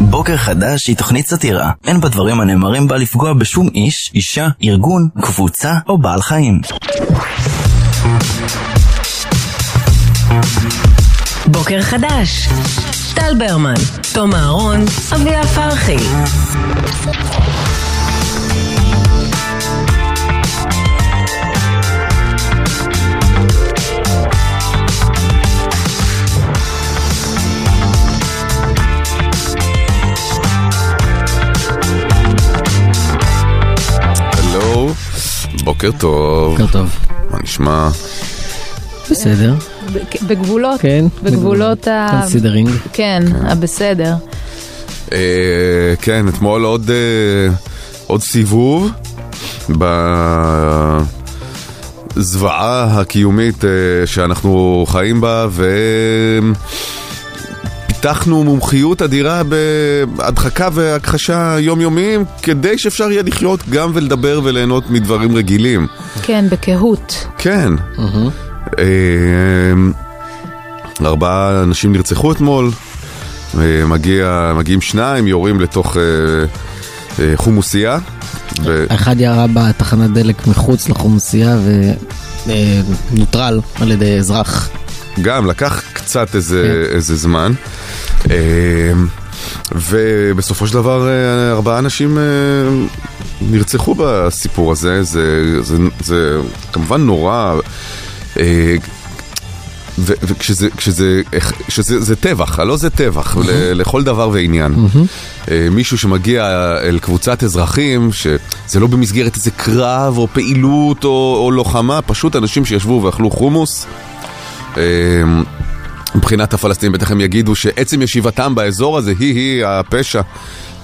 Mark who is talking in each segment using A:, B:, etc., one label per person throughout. A: בוקר חדש היא תוכנית סאטירה. אין בדברים הנאמרים בה לפגוע בשום איש, אישה, ארגון, קבוצה או בעל חיים.
B: בוקר חדש. טל ברמן, תום אהרון, אביה פרחי.
C: הלו, בוקר טוב,
D: בוקר טוב.
C: מה נשמע?
D: בסדר,
E: בגבולות,
D: כן.
E: בגבולות ה...
D: קונסידרינג.
E: כן, הבסדר.
C: אה, כן, אתמול עוד אה, עוד סיבוב בזוועה הקיומית אה, שאנחנו חיים בה ופיתחנו מומחיות אדירה בהדחקה והכחשה יומיומיים כדי שאפשר יהיה לחיות גם ולדבר וליהנות מדברים רגילים.
E: כן, בקהות.
C: כן. אה, ארבעה אנשים נרצחו אתמול, אה, מגיע, מגיעים שניים, יורים לתוך אה, אה, חומוסייה. ו-
D: אחד ירה בתחנת דלק מחוץ לחומוסייה ונוטרל על ידי אזרח.
C: גם לקח קצת איזה, איזה זמן. אה, ובסופו של דבר אה, ארבעה אנשים אה, נרצחו בסיפור הזה, זה, זה, זה כמובן נורא. אה, ו- וכשזה כשזה, כשזה, זה טבח, הלא זה טבח ל- לכל דבר ועניין. אה, מישהו שמגיע אל קבוצת אזרחים, שזה לא במסגרת איזה קרב או פעילות או, או לוחמה, פשוט אנשים שישבו ואכלו חומוס. אה, מבחינת הפלסטינים בטח הם יגידו שעצם ישיבתם באזור הזה היא-היא הפשע,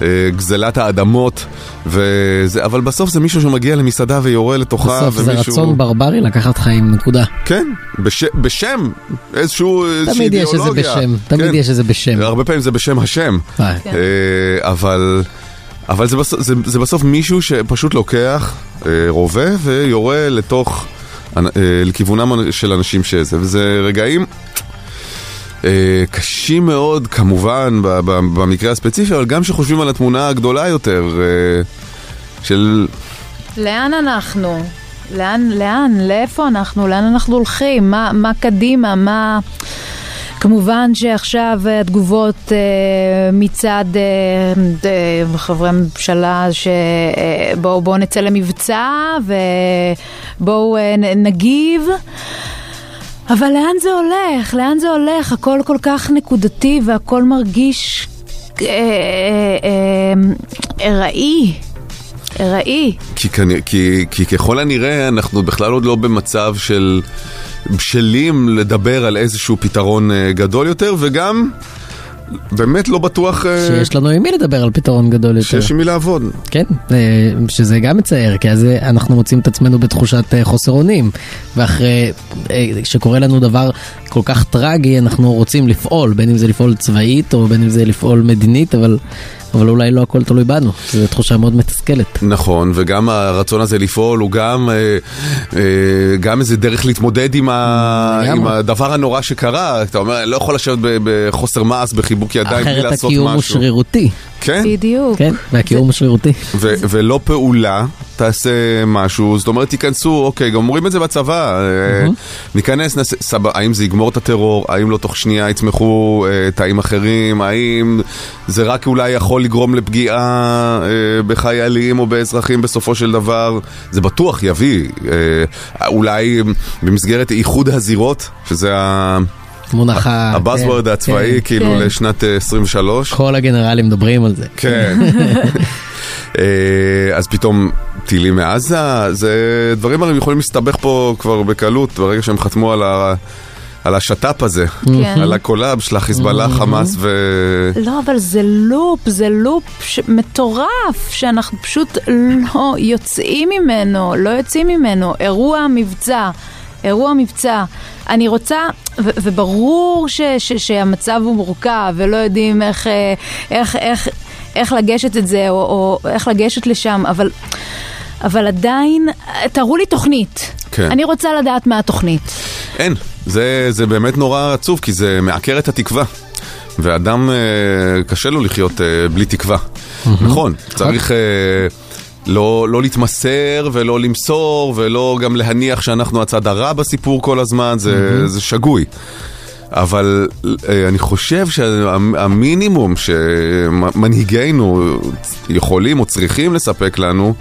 C: אה, גזלת האדמות, וזה, אבל בסוף זה מישהו שמגיע למסעדה ויורה לתוכה,
D: בסוף זה
C: ומישהו-
D: רצון ברברי לקחת חיים, נקודה.
C: כן, בש... בשם, איזשהו, איזושהי
D: תמיד יש איזה
C: אידיאולוגיה.
D: בשם, תמיד
C: כן.
D: יש איזה בשם.
C: הרבה פעמים זה בשם השם.
D: אה,
E: כן.
C: אה, אבל, אבל זה, בסוף, זה, זה בסוף מישהו שפשוט לוקח אה, רובה ויורה לתוך, אנ- אה, לכיוונם של אנשים שזה, וזה רגעים אה, קשים מאוד כמובן ב- ב- במקרה הספציפי, אבל גם כשחושבים על התמונה הגדולה יותר אה, של
E: לאן אנחנו? לאן, לאן, לאיפה אנחנו? לאן אנחנו הולכים? מה, מה קדימה? מה... כמובן שעכשיו אה, התגובות אה, מצד אה, אה, חברי הממשלה שבואו בואו נצא למבצע ובואו אה, נ- נגיב. אבל לאן זה הולך? לאן זה הולך? הכל כל כך נקודתי והכל מרגיש אה, אה, אה, ארעי. ארעי.
C: כי, כנ- כי, כי ככל הנראה אנחנו בכלל עוד לא במצב של בשלים לדבר על איזשהו פתרון אה, גדול יותר, וגם באמת לא בטוח אה,
D: שיש לנו עם מי לדבר על פתרון גדול יותר.
C: שיש עם מי לעבוד.
D: כן, אה, שזה גם מצער, כי אז אה, אנחנו מוצאים את עצמנו בתחושת אה, חוסר אונים. ואחרי אה, שקורה לנו דבר כל כך טרגי, אנחנו רוצים לפעול, בין אם זה לפעול צבאית או בין אם זה לפעול מדינית, אבל, אבל אולי לא הכל תלוי בנו. זו תחושה מאוד מתסכלת.
C: נכון, וגם הרצון הזה לפעול הוא גם, אה, אה, גם איזה דרך להתמודד עם, ה,
D: לגמרי.
C: עם הדבר הנורא שקרה. אתה אומר, אני לא יכול לשבת ב- בחוסר מעש, בחיבוק ידיים, בלי
D: אחרת
C: לעשות משהו.
D: הקיום הוא שרירותי,
C: כן?
E: בדיוק.
D: כן, והקיום הוא שרירותי.
C: ו- ולא פעולה, תעשה משהו, זאת אומרת תיכנסו, אוקיי, גם אומרים את זה בצבא, אה, ניכנס, נעשה, סבבה, האם זה יגמור את הטרור, האם לא תוך שנייה יצמחו אה, תאים אחרים, האם זה רק אולי יכול לגרום לפגיעה אה, בחיילים או באזרחים בסופו של דבר, זה בטוח יביא, אה, אולי במסגרת איחוד הזירות, שזה ה-
D: מונח ה...
C: הבאזוורד
D: כן,
C: הצבאי,
D: כן.
C: כאילו
E: כן.
C: לשנת אה, 23.
D: כל הגנרלים מדברים על זה.
C: כן. אה, אז פתאום טילים מעזה, זה דברים הרי יכולים להסתבך פה כבר בקלות, ברגע שהם חתמו על ה... על השת"פ הזה,
E: כן.
C: על הקולאב של החיזבאללה, חמאס ו...
E: לא, אבל זה לופ, זה לופ ש... מטורף, שאנחנו פשוט לא יוצאים ממנו, לא יוצאים ממנו. אירוע מבצע, אירוע מבצע. אני רוצה, ו- וברור ש- ש- שהמצב הוא מורכב, ולא יודעים איך, אה, איך, איך, איך לגשת את זה, או, או איך לגשת לשם, אבל, אבל עדיין, אה, תראו לי תוכנית.
C: כן.
E: אני רוצה לדעת מה התוכנית.
C: אין. זה, זה באמת נורא עצוב, כי זה מעקר את התקווה. ואדם, אה, קשה לו לחיות אה, בלי תקווה. נכון, צריך אה, לא, לא להתמסר ולא למסור ולא גם להניח שאנחנו הצד הרע בסיפור כל הזמן, זה, זה שגוי. אבל אה, אני חושב שהמינימום שמנהיגינו יכולים או צריכים לספק לנו,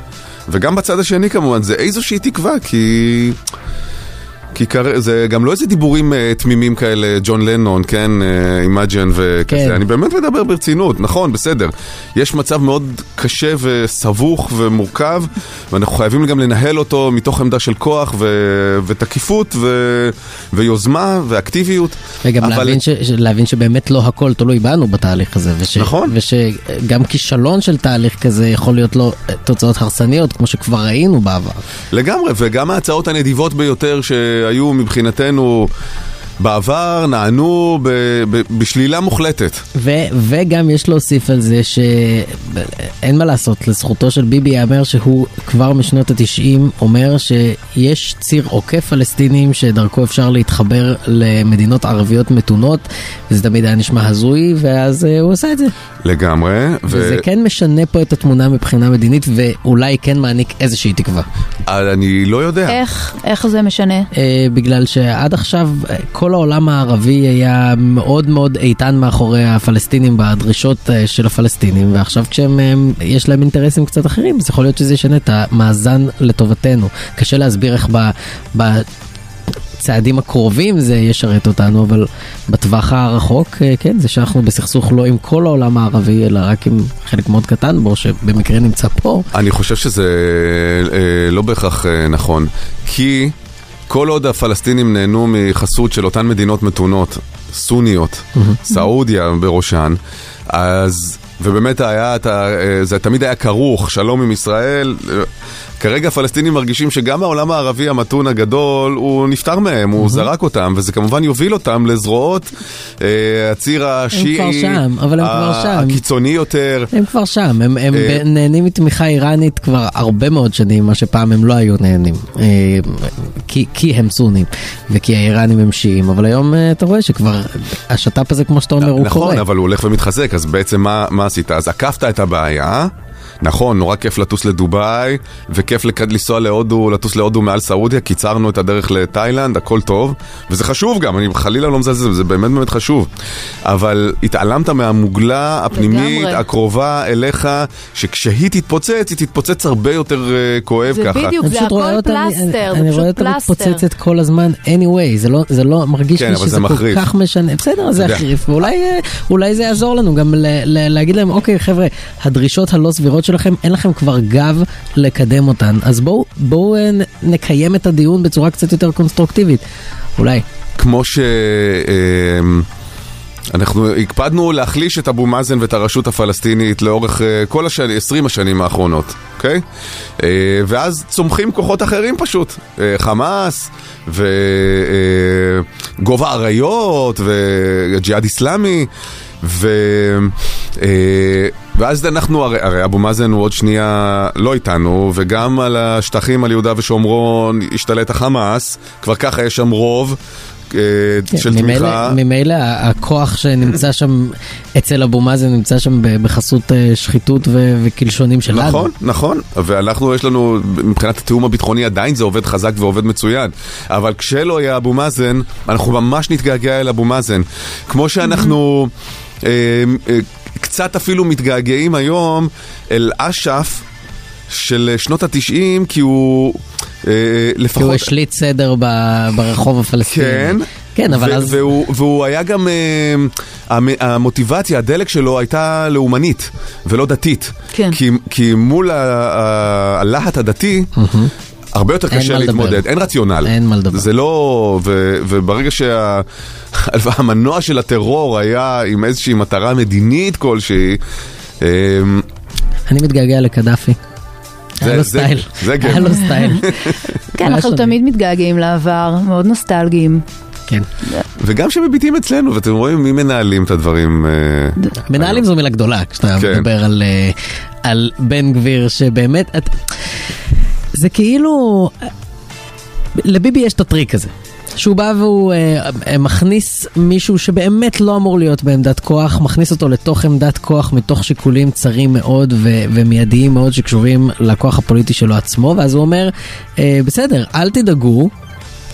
C: וגם בצד השני כמובן, זה איזושהי תקווה, כי... כי כר... זה גם לא איזה דיבורים אה, תמימים כאלה, ג'ון לנון, כן, אימג'ן וכזה,
D: כן.
C: אני באמת מדבר ברצינות, נכון, בסדר. יש מצב מאוד קשה וסבוך ומורכב, ואנחנו חייבים גם לנהל אותו מתוך עמדה של כוח ו... ותקיפות ו... ויוזמה ואקטיביות.
D: וגם
C: אבל-
D: להבין, ש, ש- להבין שבאמת לא הכל תלוי בנו בתהליך הזה. וש,
C: נכון.
D: ושגם כישלון של תהליך כזה יכול להיות לו אה, תוצאות הרסניות, כמו שכבר ראינו בעבר.
C: לגמרי, וגם ההצעות הנדיבות ביותר שהיו מבחינתנו בעבר נענו ב... ב... בשלילה מוחלטת.
D: ו- וגם יש להוסיף על זה שאין מה לעשות, לזכותו של ביבי ייאמר שהוא כבר משנות התשעים אומר שיש ציר עוקף פלסטינים שדרכו אפשר להתחבר למדינות ערביות מתונות, וזה תמיד היה נשמע הזוי, ואז אה, הוא עשה את זה.
C: לגמרי.
D: וזה כן משנה פה את התמונה מבחינה מדינית, ואולי כן מעניק איזושהי תקווה.
C: אני לא יודע.
E: איך, איך זה משנה?
D: אה, בגלל שעד עכשיו אה, כל העולם הערבי היה מאוד מאוד איתן מאחורי הפלסטינים בדרישות אה, של הפלסטינים ועכשיו כשהם אה, יש להם אינטרסים קצת אחרים אז יכול להיות שזה ישנה את המאזן לטובתנו קשה להסביר איך ב... ב צעדים הקרובים זה ישרת אותנו, אבל בטווח הרחוק, אה, כן, זה שאנחנו בסכסוך לא עם כל העולם הערבי, אלא רק עם חלק מאוד קטן בו, שבמקרה נמצא פה.
C: אני חושב שזה אה, לא בהכרח אה, נכון, כי כל עוד הפלסטינים נהנו מחסות של אותן מדינות מתונות, סוניות, סעודיה בראשן, אז, ובאמת היה, את ה- אה, זה תמיד היה כרוך, שלום עם ישראל. אה, כרגע הפלסטינים מרגישים שגם העולם הערבי המתון הגדול, הוא נפטר מהם, הוא זרק אותם, וזה כמובן יוביל אותם לזרועות אה, הציר השיעי,
D: שם, אבל הם כבר
C: ה-
D: שם.
C: הקיצוני יותר.
D: הם כבר שם, הם, הם
C: אה,
D: ב- נהנים מתמיכה איראנית כבר הרבה מאוד שנים, מה שפעם הם לא היו נהנים. אה, כי, כי הם סונים, וכי האיראנים הם שיעים, אבל היום אה, אתה רואה שכבר השת"פ הזה, כמו שאתה אומר, הוא
C: נכון,
D: קורה.
C: אבל הוא הולך ומתחזק, אז בעצם מה, מה עשית? אז עקפת את הבעיה. נכון, נורא כיף לטוס לדובאי, וכיף לק- לנסוע להודו, לטוס להודו מעל סעודיה, קיצרנו את הדרך לתאילנד, הכל טוב, וזה חשוב גם, אני חלילה לא מזלזל, זה באמת באמת חשוב. אבל התעלמת מהמוגלה הפנימית
E: לגמרי.
C: הקרובה אליך, שכשהיא תתפוצץ, היא תתפוצץ הרבה יותר אה, כואב
E: זה
C: ככה.
E: בדיוק,
D: אני
E: זה
D: פשוט רואה
E: הכל
D: אותה- אני-
E: פלסטר,
D: אני
E: זה
D: רואה
E: פשוט
D: אותה
E: פלסטר.
D: מתפוצצת כל הזמן anyway, זה לא, זה לא מרגיש
C: כן,
D: לי
C: אבל
D: שזה
C: זה
D: כל
C: מחריף.
D: כך משנה, בסדר, זה
C: יודע.
D: יחריף, ואולי אה, אולי זה יעזור לנו גם ל, ל, להגיד להם, אוקיי חבר'ה, הדרישות הלא סבירות שלכם, אין לכם כבר גב לקדם אותן, אז בואו בוא, נקיים את הדיון בצורה קצת יותר קונסטרוקטיבית, אולי.
C: כמו ש... אמ, אנחנו הקפדנו להחליש את אבו מאזן ואת הרשות הפלסטינית לאורך אה, כל השנים, 20 השנים האחרונות, אוקיי? אה, ואז צומחים כוחות אחרים פשוט, אה, חמאס וגובה אריות וג'יהאד איסלאמי, ו... אה, ואז אנחנו, הרי, הרי אבו מאזן הוא עוד שנייה לא איתנו, וגם על השטחים על יהודה ושומרון השתלט החמאס, כבר ככה יש שם רוב אה, של
D: כן, ממילא-
C: תמיכה.
D: ממילא הכוח שנמצא שם אצל אבו מאזן נמצא שם ב- בחסות אה, שחיתות ו- וקלשונים שלנו.
C: נכון, נכון, ואנחנו יש לנו, מבחינת התיאום הביטחוני עדיין זה עובד חזק ועובד מצוין, אבל כשלא יהיה אבו מאזן, אנחנו ממש נתגעגע אל אבו מאזן. כמו שאנחנו
D: Mm-hmm.
C: אה, אה, קצת אפילו מתגעגעים היום אל אש"ף של שנות התשעים, כי הוא אה,
D: כי הוא
C: לפחות...
D: השליט סדר ב- ברחוב הפלסטיני.
C: כן.
D: כן, אבל
C: ו-
D: אז...
C: והוא, והוא היה גם... אה, המ- המוטיבציה, הדלק שלו הייתה לאומנית ולא דתית.
E: כן.
C: כי, כי מול ה- ה- הלהט הדתי, הרבה יותר
D: אין
C: קשה
D: מה לדבר.
C: להתמודד. אין רציונל.
D: אין מה לדבר.
C: זה לא... ו, וברגע שהמנוע של הטרור היה עם איזושהי מטרה מדינית כלשהי, אה,
D: אני מתגעגע לקדאפי. היה לו
C: זה-
D: סטייל.
C: זה גבר.
D: היה לו סטייל.
E: כן,
D: היה
E: אנחנו
D: שונה.
E: תמיד מתגעגעים לעבר, מאוד נוסטלגיים.
D: כן.
C: וגם כשמביטים אצלנו, ואתם רואים מי מנהלים את הדברים. אה,
D: מנהלים זו מילה גדולה, כשאתה
C: כן.
D: מדבר על, אה, על בן גביר, שבאמת... את- זה כאילו... לביבי יש את הטריק הזה. שהוא בא והוא אה, אה, מכניס מישהו שבאמת לא אמור להיות בעמדת כוח, מכניס אותו לתוך עמדת כוח מתוך שיקולים צרים מאוד ו- ומיידיים מאוד שקשורים לכוח הפוליטי שלו עצמו, ואז הוא אומר, אה, בסדר, אל תדאגו,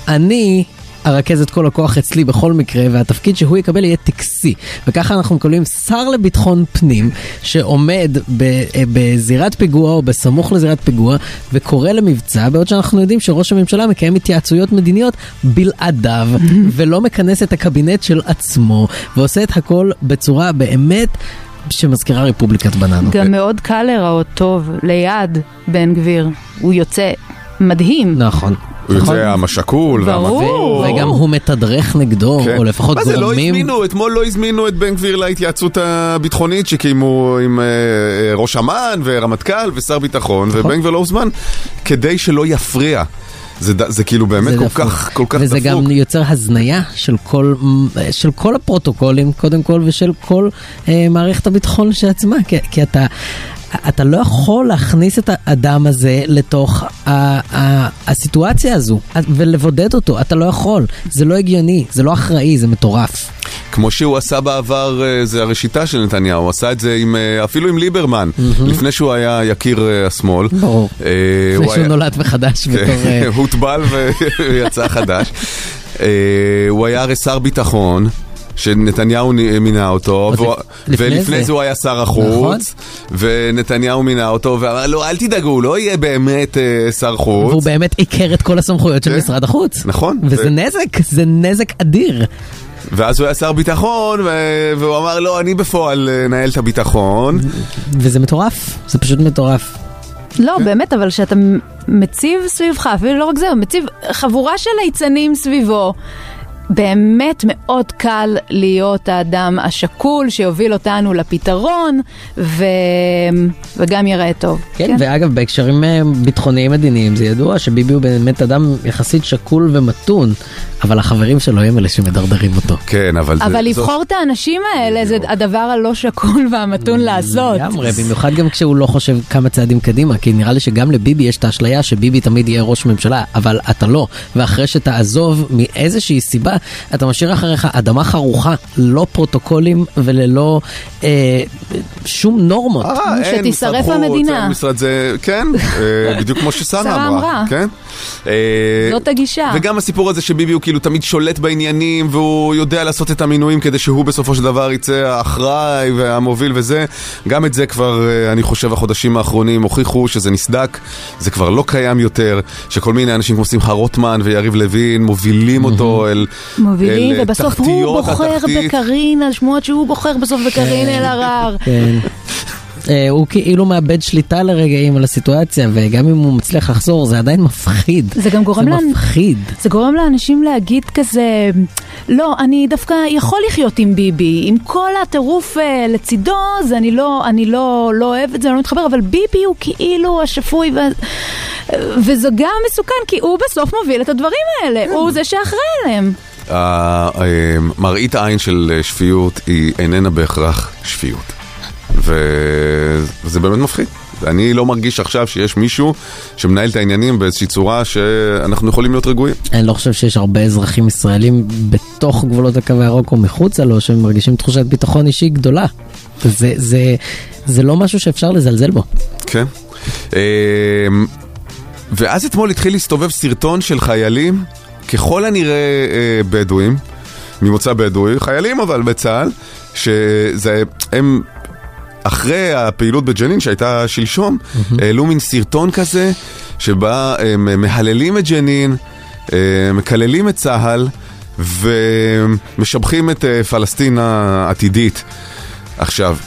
D: אני... ארכז את כל הכוח אצלי בכל מקרה, והתפקיד שהוא יקבל יהיה טקסי. וככה אנחנו מקבלים שר לביטחון פנים, שעומד ב, אה, בזירת פיגוע או בסמוך לזירת פיגוע, וקורא למבצע, בעוד שאנחנו יודעים שראש הממשלה מקיים התייעצויות מדיניות בלעדיו, ולא מכנס את הקבינט של עצמו, ועושה את הכל בצורה באמת שמזכירה רפובליקת בננות.
E: גם מאוד קל להיראות טוב ליד בן גביר. הוא יוצא מדהים.
D: נכון.
C: הוא יוצא העם השכול,
E: ברור.
C: והמתוק.
D: וגם הוא מתדרך נגדו,
C: כן.
D: או לפחות
C: מה זה, לא
D: גורמים...
C: הזמינו, אתמול לא הזמינו את בן גביר להתייעצות הביטחונית שקיימו עם אה, אה, ראש אמ"ן ורמטכ"ל ושר ביטחון,
D: נכון.
C: ובן גביר לא הוזמן, כדי שלא יפריע. זה ד- זה כאילו באמת
D: זה
C: כל
D: דפוק.
C: כך, כל כך
D: וזה
C: דפוק.
D: גם יוצר הזניה של כל, של כל הפרוטוקולים, קודם כל, ושל כל אה, מערכת הביטחון שעצמה, כי, כי אתה, אתה לא יכול להכניס את האדם הזה לתוך ה, ה, הסיטואציה הזו, ולבודד אותו, אתה לא יכול. זה לא הגיוני, זה לא אחראי, זה מטורף.
C: כמו שהוא עשה בעבר, אה, זה הראשיתה של נתניהו, הוא עשה את זה עם, אה, אפילו עם ליברמן, לפני שהוא היה יקיר אה, השמאל.
D: ברור.
C: אה, הוא
D: לפני שהוא
C: היה-
D: נולד מחדש בתור... אה,
C: כן, הוטבל ויצא חדש. אה, הוא היה הרי שר ביטחון. שנתניהו נ- מינה אותו,
D: עוד
C: והוא-
D: לפ- לפני
C: ולפני
D: זה.
C: זה הוא היה שר
D: נכון.
C: החוץ, ונתניהו מינה אותו, ואמר לו, אל תדאגו, הוא לא יהיה באמת אה, שר
D: והוא
C: חוץ.
D: באמת עיקר את כל הסמכויות של
C: כן.
D: משרד החוץ.
C: נכון.
D: וזה
C: ו-
D: נזק, זה נזק אדיר.
C: ואז הוא היה שר ביטחון, ו- והוא אמר, לא, אני בפועל אה, אנהל את הביטחון.
D: וזה מטורף, זה פשוט מטורף.
E: לא, באמת, אבל שאתה מציב סביבך, אפילו לא רק זה, מציב חבורה של ליצנים סביבו. באמת מאוד קל להיות האדם השקול שיוביל אותנו לפתרון ו... וגם יראה טוב.
D: כן, ואגב, בהקשרים אה, ביטחוניים מדיניים זה ידוע שביבי הוא באמת אדם יחסית שקול ומתון, אבל החברים שלו הם אלה שמדרדרים אותו.
C: כן, אבל זה...
E: אבל
C: זו-
E: לבחור את האנשים האלה זה הדבר הלא שקול והמתון לעשות.
D: לגמרי, במיוחד גם כשהוא לא חושב כמה צעדים קדימה, כי נראה לי שגם לביבי יש את האשליה שביבי תמיד יהיה ראש ממשלה, אבל אתה לא. ואחרי שתעזוב מאיזושהי סיבה, אתה משאיר אחריך אדמה חרוכה, ללא פרוטוקולים וללא אה, שום נורמות.
C: אה, אין,
E: שתישרף
C: משרד חוץ,
E: המדינה.
C: אין משרד זה, כן, אה, בדיוק כמו
E: שרה
C: ששרה אמרה.
E: אמרה.
C: כן. אה,
E: זאת הגישה.
C: וגם הסיפור הזה שביבי הוא כאילו תמיד שולט בעניינים והוא יודע לעשות את המינויים כדי שהוא בסופו של דבר יצא האחראי והמוביל וזה, גם את זה כבר, אה, אני חושב, החודשים האחרונים הוכיחו שזה נסדק, זה כבר לא קיים יותר, שכל מיני אנשים כמו שמחה רוטמן ויריב לוין מובילים אותו אל
E: מובילים,
C: אל, אה,
E: ובסוף הוא
C: תחתיות
E: בוחר
C: התחתית.
E: בקארין, על שמועות שהוא בוחר בסוף בקארין אלהרר.
D: כן. אה, הוא כאילו מאבד שליטה לרגעים על הסיטואציה, וגם אם הוא מצליח לחזור, זה עדיין מפחיד.
E: זה גם גורם
D: זה
E: לאנ-
D: מפחיד.
E: זה גורם לאנשים להגיד כזה, לא, אני דווקא יכול לחיות עם ביבי, עם כל הטירוף אה, לצידו, זה אני לא, אני לא, לא אוהב את זה, אני לא מתחבר, אבל ביבי הוא כאילו השפוי, ו... וזה גם מסוכן, כי הוא בסוף מוביל את הדברים האלה, הוא זה שאחראי עליהם.
C: ה- אה, מראית העין של אה, שפיות היא איננה בהכרח שפיות. ו- וזה באמת מפחיד. אני לא מרגיש עכשיו שיש מישהו שמנהל את העניינים באיזושהי צורה שאנחנו יכולים להיות רגועים.
D: אני לא חושב שיש הרבה אזרחים ישראלים בתוך גבולות הקו הירוק או מחוצה לו, שמרגישים תחושת ביטחון אישי גדולה. זה, זה, זה לא משהו שאפשר לזלזל בו.
C: כן. אה, ואז אתמול התחיל להסתובב סרטון של חיילים, ככל הנראה אה, בדואים, ממוצא בדואי, חיילים אבל בצה"ל, שזה, הם... אחרי הפעילות בג'נין שהייתה שלשום, העלו מין סרטון כזה, שבה הם מהללים את ג'נין, אה, מקללים את צה"ל ומשבחים את אה, פלסטין העתידית. עכשיו,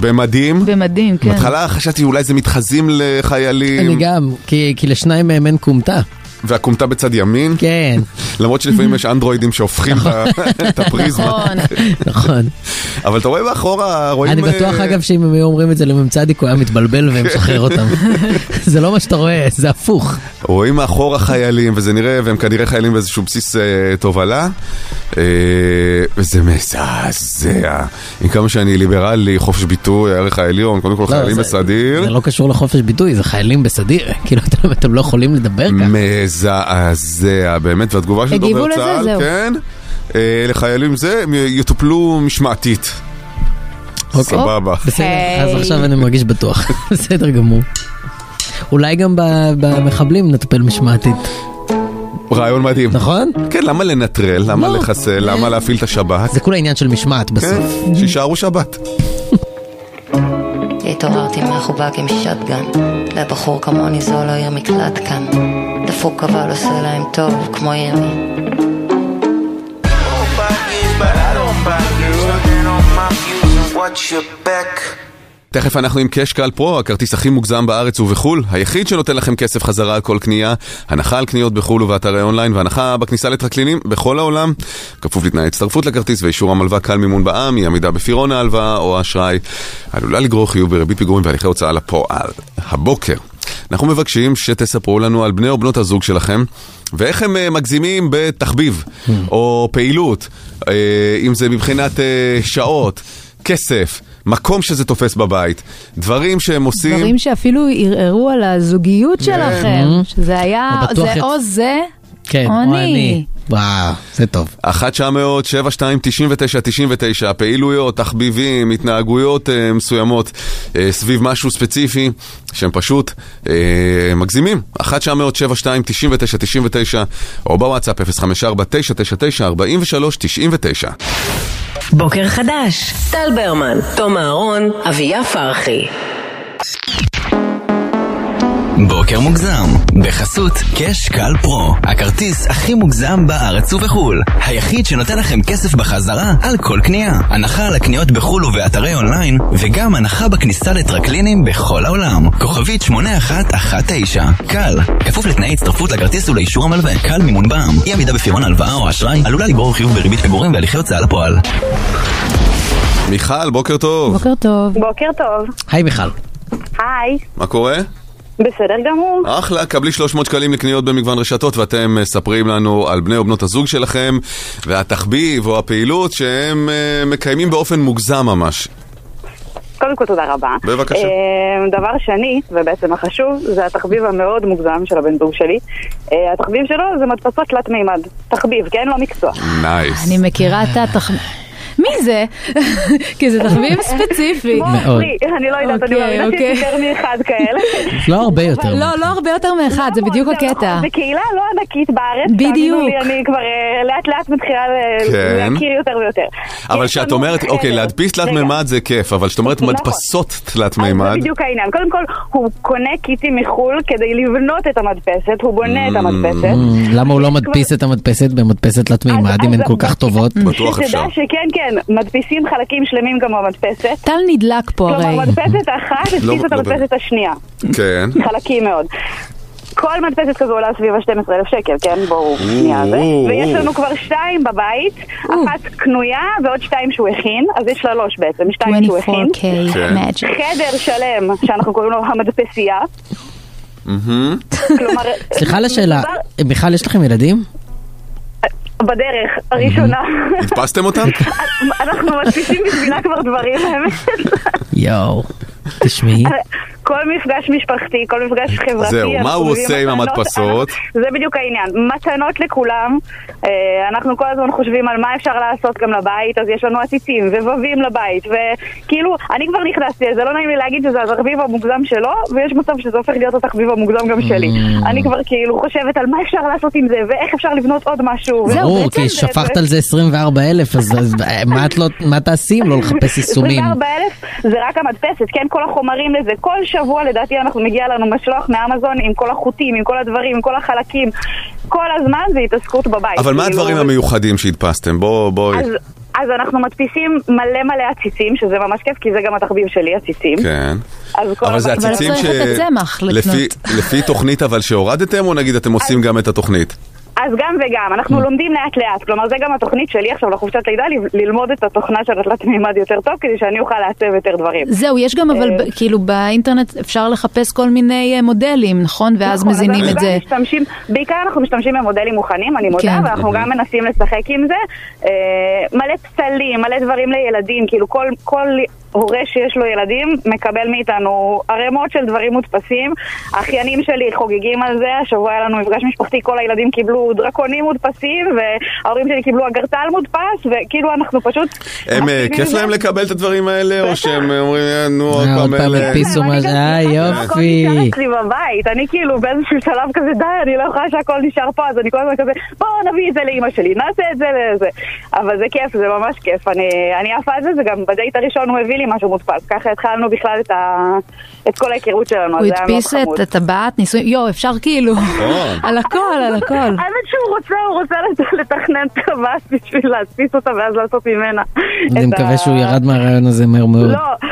C: במדים,
E: במדים, כן.
C: בהתחלה חשבתי אולי זה מתחזים
D: אני
C: לחיילים,
D: גם, כי, כי לשניים מהם אין כומתה.
C: והכומתה בצד ימין,
D: כן,
C: למרות שלפעמים יש אנדרואידים שהופכים את- את הפריזמה,
E: נכון.
D: נכון.
C: אבל אתה רואה מאחורה, רואים...
D: אני בטוח
C: אה,
D: אגב שאם הם היו אומרים את זה לממצדיק הוא היה מתבלבל ומשחרר אותם. זה לא מה שאתה רואה, זה הפוך.
C: רואים מאחורה חיילים, וזה נראה, והם כנראה חיילים באיזשהו בסיס אה, תובלה, אה, וזה מזעזע. עם כמה שאני ליברלי, חופש ביטוי, הערך העליון, קודם כל
D: לא,
C: חיילים
D: זה-
C: בסדיר.
D: זה לא קשור לחופש ביטוי, זה חיילים בסדיר. כאילו, אתם, אתם לא יכולים לדבר ככה.
C: מזעזע, באמת, והתגובה של
E: הגיבו
C: דובר
E: לזה?
C: צה"ל,
E: זהו.
C: כן, אה, לחיילים זה, הם יטופלו משמעתית. סבבה.
D: אוקיי. בסדר, אז
E: היי.
D: עכשיו אני מרגיש בטוח. בסדר גמור. אולי גם ב- במחבלים נטפל משמעתית,
C: רעיון מדהים.
D: נכון?
C: כן, למה לנטרל? למה
D: לא.
C: לחסל? למה להפעיל את השבת?
D: זה כולה עניין של משמעת
C: כן,
D: בסוף.
C: שישארו שבת.
F: התעוררתי מהחובק עם שטגן לבחור כמוני זו לא עיר מקלט כאן דפוק אבל עושה להם טוב כמו ימי
G: don't buy views, but I don't buy views. Stand on my views and watch your back.
C: תכף אנחנו עם קאש קל פרו, הכרטיס הכי מוגזם בארץ ובחול, היחיד שנותן לכם כסף חזרה על כל קנייה, הנחה על קניות בחול ובאתרי אונליין, והנחה בכניסה לטרקלינים בכל העולם, כפוף לתנאי הצטרפות לכרטיס ואישור המלווה קל מימון בע"מ, היא עמידה בפירעון ההלוואה או האשראי, עלולה לגרור חיוב בריבית פיגורים והליכי הוצאה לפועל. הבוקר, אנחנו מבקשים שתספרו לנו על בני או בנות הזוג שלכם, ואיך הם אה, מגזימים בתחביב, או פעילות, אה, אם זה מבחינת אה, שעות, כסף. מקום שזה תופס בבית, דברים שהם עושים,
E: דברים שאפילו ערערו על הזוגיות שלכם, שזה היה,
D: אבל בטוח
E: זה
D: יצ-
E: או זה,
D: כן,
E: או אני.
D: וואו, זה טוב.
C: 1-900-7299-99, פעילויות, תחביבים, התנהגויות אה, מסוימות אה, סביב משהו ספציפי, שהם פשוט אה, מגזימים. 1-900-7299-99, או בוואטסאפ 054-999-4399.
B: בוקר חדש, טל ברמן, תום אהרון, אביה פרחי.
A: בוקר מוגזם, בחסות קאש קל פרו, הכרטיס הכי מוגזם בארץ ובחו"ל. היחיד שנותן לכם כסף בחזרה על כל קנייה. הנחה על הקניות בחו"ל ובאתרי אונליין, וגם הנחה בכניסה לטרקלינים בכל העולם. כוכבית 8119, קל, כפוף לתנאי הצטרפות לכרטיס ולאישור המלווה, קל מימון בע"מ. אי עמידה בפירעון הלוואה או אשראי עלולה לגרור חיוב בריבית פיגורים והליכי הוצאה לפועל.
C: מיכל, בוקר טוב,
E: בוקר טוב.
H: בוקר טוב,
D: היי מיכל.
H: היי,
C: מה קורה?
H: בסדר גמור.
C: אחלה, קבלי 300 שקלים לקניות במגוון רשתות, ואתם אה, מספרים לנו על בני או בנות הזוג שלכם, והתחביב או הפעילות שהם אה, מקיימים באופן מוגזם ממש.
H: קודם כל תודה רבה.
C: בבקשה.
H: אה, דבר שני, ובעצם החשוב, זה התחביב המאוד מוגזם של הבן זוג שלי. אה, התחביב שלו זה מדפסות תלת מימד. תחביב, כן? לא מקצוע.
C: נייס.
E: אני מכירה את התחביב. מי זה? כי זה תחביב ספציפי.
H: כמו
D: מאוד.
H: פרי, אני לא יודעת, אני
E: אוקיי,
H: מאמינה
E: אוקיי.
H: שיש יותר מאחד כאלה.
D: לא הרבה יותר.
E: לא, לא הרבה יותר מאחד, זה בדיוק הקטע.
H: זו קהילה לא ענקית בארץ.
E: בדיוק.
H: תאמינו לי, אני כבר אה, לאט לאט מתחילה ל-
C: כן.
H: להכיר יותר ויותר.
C: אבל
H: יש
C: כשאת
H: לנו
C: אומרת,
H: חדר.
C: אוקיי, להדפיס תלת
H: רגע,
C: מימד זה כיף, אבל כשאת אומרת
H: נכון.
C: מדפסות תלת
H: אז
C: מימד,
H: זה בדיוק העניין. קודם כל, הוא קונה קיטים מחו"ל כדי לבנות את המדפסת, הוא בונה את המדפסת.
D: Mm, למה הוא לא מדפיס את המדפסת במדפסת תלת מימד אם
H: אז-
D: הן כל כך טובות?
C: בטוח אפשר.
H: שתדע שכן, כן, מדפיסים חלקים שלמים גם במדפסת.
E: טל נדלק פה הרי.
H: כלומר, מדפסת אחת
C: לא-
H: הדפיסה את
C: לא באמת.
H: המדפסת השנייה.
C: כן.
H: חלקים מאוד. כל מדפסת כזו עולה סביב ה-12,000 שקל, כן? בואו, שנייה זה.
C: או,
H: ויש
C: או.
H: לנו כבר שתיים בבית, אחת קנויה ועוד שתיים שהוא הכין, אז יש שלוש בעצם, שתיים שהוא הכין.
E: 24K
C: כן.
E: magic.
H: חדר שלם, שאנחנו קוראים לו המדפסייה. כלומר,
D: סליחה על השאלה,
H: מדובר
D: מיכל יש לכם ילדים?
H: בדרך הראשונה.
C: הדפסתם אותם?
H: אנחנו מדפיסים בשבילה כבר דברים, האמת.
D: יואו. תשמעי,
H: כל מפגש משפחתי, כל מפגש חברתי.
C: זהו, מה
H: אנחנו
C: הוא
H: מביאים
C: עושה עם
H: מתנות,
C: המדפסות?
H: אנחנו- זה בדיוק העניין, מתנות לכולם. אה, אנחנו כל הזמן חושבים על מה אפשר לעשות גם לבית, אז יש לנו עציצים ובבים לבית, וכאילו, אני כבר נכנסתי, אז זה לא נעים לי להגיד שזה התחביב המוגזם שלו, ויש מצב שזה הופך להיות התחביב המוגזם גם שלי.
C: Mm.
H: אני כבר כאילו חושבת על מה אפשר לעשות עם זה, ואיך אפשר לבנות עוד משהו.
D: ברור,
H: ובעצם
D: כי
H: זה-
D: שפכת על זה 24,000, אז אז מה את לא- מה תעשי אם לא לחפש יישומים?
H: 24,000 זה רק המדפסת, כן? כל החומרים לזה. כל שבוע לדעתי אנחנו מגיע לנו משלוח מאמזון עם כל החוטים, עם כל הדברים, עם כל החלקים. כל הזמן זה התעסקות בבית.
C: אבל מה
H: כאילו,
C: הדברים המיוחדים שהדפסתם? בוא- בואי.
H: אז, אז אנחנו מדפיסים מלא מלא עציצים, שזה ממש כיף, כי זה גם התחביב שלי, עציצים.
C: כן.
H: אז כל
C: אבל זה
H: הבית-
E: אבל
C: עציצים ש...
E: צריך את הצמח
C: לפי-
E: לקנות.
C: לפי תוכנית אבל שהורדתם, או נגיד אתם עושים גם את התוכנית?
H: אז גם וגם,
C: Mm.
H: אנחנו לומדים לאט לאט, כלומר זה גם התוכנית שלי עכשיו לחופשת לידה, ל- ללמוד את התוכנה של התלת מימד יותר טוב, כדי שאני אוכל לעצב יותר דברים.
E: זהו, יש גם אבל
H: אה,
E: ב- כאילו באינטרנט אפשר לחפש כל מיני אה, מודלים, נכון? ואז
H: נכון, אז
E: מזינים
H: אנחנו
E: את
H: גם
E: זה.
H: משתמשים, בעיקר אנחנו משתמשים במודלים מוכנים, אני מודה,
E: כן.
H: כן. ואנחנו גם מנסים לשחק עם זה. אה, מלא פסלים, מלא דברים לילדים, כאילו כל, כל הורה שיש לו ילדים מקבל מאיתנו ערימות של דברים מודפסים. האחיינים שלי חוגגים על זה, השבוע היה לנו מפגש משפחתי, כל הילדים קיבלו דרקונים מודפסים, וההורים שלי קיבלו אגרטל מודפס, וכאילו אנחנו פשוט...
C: הם, אה,
H: עשינו
C: כיף
H: מזה-
C: להם לקבל את הדברים האלה, או שהם אה, אומרים, "אה, נו, עוד
D: אה, עוד
C: פעם
D: פעם
C: אלה...
D: הדפיסו. פיסו
H: כן,
D: משהו, אה
H: אני גם- הכל
D: יופי.
H: נשאר אצלי בבית, אני כאילו באיזשהו שלב כזה, די, אני לא יכולה שהכל נשאר פה, אז אני כל הזמן כזה, בואו נביא את זה לאימא שלי, נעשה את זה לזה. אבל זה כיף, זה ממש כיף, אני אני עפה על זה, זה גם בדייט הראשון הוא הביא לי משהו מודפס, ככה התחלנו בכלל את ה- את כל ההיכרות שלנו, אז
E: הוא
H: זה היה מאוד
E: הדפיס
H: חמוד.
E: את הטבעת, ניסוי, יואו, אפשר כאילו,
C: נכון.
E: על הכל, על הכל.
H: האמת שהוא רוצה, הוא רוצה לת- לתכנן טבעת בשביל להדפיס אותה ואז לעשות ממנה.
D: אני
H: את ה-
D: מקווה שהוא ירד מהרעיון הזה מהר מאוד.
H: לא,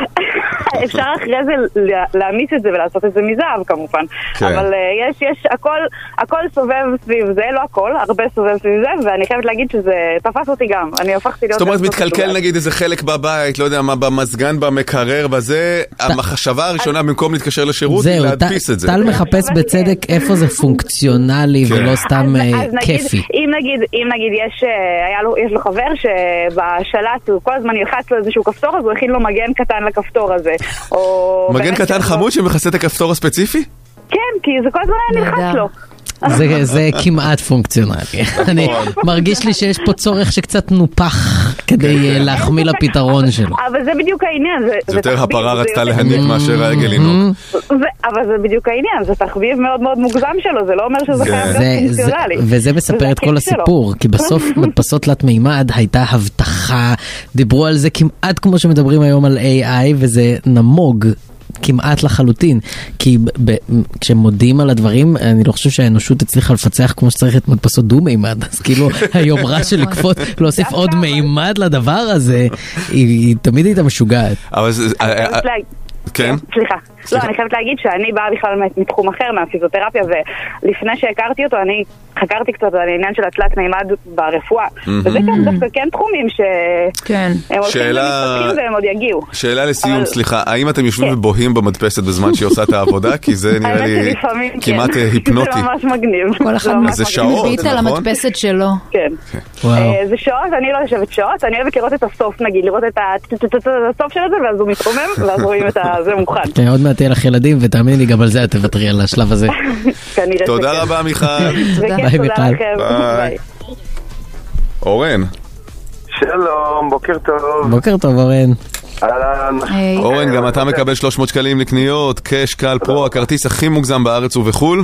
H: אפשר אחרי זה לה- להמיס את זה ולעשות את זה מזהב כמובן.
C: כן.
H: אבל אה, יש, יש, הכל, הכל סובב סביב זה, לא הכל, הרבה סובב סביב זה, ואני חייבת להגיד שזה תפס אותי גם, אני הפכתי להיות...
C: זאת אומרת,
H: לעשות
C: מתקלקל
H: מסוגל.
C: נגיד איזה חלק בבית, לא יודע מה, במזגן, במקרר, בזה, המחשבה הראשונה במקום להתקשר לשירות, היא
D: זהו,
C: להדפיס
D: טל-
C: את זה.
D: טל מחפש בצדק איפה זה פונקציונלי
C: כן.
D: ולא
H: אז-
D: סתם אה,
H: אז נגיד-
D: כיפי.
H: אם נגיד, אם נגיד יש, אה, היה לו, יש לו חבר שבשלט הוא כל הזמן ילחץ לו איזשהו כפתור, אז הוא הכין לו מגן קטן לכפתור הזה. או...
C: מגן
H: באמת
C: קטן
H: שיש לו-
C: חמוד שמכסה את הכפתור הספציפי?
H: כן, כי זה כל הזמן היה נלחץ
E: נהדר.
H: לו.
D: זה- זה כמעט פונקציונלי. אני מרגיש לי שיש פה צורך שקצת נופח
C: אוקיי.
D: כדי אה, להחמיא לפתרון שלו. Mm-hmm.
H: אבל זה בדיוק העניין.
C: זה יותר
H: תחביב,
C: הפרה
H: זה
C: רצתה
H: יותר-
C: להניק
D: Mm.
C: מאשר העגל לינוק.
H: ו- אבל זה בדיוק העניין, זה תחביב מאוד מאוד מוגזם שלו, זה לא אומר שזה
C: זה-
H: חייב להיות
D: זה- זה-
H: פונקציונלי.
D: וזה מספר את
H: הכיף
D: כל
H: שלו.
D: הסיפור, כי בסוף מדפסות תלת מימד הייתה הבטחה, דיברו על זה כמעט כמו שמדברים היום על AI, וזה נמוג. כמעט לחלוטין, כי ב- ב- כשמודים על הדברים, אני לא חושב שהאנושות הצליחה לפצח כמו שצריך את מדפסות דו-מימד, אז כאילו היומרה של לקפוץ, להוסיף עוד מימד לדבר הזה, היא- היא תמיד הייתה משוגעת.
C: אבל זה... אה, אה,
H: חייבת להגיד-
C: כן?
H: סליחה. לא, אני חייבת להגיד שאני באה בכלל מתחום אחר, מהפיזיותרפיה, ולפני שהכרתי אותו, אני חקרתי קצת על העניין של התלת מימד ברפואה. וזה כן, דווקא כן תחומים שהם
E: כן.
H: הולכים
C: שאלה-
H: ומתפתחים והם עוד יגיעו.
C: שאלה לסיום,
H: אבל-
C: סליחה, האם אתם יושבים
H: כן.
C: ובוהים במדפסת בזמן שהיא עושה את העבודה? כי זה נראה
H: האמת
C: לי
H: שלפעמים כן.
C: כמעט אה, היפנוטי.
H: זה ממש מגניב.
E: כל אחד
H: זה ממש
C: אז זה
H: מגניב.
C: שעות,
E: מביט על
C: נכון?
E: המדפסת שלו.
H: כן.
D: וואו.
H: אה, זה שעות, אני לא יושבת שעות, אני אוהבת לראות את הסוף נגיד, לראות את הסוף של זה, ואז הוא מתרומם, ואז רואים את ה- זה מוכן.
D: כן, עוד מעט יהיה לך ילדים, ותאמיני לי, גם על זה את תוותרי על השלב הזה.
H: כנראה
C: תודה
H: שכן.
C: רבה מיכל.
H: וכן, כן,
D: ביי,
H: תודה
D: מיכל.
H: לכם.
C: ביי.
H: ביי.
C: אורן,
I: שלום, בוקר טוב.
D: בוקר טוב, אורן.
I: אהלן. אה,
E: היי,
C: אורן, גם אתה מקבל 300 שקלים לקניות, קאש, קל, פרו, הכרטיס הכי מוגזם בארץ ובחול.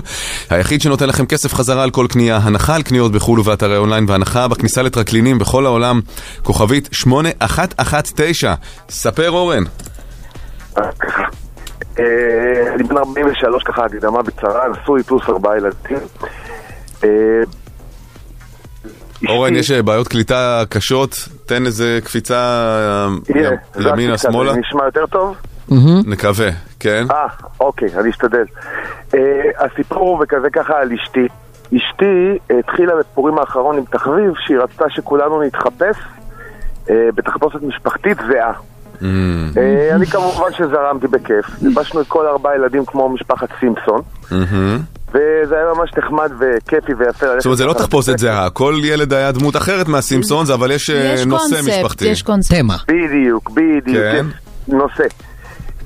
C: היחיד שנותן לכם כסף חזרה על כל קנייה, הנחה על קניות בחול ובאתרי אונליין, והנחה בכניסה לטרקלינים בכל העולם, כוכבית 8119. ספר אורן.
I: אה, אני בן 43 ככה, הקדמה בקצרה, נשוי פלוס ארבעה ילדים. אה,
C: אורן,
I: אשתי-
C: יש אה, בעיות קליטה קשות, תן איזה קפיצה אה,
I: הנה, זה
C: ימינה,
I: הקליטה,
C: שמאלה,
I: זה נשמע יותר טוב?
C: נקווה, כן?
I: אה, אוקיי, אני אשתדל. אה, הסיפור הוא כזה ככה על אשתי. אשתי התחילה בפורים האחרון עם תחביב שהיא רצתה שכולנו נתחפש אה, בתחפושת משפחתית זהה. אה, אני כמובן שזרמתי בכיף. הלבשנו את כל ארבעה ילדים כמו משפחת סימפסון. וזה היה ממש נחמד וכיפי ויפה. ללכת
C: זאת אומרת, זה לא
I: ככה
C: תחפושת זהה, כל ילד היה דמות אחרת מהסימפסונס, אבל יש אה,
E: יש
C: נושא
E: קונספט,
C: משפחתי.
E: יש קונספט.
D: תמה.
I: בדיוק, בדיוק,
C: כן.
I: נושא.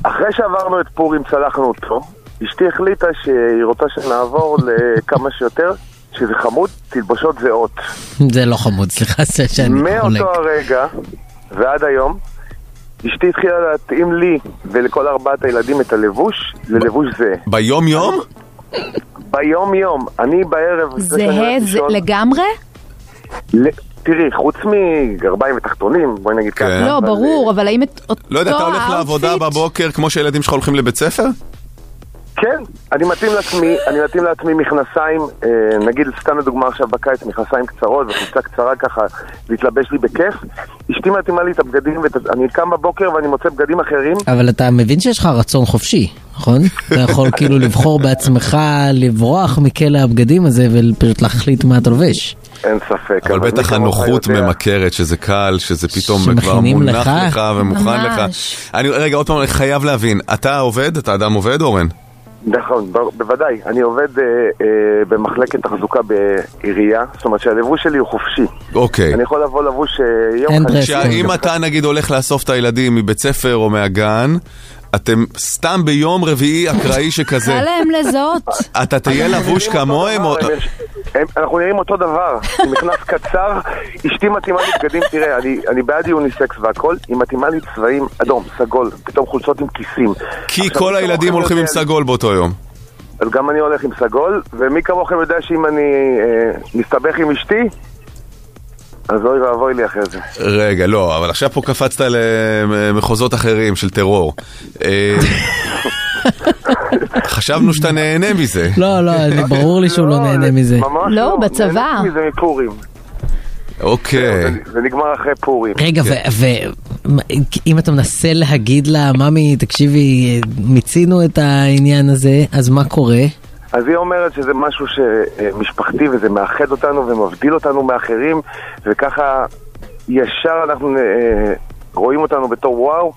I: אחרי שעברנו את פורים, צלחנו אותו, אשתי החליטה שהיא רוצה שנעבור לכמה שיותר, שזה חמוד, תלבושות זהות.
D: זה לא חמוד, סליחה ש- שאני חולק.
I: מאותו הרגע ועד היום, אשתי התחילה להתאים לי ולכל ארבעת הילדים את הלבוש ללבוש זה.
C: ביום יום?
I: ביום יום, אני בערב... לפני שאני
E: זהה
I: הולך
E: זה-
I: לישון,
E: לגמרי?
I: ל- תראי, חוץ מגרביים ותחתונים, בואי נגיד
C: כן.
I: ככה.
E: לא,
I: אבל,
E: ברור, אבל האם את אותו
C: לא יודע, אתה הולך לעבודה
E: האוטפיט?
C: בבוקר כמו שהילדים שלך הולכים לבית ספר?
I: כן, אני מתאים לעצמי, אני מתאים לעצמי מכנסיים, אה, נגיד סתם לדוגמה עכשיו בקיץ, מכנסיים קצרות וחולצה קצרה ככה, להתלבש לי בכיף. אשתי מתאימה לי את הבגדים, ואת- אני קם בבוקר ואני מוצא בגדים אחרים.
D: אבל אתה מבין שיש לך רצון חופשי. נכון? אתה יכול כאילו לבחור בעצמך לברוח מכלא הבגדים הזה ופשוט להחליט מה אתה לובש.
I: אין ספק.
C: אבל
I: מי
C: בטח
I: כמוך
C: הנוחות
I: יודע.
C: ממכרת, שזה קל, שזה פתאום כבר
D: שמכינים
C: מונח
D: לך?
C: לך ומוכן לך.
E: ממש.
C: אני, רגע, עוד פעם, אני חייב להבין, אתה עובד? אתה אדם עובד, אורן?
I: נכון, ב- בוודאי. אני עובד אה, אה, במחלקת תחזוקה בעירייה, זאת אומרת שהלבוש שלי הוא חופשי.
C: אוקיי.
I: אני יכול לבוא לבוש אה, יום
D: אין
I: חמישי.
D: דרסים.
C: שאם אתה נגיד הולך לאסוף את הילדים מבית ספר או מהגן, אתם סתם ביום רביעי אקראי
E: קל
C: שכזה,
E: להם לזהות.
C: אתה תהיה לבוש כמוהם או...
I: הם יש- הם- אנחנו נראים אותו דבר, עם מכנס קצר, אשתי מתאימה לי בגדים, תראה, אני, אני בעד יוניסקס והכל, היא מתאימה לי צבעים אדום, סגול, פתאום חולצות עם כיסים.
C: כי
I: עכשיו,
C: כל
I: מי
C: הילדים
I: כמוכם
C: הולכים עם
I: יודע-
C: סגול באותו יום.
I: אז גם אני הולך עם סגול, ומי כמוכם יודע שאם אני אה, מסתבך עם אשתי, אז אוי ואבוי לי אחרי זה.
C: רגע, לא, אבל עכשיו פה קפצת למחוזות אחרים של טרור. אה, חשבנו שאתה נהנה מזה.
D: לא, לא, אני- ברור לי שהוא לא נהנה מזה.
I: ממש
E: לא, בצבא.
I: נהניתי מזה מפורים.
C: אוקיי.
I: זה- זה נגמר אחרי פורים.
D: רגע,
I: כן.
D: ואם אתה מנסה להגיד לה, ממי, תקשיבי, מיצינו את העניין הזה, אז מה קורה?
I: אז היא אומרת שזה משהו שמשפחתי וזה מאחד אותנו ומבדיל אותנו מאחרים וככה ישר אנחנו אה, רואים אותנו בתור וואו.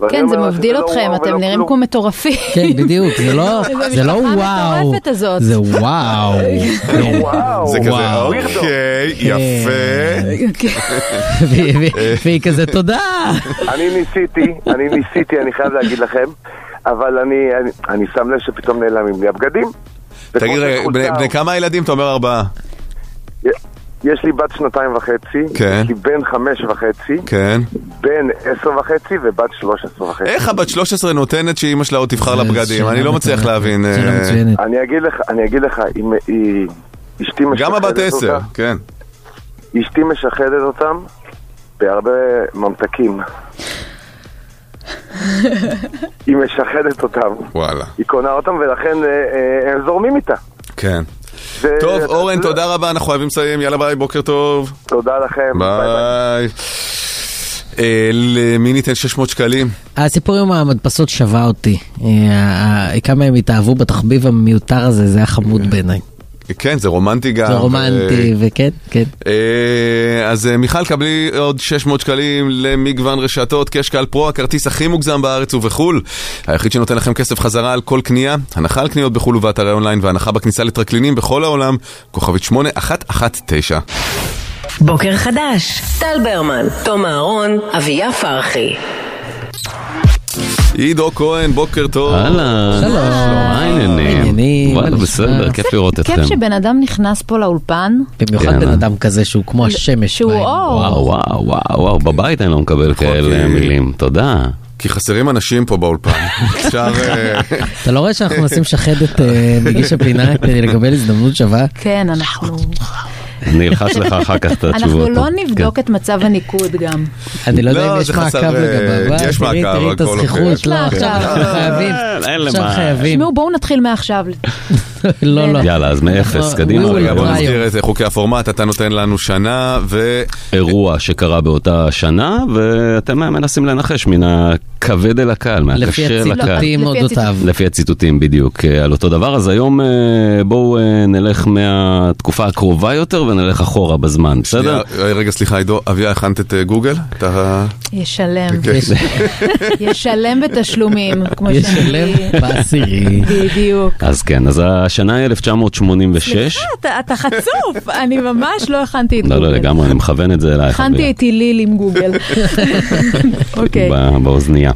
I: ואני
E: כן,
I: אומר
E: זה
I: לה שזה
E: מבדיל
I: לא
E: אתכם,
I: וואו
E: אתם
I: ולא
E: נראים
I: כלום.
E: כמו מטורפים.
D: כן, בדיוק, זה לא, זה לא
E: המשפחה
D: וואו.
E: המטורפת הזאת.
D: זה וואו. כן.
I: וואו.
C: זה כזה,
D: וואו. כן.
C: אוקיי, יפה.
D: והיא- והיא- והיא כזה, תודה.
I: אני ניסיתי, אני ניסיתי, אני חייב להגיד לכם, אבל אני, אני, אני שם לב שפתאום נעלמים לי הבגדים. וכמו
C: תגיד, רגע,
I: שחולצה-
C: בני- בני כמה ילדים? אתה אומר ארבעה.
I: יש לי בת שנתיים וחצי,
C: כן.
I: יש לי בן חמש וחצי,
C: כן.
I: בן עשר וחצי ובת שלוש עשרה וחצי.
C: איך הבת 13 נותנת שאימא שלה עוד תבחר לה
D: זה
C: בגדים?
D: שאלה
C: אני לא מצליח
D: מצוינת.
C: להבין.
D: שאלה
C: אה,
D: מצוינת.
I: אני אגיד לך, אני אגיד לך, אם היא... אשתי
C: גם
I: משחדת
C: הבת 10,
I: אותה-
C: כן.
I: אשתי משחדת אותם בהרבה ממתקים. היא משחדת אותם,
C: וואלה.
I: היא קונה אותם ולכן אה, אה, הם זורמים איתה.
C: כן.
I: זה-
C: טוב,
I: אתה- לא-
C: אורן, תודה רבה, אנחנו חייבים לסיים. יאללה ביי, בוקר טוב.
I: תודה לכם.
C: ביי. אה, למי ניתן 600 שקלים?
D: הסיפור עם המדפסות שווה אותי. אה, ה- כמה הם התאהבו בתחביב המיותר הזה, זה היה חמוד בעיניי.
C: כן, זה רומנטי גם.
D: זה
C: אוקיי.
D: רומנטי, וכן, כן.
C: אה, אה, אז אה, מיכל, קבלי עוד 600 שקלים למגוון רשתות, קש קל פרו, הכרטיס הכי מוגזם בארץ ובחול. היחיד שנותן לכם כסף חזרה על כל קנייה, הנחה על קניות בחול ובאתרי אונליין והנחה בכניסה לטרקלינים בכל העולם, כוכבית 8119.
B: בוקר חדש, טל ברמן, תום אהרון, אביה פרחי.
C: עידו כהן, בוקר טוב.
J: אהלן,
D: שלום.
J: מה
D: עניינים,
J: העניינים? וואלה,
D: מה
J: בסדר,
D: נשמע?
J: כיף לראות אתכם.
E: כיף שבן אדם נכנס פה לאולפן,
D: אה, במיוחד
J: כן,
D: בן
J: אה.
D: אדם כזה שהוא כמו השמש.
E: שהוא
D: בעיניים.
E: אור.
J: וואו, וואו, וואו, וואו, בבית אני לא מקבל כאלה מילים, תודה.
C: נכון, כי חסרים אנשים פה באולפן. אפשר... אה,
D: אתה לא רואה שאנחנו מנסים לשחד את אה, מגיש הפינה כדי לקבל הזדמנות שווה?
E: כן, אנחנו...
J: אני אלחש לך אחר כך את התשובות. כן.
E: אנחנו לא נבדוק את מצב הניקוד גם.
D: אני לא יודע
C: לא,
D: אם יש
C: זה חסר,
D: מעקב
C: אה,
D: לגביו. וואי,
C: יש
D: תראי-
C: מעקב,
D: תראי את
C: הכל
D: הזכיחות,
C: אוקיי.
D: לא,
E: כן.
D: עכשיו אנחנו חייבים.
J: אה, אין למה.
D: עכשיו חייבים.
E: תשמעו, בואו נתחיל מעכשיו.
D: לא, לא.
J: יאללה, אז מאפס,
D: אנחנו-
J: קדימה.
D: we will
C: רגע, בוא
D: try.
C: נזכיר את חוקי הפורמט, אתה נותן לנו שנה, ו...
J: אירוע שקרה באותה שנה, ואתם מנסים לנחש מן הכבד אל הקל,
D: לפי
J: מהקשה לקל.
D: הציטוטים
E: לפי
D: אודותיו.
J: לפי הציטוטים בדיוק אה, על אותו דבר, אז היום אה, בואו אה, נלך מהתקופה הקרובה יותר ונלך אחורה בזמן, בסדר?
C: אה, רגע, סליחה, עידו, אביה, הכנת את אה, גוגל? אתה...
E: ישלם.
I: כן,
D: יש-
E: ישלם בתשלומים, כמו
D: יש
E: שאני-
D: שלם בעשירי.
E: בדיוק.
J: אז כן, אז השנה היא 1986.
E: אתה אתה חצוף, אני ממש לא הכנתי את
J: לא,
E: גוגל.
J: לא, לגמרי, אני מכוון את זה אלייך.
E: הכנתי
J: אביה.
E: את היליל עם גוגל. אוקיי.
J: ב- באוזנייה.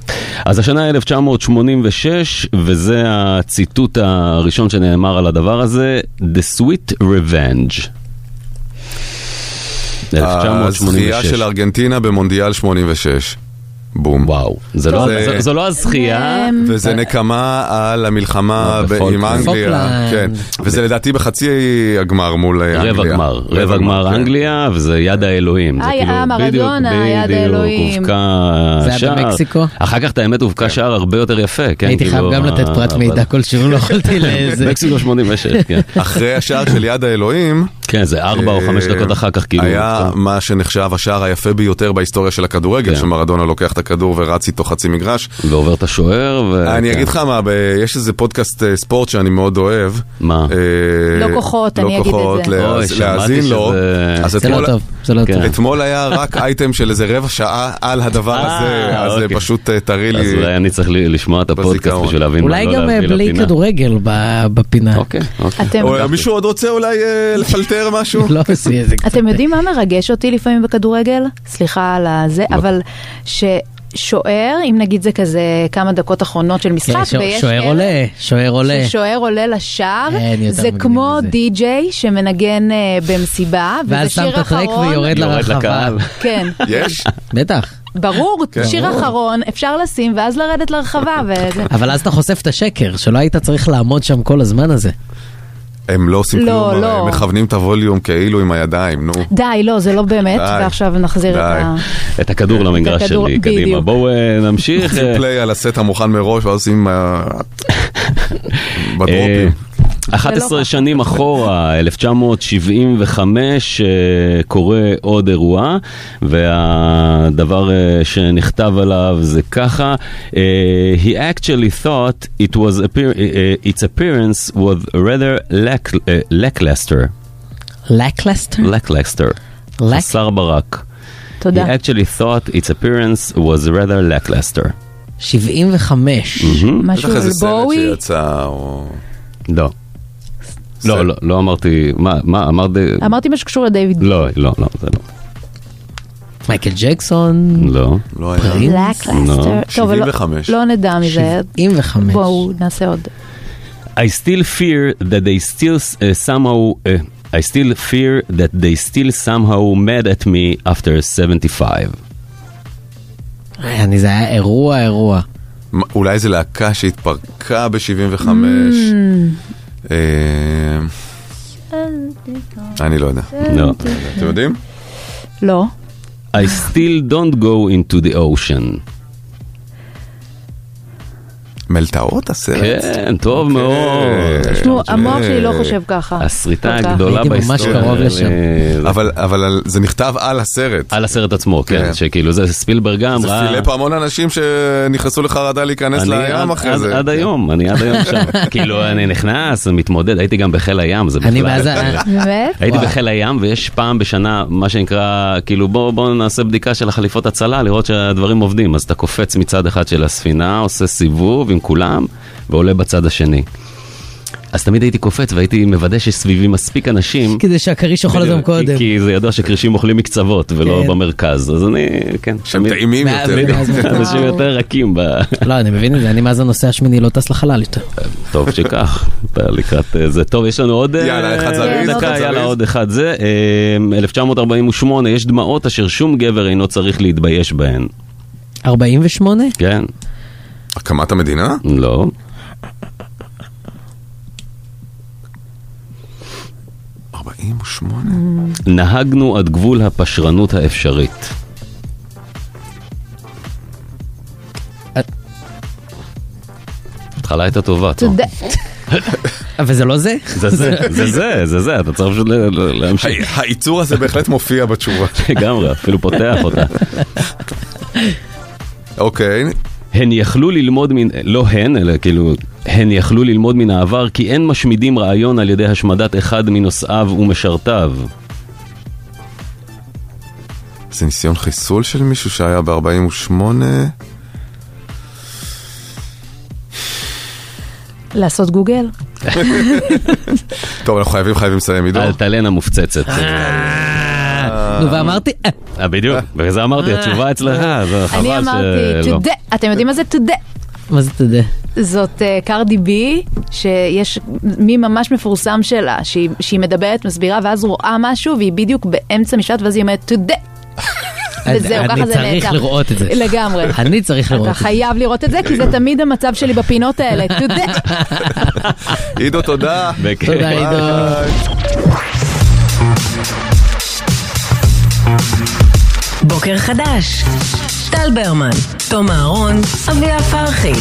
J: אז השנה 1986, וזה הציטוט הראשון שנאמר על הדבר הזה, The Sweet Revenge. 1986.
C: הזכייה של ארגנטינה במונדיאל 86. בום. אה,
J: וואו, זה לא-
C: זה-
J: זו- זו לא הזכייה.
E: אמ,
C: וזה נקמה על המלחמה
J: אה,
C: ב- עם
J: בפולקלנד.
C: אנגליה.
D: פולקלנד.
C: כן. וזה לדעתי בחצי הגמר מול אה, אנגליה.
J: רבע גמר, רבע גמר
C: כן.
J: אנגליה, וזה יד האלוהים. זה
E: אה,
J: כאילו,
E: אה,
J: בדיוק,
E: מרדונה, יד
J: בדיוק,
E: האלוהים.
J: הובקע
D: זה היה
J: שער.
D: במקסיקו?
J: אחר כך, את האמת, הובקע שער הרבה יותר יפה. כן,
D: הייתי חייב
J: כאילו,
D: גם לתת
J: ה-
D: פרט
J: אבל-
E: אה,
D: מידע כלשהו, לא יכולתי לאיזה...
J: מקסיקו 86, כן.
C: אחרי השער של יד האלוהים, אה,
J: כן, זה ארבע או חמש דקות אחר כך, כאילו.
C: היה מה שנחשב השער היפה ביותר בהיסטוריה של הכדורגל,
J: כן.
C: שמרדונה לוקח את הכדור ורץ איתו חצי מגרש.
J: ועובר את השוער, ו...
C: אני
J: כן.
C: אגיד לך מה, ב- יש איזה פודקאסט אה, ספורט שאני מאוד אוהב. אה,
J: מה?
E: לא כוחות, אני אגיד את זה.
J: אוי, שמעתי
C: להאזין לו.
J: שזה-
C: אז
J: זה
C: אתמול-
J: לא טוב, זה לא
C: כן.
J: טוב.
C: אתמול היה רק אייטם של איזה רבע שעה על הדבר הזה, אז אה,
J: אוקיי.
C: פשוט אה, תראי
J: אז
C: לי.
J: אולי אני צריך ל- לשמוע את הפודקאסט בשביל להבין מה
D: אולי
J: לא
D: גם אה,
J: להביא
D: בלי
J: לפינה.
D: כדורגל ב- בפינה.
J: אוקיי,
E: אתם-
C: או, מישהו עוד רוצה אולי אה, לפלטר משהו?
D: לא, עשי איזה...
E: אתם יודעים מה מרגש אותי לפעמים בכדורגל? סליחה על הזה, אבל ששוער, אם נגיד זה כזה כמה דקות אחרונות של משחק,
D: כן, שוע-
E: ויש
D: שוער
E: ערב
D: עולה, שוער עולה.
E: ששוער עולה לשער,
D: אין יותר
E: זה
D: מגניב
E: כמו די-ג'יי שמנגן אה, במסיבה, וזה
D: ואז שם את
E: שיר
D: הטרק
E: אחרון.
D: ויורד לרחבה.
E: כן.
C: יש?
D: בטח.
E: ברור,
D: כן,
E: שיר
D: ברור.
E: אחרון, אפשר לשים ואז לרדת לרחבה. וזה-
D: אבל אז אתה חושף את השקר, שלא היית צריך לעמוד שם כל הזמן הזה.
C: הם לא עושים
E: לא,
C: כלום,
E: לא.
C: הרי הם מכוונים את הווליום כאילו עם הידיים, נו.
E: די, לא, זה לא באמת,
C: די.
E: ועכשיו נחזיר את ה...
J: את הכדור למגרש
E: הכדור,
J: שלי, קדימה.
E: בדיוק.
J: בואו אה, נמשיך.
C: עושים
J: אה,
C: פליי על הסט המוכן מראש ואז עושים... אה,
J: אה, 11 שנים אחורה, 1975, אה, קורה עוד אירוע, והדבר אה, שנכתב עליו זה ככה: אה, He actually thought it was appear- אה, אה, its appearance was rather lack- אה, lackluster.
D: לקלסטר?
J: lackluster.
D: Hmm. Lack-
J: חסר ברק.
E: תודה.
J: He actually thought its appearance was rather lackluster.
C: Mm.
D: 75.
E: משהו בטח איזה על סרט בואי?
C: שיצא או...
J: Mm-hmm. לא. לא, לא, לא אמרתי, מה, מה, אמרתי...
E: אמרתי משהו שקשור לדייוויד.
J: לא, לא, לא, זה לא.
D: מייקל ג'קסון?
J: לא.
C: לא
E: לקלסטר. טוב, אבל לא- לא נדע מזה.
D: 75.
E: בואו נעשה עוד.
J: I still fear that they still uh, somehow... Uh, I still fear that they still somehow mad at me after 75.
D: אה, אני, זה היה אירוע, אירוע.
C: מה, אולי זו להקה שהתפרקה ב-75. אה, אני לא יודע.
J: לא.
C: אתם יודעים?
E: לא.
J: I still don't go into the ocean.
C: מלטעות הסרט. אוקיי.
J: כן, טוב מאוד.
E: תשמעו, המוח שלי לא חושב ככה.
J: הסריטה
E: כל כך.
J: הגדולה בהיסטוריה. אה,
C: אבל, אבל זה נכתב על הסרט.
J: על הסרט עצמו, כן, שכאילו זה ספילברג גם
C: זה
J: ראה-
C: פילפ המון אנשים שנכנסו לחרדה להיכנס
J: אני
C: לים
J: עד-
C: אחרי
J: עד-
C: זה.
J: עד היום, אני עד היום שם. כאילו, אני נכנס, מתמודד, הייתי גם בחיל הים, זה אה,
D: אני
J: בכלל-
D: מאז...
E: באמת?
J: הייתי בחיל הים ויש פעם בשנה מה שנקרא כאילו בוא בוא נעשה בדיקה של החליפות הצלה לראות שהדברים עובדים אז אתה קופץ מצד אחד של הספינה עושה סיבוב עם כולם ועולה בצד השני. אז תמיד הייתי קופץ והייתי מוודא שסביבי מספיק אנשים
D: כדי שהכריש יאכל אותם
J: בדיוק,
D: קודם.
J: כי זה ידוע שכרישים אוכלים מקצוות ולא
D: כן.
J: במרכז אז אני כן שהם
C: טעימים
D: מה- יותר. מה- מה-
J: אנשים יותר רכים ב-
D: לא, אני מבין את זה, אני מאז הנושא השמיני לא טס לחלל יותר.
J: טוב שכך, אתה לקראת אה, זה. טוב, יש לנו עוד... אה,
C: יאללה, אחד זריז,
J: דקה,
C: אחד
J: יאללה,
C: זריז.
J: עוד אחד זה. אה, 1948, יש דמעות אשר שום גבר אינו צריך להתבייש בהן.
D: 48?
J: כן.
C: הקמת המדינה?
J: לא. נהגנו עד גבול הפשרנות האפשרית. התחלה הייתה טובה, טוב.
E: תודה.
D: אבל זה לא זה?
J: זה זה, זה זה, זה זה, אתה צריך פשוט ל- ל- להמשיך.
C: הייצור הזה בהחלט מופיע בתשובה.
J: לגמרי, אפילו פותח אותה.
C: אוקיי.
J: הן יכלו ללמוד מן, לא הן, אלא כאילו, הן יכלו ללמוד מן העבר כי אין משמידים רעיון על ידי השמדת אחד מנושאיו ומשרתיו.
C: זה ניסיון חיסול של מישהו שהיה ב-48?
E: לעשות גוגל?
C: טוב, אנחנו חייבים, חייבים לסיים, עידו.
J: אלטלנה מופצצת.
D: נו, ואמרתי... אה,
J: אה, בדיוק, בגלל זה אמרתי, התשובה אצלך, זה
E: אה.
J: חבל
E: אני אמרתי,
J: שלא.
E: תודה. אתם יודעים מה זה תודה?
D: מה זה אתה יודע?
E: זאת אה, קרדי בי, שיש מי ממש מפורסם שלה, שהיא- שהיא מדברת, מסבירה, ואז רואה משהו, והיא בדיוק באמצע משפט, ואז היא אומרת, תודה. וזהו, ככה זה
D: אני
E: נעצר.
D: צריך לראות את זה.
E: לגמרי.
D: אני צריך לראות
E: אתה
D: את זה.
E: חייב לראות את זה, כי זה תמיד המצב שלי בפינות האלה, תודה.
C: עידו, תודה.
D: תודה, עידו.
B: בוקר חדש. טל ברמן, תום אהרון, אביה פרחי.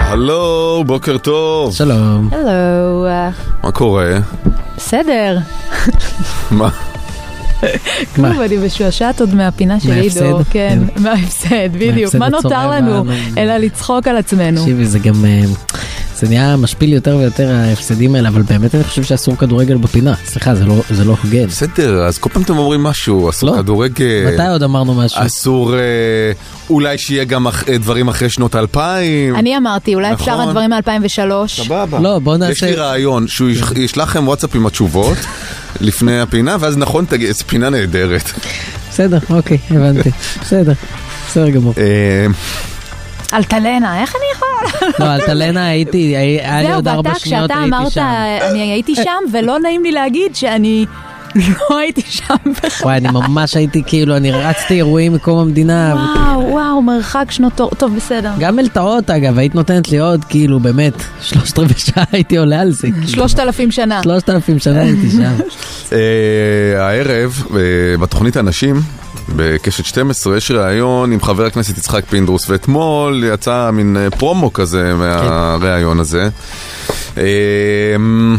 C: הלו, בוקר טוב.
D: שלום.
E: הלו, אה,
C: מה קורה?
E: בסדר.
C: מה?
E: כלום, אני משועשעת עוד מהפינה של עידו.
D: מההפסד?
E: כן, מההפסד, בדיוק.
D: מההפסד
E: מה נותר
D: הצורם,
E: לנו
D: מה-
E: אלא לצחוק על עצמנו.
D: תקשיבי, זה גם... אה, זה נהיה משפיל יותר ויותר ההפסדים האלה, אבל באמת אני חושב שאסור כדורגל בפינה. סליחה, זה לא- זה לא הוגן.
C: בסדר, אז כל פעם אתם אומרים משהו, אסור כדורגל.
D: לא. מתי עוד אמרנו משהו?
C: אסור, אה, אולי שיהיה גם אח- אה, דברים אחרי שנות האלפיים.
E: אני אמרתי, אולי אפשר
C: נכון.
E: הדברים מ-2003.
C: סבבה.
D: לא, בוא כן.
C: יש לי רעיון, שהוא יש- ישלח לכם וואטסאפ עם התשובות לפני הפינה, ואז נכון, תגיד, זו פינה נהדרת.
D: בסדר, אוקיי, הבנתי. בסדר, בסדר גמור.
E: אלטלנה, איך אני יכולה?
D: לא, אלטלנה הייתי, היה לי עוד ארבע שניות
E: זהו,
D: הייתי
E: ואתה, כשאתה
D: שם.
E: אמרת, אני הייתי שם, ולא נעים לי להגיד שאני לא הייתי שם בכלל.
D: וואי, אני ממש הייתי כאילו, אני רצתי אירועים מקום המדינה. ו-
E: וואו, וואו, מרחק שנות אור. טוב, בסדר.
D: גם אלטאות אגב, היית נותנת לי עוד, כאילו באמת, שלושת רבעי שעה הייתי עולה על זה. כאילו.
E: שלושת אלפים שנה.
D: שלושת אלפים שנה הייתי שם.
C: אה, הערב, אה, בתוכנית הנשים, בקשת 12, יש ראיון עם חבר הכנסת יצחק פינדרוס, ואתמול יצא מין אה, פרומו כזה מהראיון הזה. אה, אמ,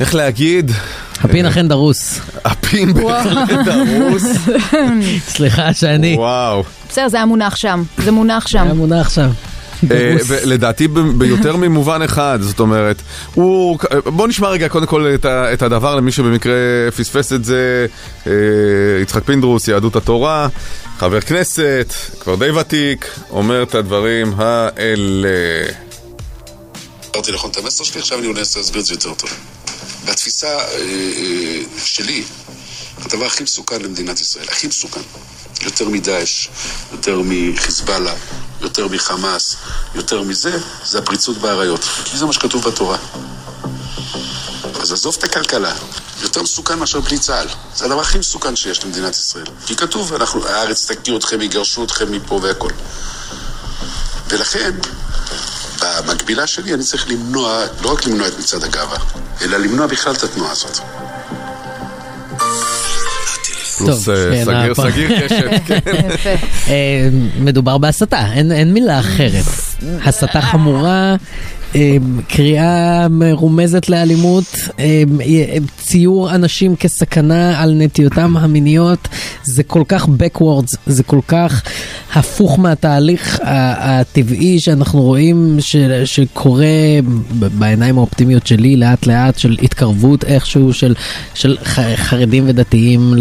C: איך להגיד? אה,
D: הפין אכן דרוס.
C: הפין בהחלט דרוס.
D: סליחה שאני...
C: וואו.
E: בסדר, זה היה מונח שם. זה מונח שם. היה
D: מונח שם.
C: אה, ולדעתי ב- ביותר ממובן אחד, זאת אומרת, הוא... אה, בוא נשמע רגע קודם כל את ה- את הדבר למי שבמקרה פספס את זה, אה, יצחק פינדרוס, יהדות התורה, חבר כנסת, כבר די ותיק, אומר את הדברים האלה.
K: אמרתי נכון את המסר שלי, עכשיו אני אנסה להסביר את זה יותר טוב. בתפיסה אה, אה, שלי, הדבר הכי מסוכן למדינת ישראל, הכי מסוכן, יותר מדאעש, יותר מחיזבאללה, יותר מחמאס, יותר מזה, זה הפריצות באריות. כי זה מה שכתוב בתורה. אז עזוב את הכלכלה, יותר מסוכן מאשר בלי צה"ל. זה הדבר הכי מסוכן שיש למדינת ישראל. כי כתוב, אנחנו, הארץ תקיעו אתכם, יגרשו אתכם מפה והכל. ולכן, במקבילה שלי אני צריך למנוע, לא רק למנוע את מצעד הגאווה, אלא למנוע בכלל את התנועה הזאת.
C: פלוס, אה,
D: כן,
C: סגיר-
D: הפעם.
C: סגיר קשת, כן.
D: אה, מדובר בהסתה, אין, אין מילה אחרת. הסתה חמורה, אה, קריאה מרומזת לאלימות, אה, אה, ציור אנשים כסכנה על נטיותם המיניות, זה כל כך backwards, זה כל כך הפוך מהתהליך ה- הטבעי שאנחנו רואים ש, שקורה ב- בעיניים האופטימיות שלי לאט לאט של התקרבות איכשהו של, של ח, חרדים ודתיים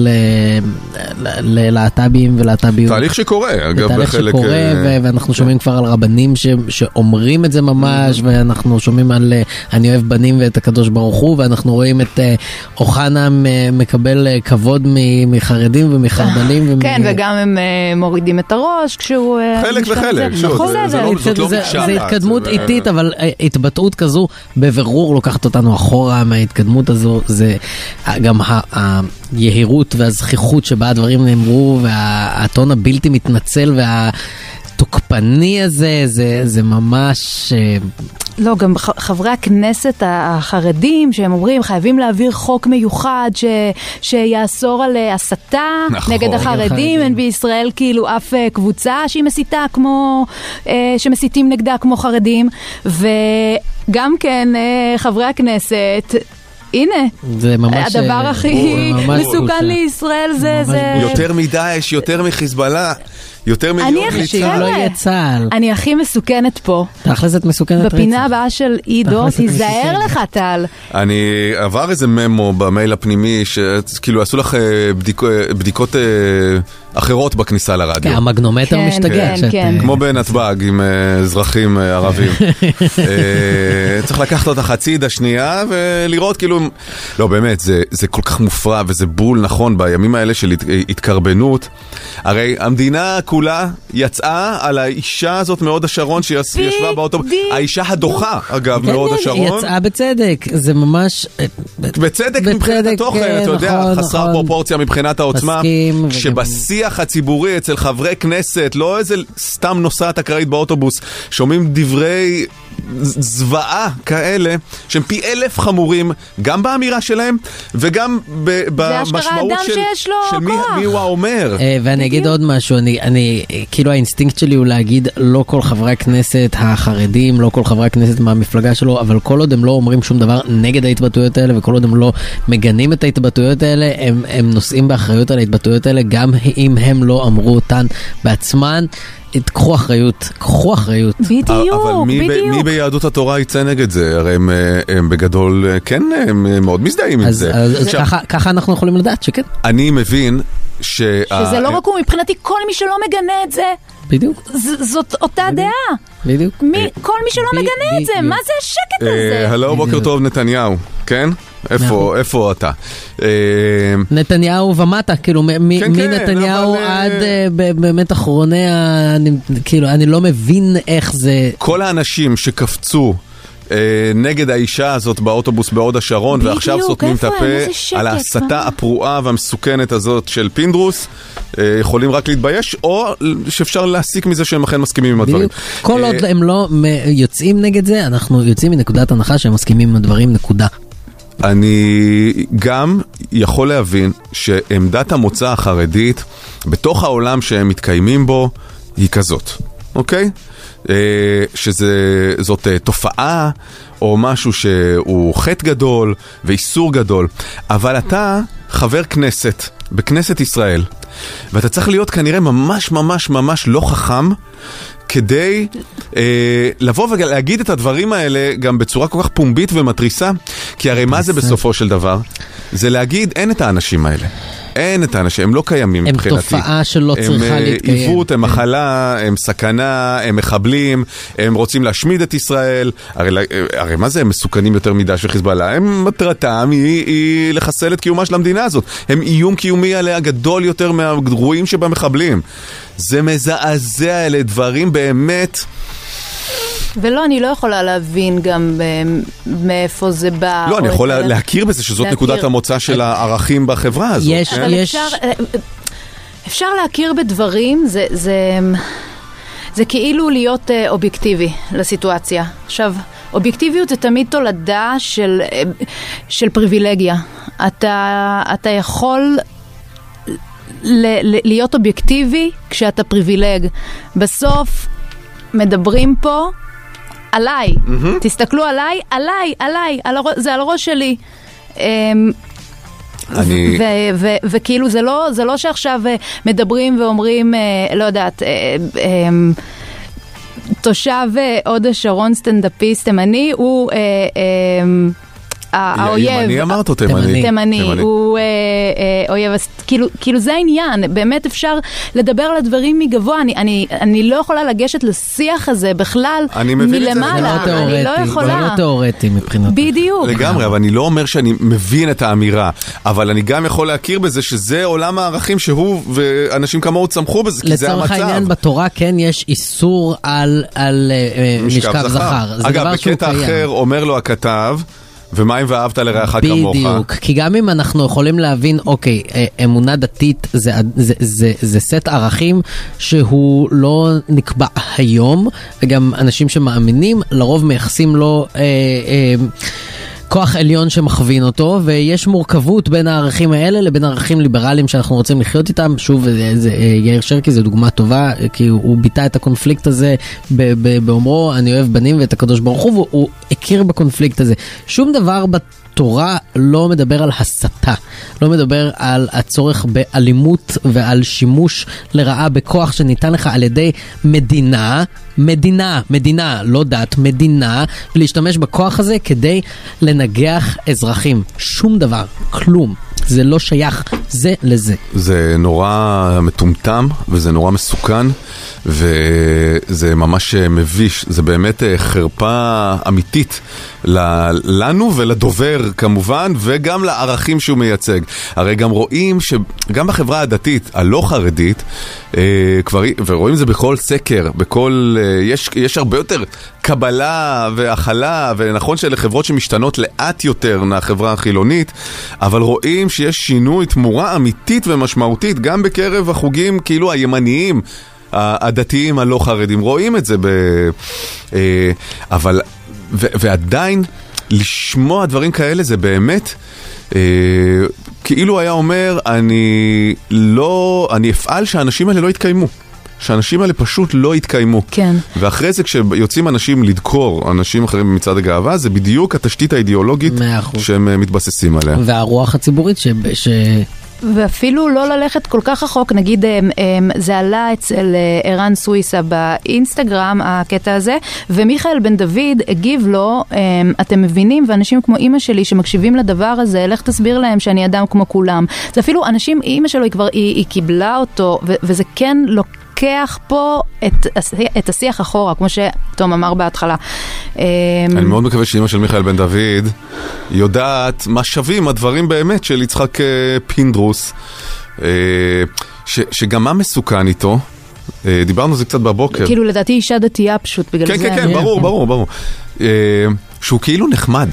D: ללהט"בים ולהט"ביות.
C: תהליך שקורה, אגב,
D: זה תהליך
C: בחלק...
D: שקורה,
C: אה,
D: ו- ואנחנו שומעים כבר על רבנים ש- שאומרים את זה ממש,
C: אה.
D: ואנחנו שומעים על אה, אני אוהב בנים ואת הקדוש ברוך הוא, ואנחנו רואים את אה, אוחנה אה, מקבל אה, כבוד מ- מחרדים ומחרד"לים. ומ-
E: כן, וגם הם אה, מורידים את הראש כשהוא... אה,
D: חלק
E: משתחצן.
D: וחלק, שוב,
E: נכון,
D: זה-
C: זה לא-
E: בסדר.
C: זאת לא
D: זה-
C: מקשה
D: זה
C: אחת,
D: התקדמות
C: זה-
D: איטית, אבל אה, התבטאות כזו בבירור לוקחת אותנו אחורה מההתקדמות הזו. זה אה, גם ה- היהירות והזכיחות שבה הדברים נאמרו, והטון הבלתי מתנצל וה... תוקפני הזה, זה, זה ממש... אה,
E: לא, גם ח- חברי הכנסת ה- החרדים, שהם אומרים, חייבים להעביר חוק מיוחד ש- שיאסור על אה, הסתה
L: נכון.
E: נגד
L: נגד
E: החרדים.
L: החרדים.
E: אין בישראל כאילו אף אה, קבוצה שהיא מסיתה כמו... אה, שמסיתים נגדה כמו חרדים. וגם כן, אה, חברי הכנסת, הנה,
D: זה ממש...
E: הדבר
D: אה,
E: הכי
D: זה ממש בושה.
E: מסוכן לישראל זה... זה-
C: יותר מדאעש, יותר מחיזבאללה, יותר
E: אני
C: מיליון
E: הכי...
C: בלי צה"ל.
E: חבר'ה, אני הכי מסוכנת פה.
D: לא תכל'ס את מסוכנת רצח.
E: בפינה הבאה של עידו,
C: תכלס את
E: תיזהר לך, טל.
C: אני עבר איזה ממו במייל הפנימי, שכאילו עשו לך אה, בדיק, אה, בדיקות אה, אחרות בכניסה לרדיו.
D: כן, המגנומטר
E: כן,
D: משתגע. אה,
E: כן,
D: כשאת-
E: כן.
C: כמו בנתב"ג עם אה, אזרחים אה, ערבים. אה, צריך לקחת אותך הצידה שנייה ולראות כאילו... אם- לא, באמת, זה, זה כל כך מופרע וזה בול נכון בימים האלה של הת, התקרבנות. הרי המדינה כולה יצאה על האישה הזאת מהוד השרון שישבה באוטובוס. האישה הדוחה, אגב,
D: כן,
C: מהוד
D: כן,
C: השרון.
D: יצאה בצדק, זה ממש... אה,
C: בצדק מבחינת התוכן,
D: כן,
C: אתה יודע,
D: נכון,
C: חסר
D: נכון.
C: פרופורציה מבחינת העוצמה,
D: מסכים, וגם-
C: שבשיח הציבורי אצל חברי כנסת, לא איזה סתם נוסעת אקראית באוטובוס, שומעים דברי... ז- זוועה כאלה, שהם פי אלף חמורים, גם באמירה שלהם, וגם ב-
E: אשכרה
C: במשמעות
E: אדם
C: של,
E: שיש לו
C: של מי,
E: כוח.
C: מי הוא האומר.
D: אה, ואני אגיד עוד משהו, אני, אני, אה, כאילו האינסטינקט שלי הוא להגיד לא כל חברי הכנסת החרדים, לא כל חברי הכנסת מהמפלגה שלו, אבל כל עוד הם לא אומרים שום דבר נגד ההתבטאויות האלה, וכל עוד הם לא מגנים את ההתבטאויות האלה, הם, הם נושאים באחריות על ההתבטאויות האלה, גם אם הם לא אמרו אותן בעצמן. תקחו אחריות, קחו אחריות.
C: אבל מי, ב, מי ביהדות התורה יצא נגד זה? הרי הם, אה, הם בגדול, אה, כן, הם אה, מאוד מזדהים עם
D: אז,
C: זה.
D: אז
C: עכשיו,
D: ככה, ככה אנחנו יכולים לדעת שכן.
C: אני מבין שה...
E: שזה
C: אה,
E: לא רק הוא, מבחינתי כל מי שלא מגנה את זה,
D: בדיוק.
E: ז- זאת
D: אה,
E: אותה דעה.
D: בדיוק.
E: מי- כל מי שלא מגנה את זה, מה זה השקט הזה?
C: אה, הלו, בוקר טוב, נתניהו, כן? איפה, איפה אתה? אה,
D: נתניהו ומטה, כאילו מ- מ-
C: כן, כן,
D: מנתניהו
C: אבל, אה,
D: עד אה, ב- באמת אחרוני, ה- אני- כאילו אני לא מבין איך זה,
C: כל האנשים שקפצו... אה, נגד האישה הזאת באוטובוס בהוד השרון,
D: בדיוק,
C: ועכשיו סותמים את
D: איפה הם? איזה
C: הפה
D: שקט,
C: על ההסתה הפרועה והמסוכנת הזאת של פינדרוס, אה, יכולים רק להתבייש, או שאפשר להסיק מזה שהם אכן מסכימים עם הדברים.
D: כל
C: אה,
D: עוד הם לא מ- יוצאים נגד זה, אנחנו יוצאים מנקודת הנחה שהם מסכימים עם הדברים, נקודה.
C: אני גם יכול להבין שעמדת המוצא החרדית בתוך העולם שהם מתקיימים בו היא כזאת, אוקיי? אה, שזאת אה, תופעה או משהו שהוא חטא גדול ואיסור גדול, אבל אתה חבר כנסת בכנסת ישראל ואתה צריך להיות כנראה ממש ממש ממש לא חכם כדי אה, לבוא ולהגיד את הדברים האלה גם בצורה כל כך פומבית ומתריסה, כי הרי מה זה בסופו של דבר? זה להגיד, אין את האנשים האלה. אין את האנשים, הם לא קיימים
D: הם
C: מבחינתי.
D: תופעה שלא צריכה
C: אה,
D: להתקיים. כן.
C: עיוות, הם מחלה, הם סכנה, הם מחבלים, הם רוצים להשמיד את ישראל. הרי, לה- אה, הרי מה זה הם מסוכנים יותר מדאעש וחיזבאללה? הם מטרתם היא, היא לחסל את קיומה של המדינה הזאת. הם איום קיומי עליה גדול יותר מהגרועים שבמחבלים. זה מזעזע, אלה דברים באמת...
E: אה, ולא, אני לא יכולה להבין גם אה, מאיפה זה בא.
C: לא, אני
E: או
C: יכול
E: את ה-
C: להכיר בזה שזאת
E: להכיר. אה,
C: נקודת המוצא של הערכים בחברה הזאת. כן?
E: אבל אפשר, אה, אה, אפשר להכיר בדברים, זה, זה, זה כאילו להיות אה, אובייקטיבי לסיטואציה. עכשיו, אובייקטיביות זה תמיד תולדה של, אה, של פריבילגיה. אתה, אתה יכול... ל- ל- להיות אובייקטיבי כשאתה פריבילג. בסוף מדברים פה עליי,
L: מהמם.
E: תסתכלו עליי, עליי, עליי, על הראש- זה על הראש שלי. אמ,
L: אני-
E: ו- ו- ו- וכאילו זה לא, זה לא שעכשיו אה, מדברים ואומרים, אה, לא יודעת, אה, אמ, תושב אה, הוד השרון סטנדאפיסט תימני, הוא אה, אמ, ה- האויב.
C: ימני אמרת או תימני?
E: תימני.
C: תימני.
E: הוא אה, אה, אויב, אז כאילו- כאילו זה העניין, באמת אפשר לדבר על הדברים מגבוה, אני- אני- אני לא יכולה לגשת לשיח הזה בכלל
C: אני
E: מלמעלה.
C: מבין את זה.
D: זה לא
E: אני לא
D: תיאורטי, זה
E: יכולה.
D: לא תיאורטי מבחינת...
E: בדיוק.
C: לגמרי, אבל אני לא אומר שאני מבין את האמירה, אבל אני גם יכול להכיר בזה שזה עולם הערכים שהוא ואנשים כמוהו צמחו בזה, כי זה
D: לצורך
C: המצב.
D: העניין בתורה כן יש איסור על, על אה, אה, משכב זכר, זה
C: אגב,
D: דבר שהוא
C: בקטע
D: קיים.
C: אחר אומר לו הכתב, ומה אם ואהבת לרעך כמוך?
D: בדיוק, כי גם אם אנחנו יכולים להבין, אוקיי, אה, אמונה דתית זה, זה, זה, זה סט ערכים שהוא לא נקבע היום, וגם אנשים שמאמינים לרוב מייחסים לו... אה, אה, כוח עליון שמכווין אותו, ויש מורכבות בין הערכים האלה לבין ערכים ליברליים שאנחנו רוצים לחיות איתם. שוב, זה, זה, אה, יאיר שרקי זו דוגמה טובה, אה, כי הוא, הוא ביטא את הקונפליקט הזה ב- ב- באומרו, אני אוהב בנים ואת הקדוש ברוך הוא, והוא הוא הכיר בקונפליקט הזה. שום דבר בתורה לא מדבר על הסתה, לא מדבר על הצורך באלימות ועל שימוש לרעה בכוח שניתן לך על ידי מדינה, מדינה, מדינה, לא דת, מדינה, ולהשתמש בכוח הזה כדי לנגח אזרחים. שום דבר, כלום. זה לא שייך זה לזה.
C: זה נורא מטומטם, וזה נורא מסוכן, וזה ממש אה, מביש, זה באמת אה, חרפה אמיתית ל- לנו ולדובר כמובן, וגם לערכים שהוא מייצג. הרי גם רואים שגם בחברה הדתית, הלא חרדית, אה, כבר, ורואים את זה בכל סקר, בכל, אה, יש, יש הרבה יותר קבלה והכלה, ונכון שאלה חברות שמשתנות לאט יותר מהחברה החילונית, אבל רואים שיש שינוי תמורה אמיתית ומשמעותית גם בקרב החוגים כאילו הימניים, ה- הדתיים הלא חרדים, רואים את זה ב... אה, אבל ו- ועדיין, לשמוע דברים כאלה זה באמת, אה, כאילו היה אומר, אני לא, אני אפעל שהאנשים האלה לא יתקיימו. שהאנשים האלה פשוט לא יתקיימו.
E: כן.
C: ואחרי זה כשיוצאים אנשים לדקור אנשים אחרים במצעד הגאווה, זה בדיוק התשתית האידיאולוגית שהם אה, מתבססים עליה.
D: והרוח הציבורית ש... ש...
E: ואפילו לא ללכת כל כך רחוק, נגיד אמ, אמ, זה עלה אצל אה, ערן סוויסה באינסטגרם, הקטע הזה, ומיכאל בן דוד הגיב לו, אמ, אתם מבינים, ואנשים כמו אימא שלי שמקשיבים לדבר הזה, לך תסביר להם שאני אדם כמו כולם. זה אפילו אנשים, אימא שלו היא כבר, היא, היא קיבלה אותו, ו- וזה כן לוקח פה את, הסי- את השיח אחורה, כמו שתום אמר בהתחלה. אמ,
C: אני מאוד מקווה שאימא של מיכאל בן דוד יודעת מה שווים הדברים באמת של יצחק אה, פינדרוס, אה, ש, שגם מה מסוכן איתו, אה, דיברנו על זה קצת בבוקר.
E: כאילו לדעתי אישה דתייה פשוט, בגלל
C: כן,
E: זה.
C: כן,
E: אני-
C: כן, ברור, ברור, ברור. אה, שהוא כאילו נחמד,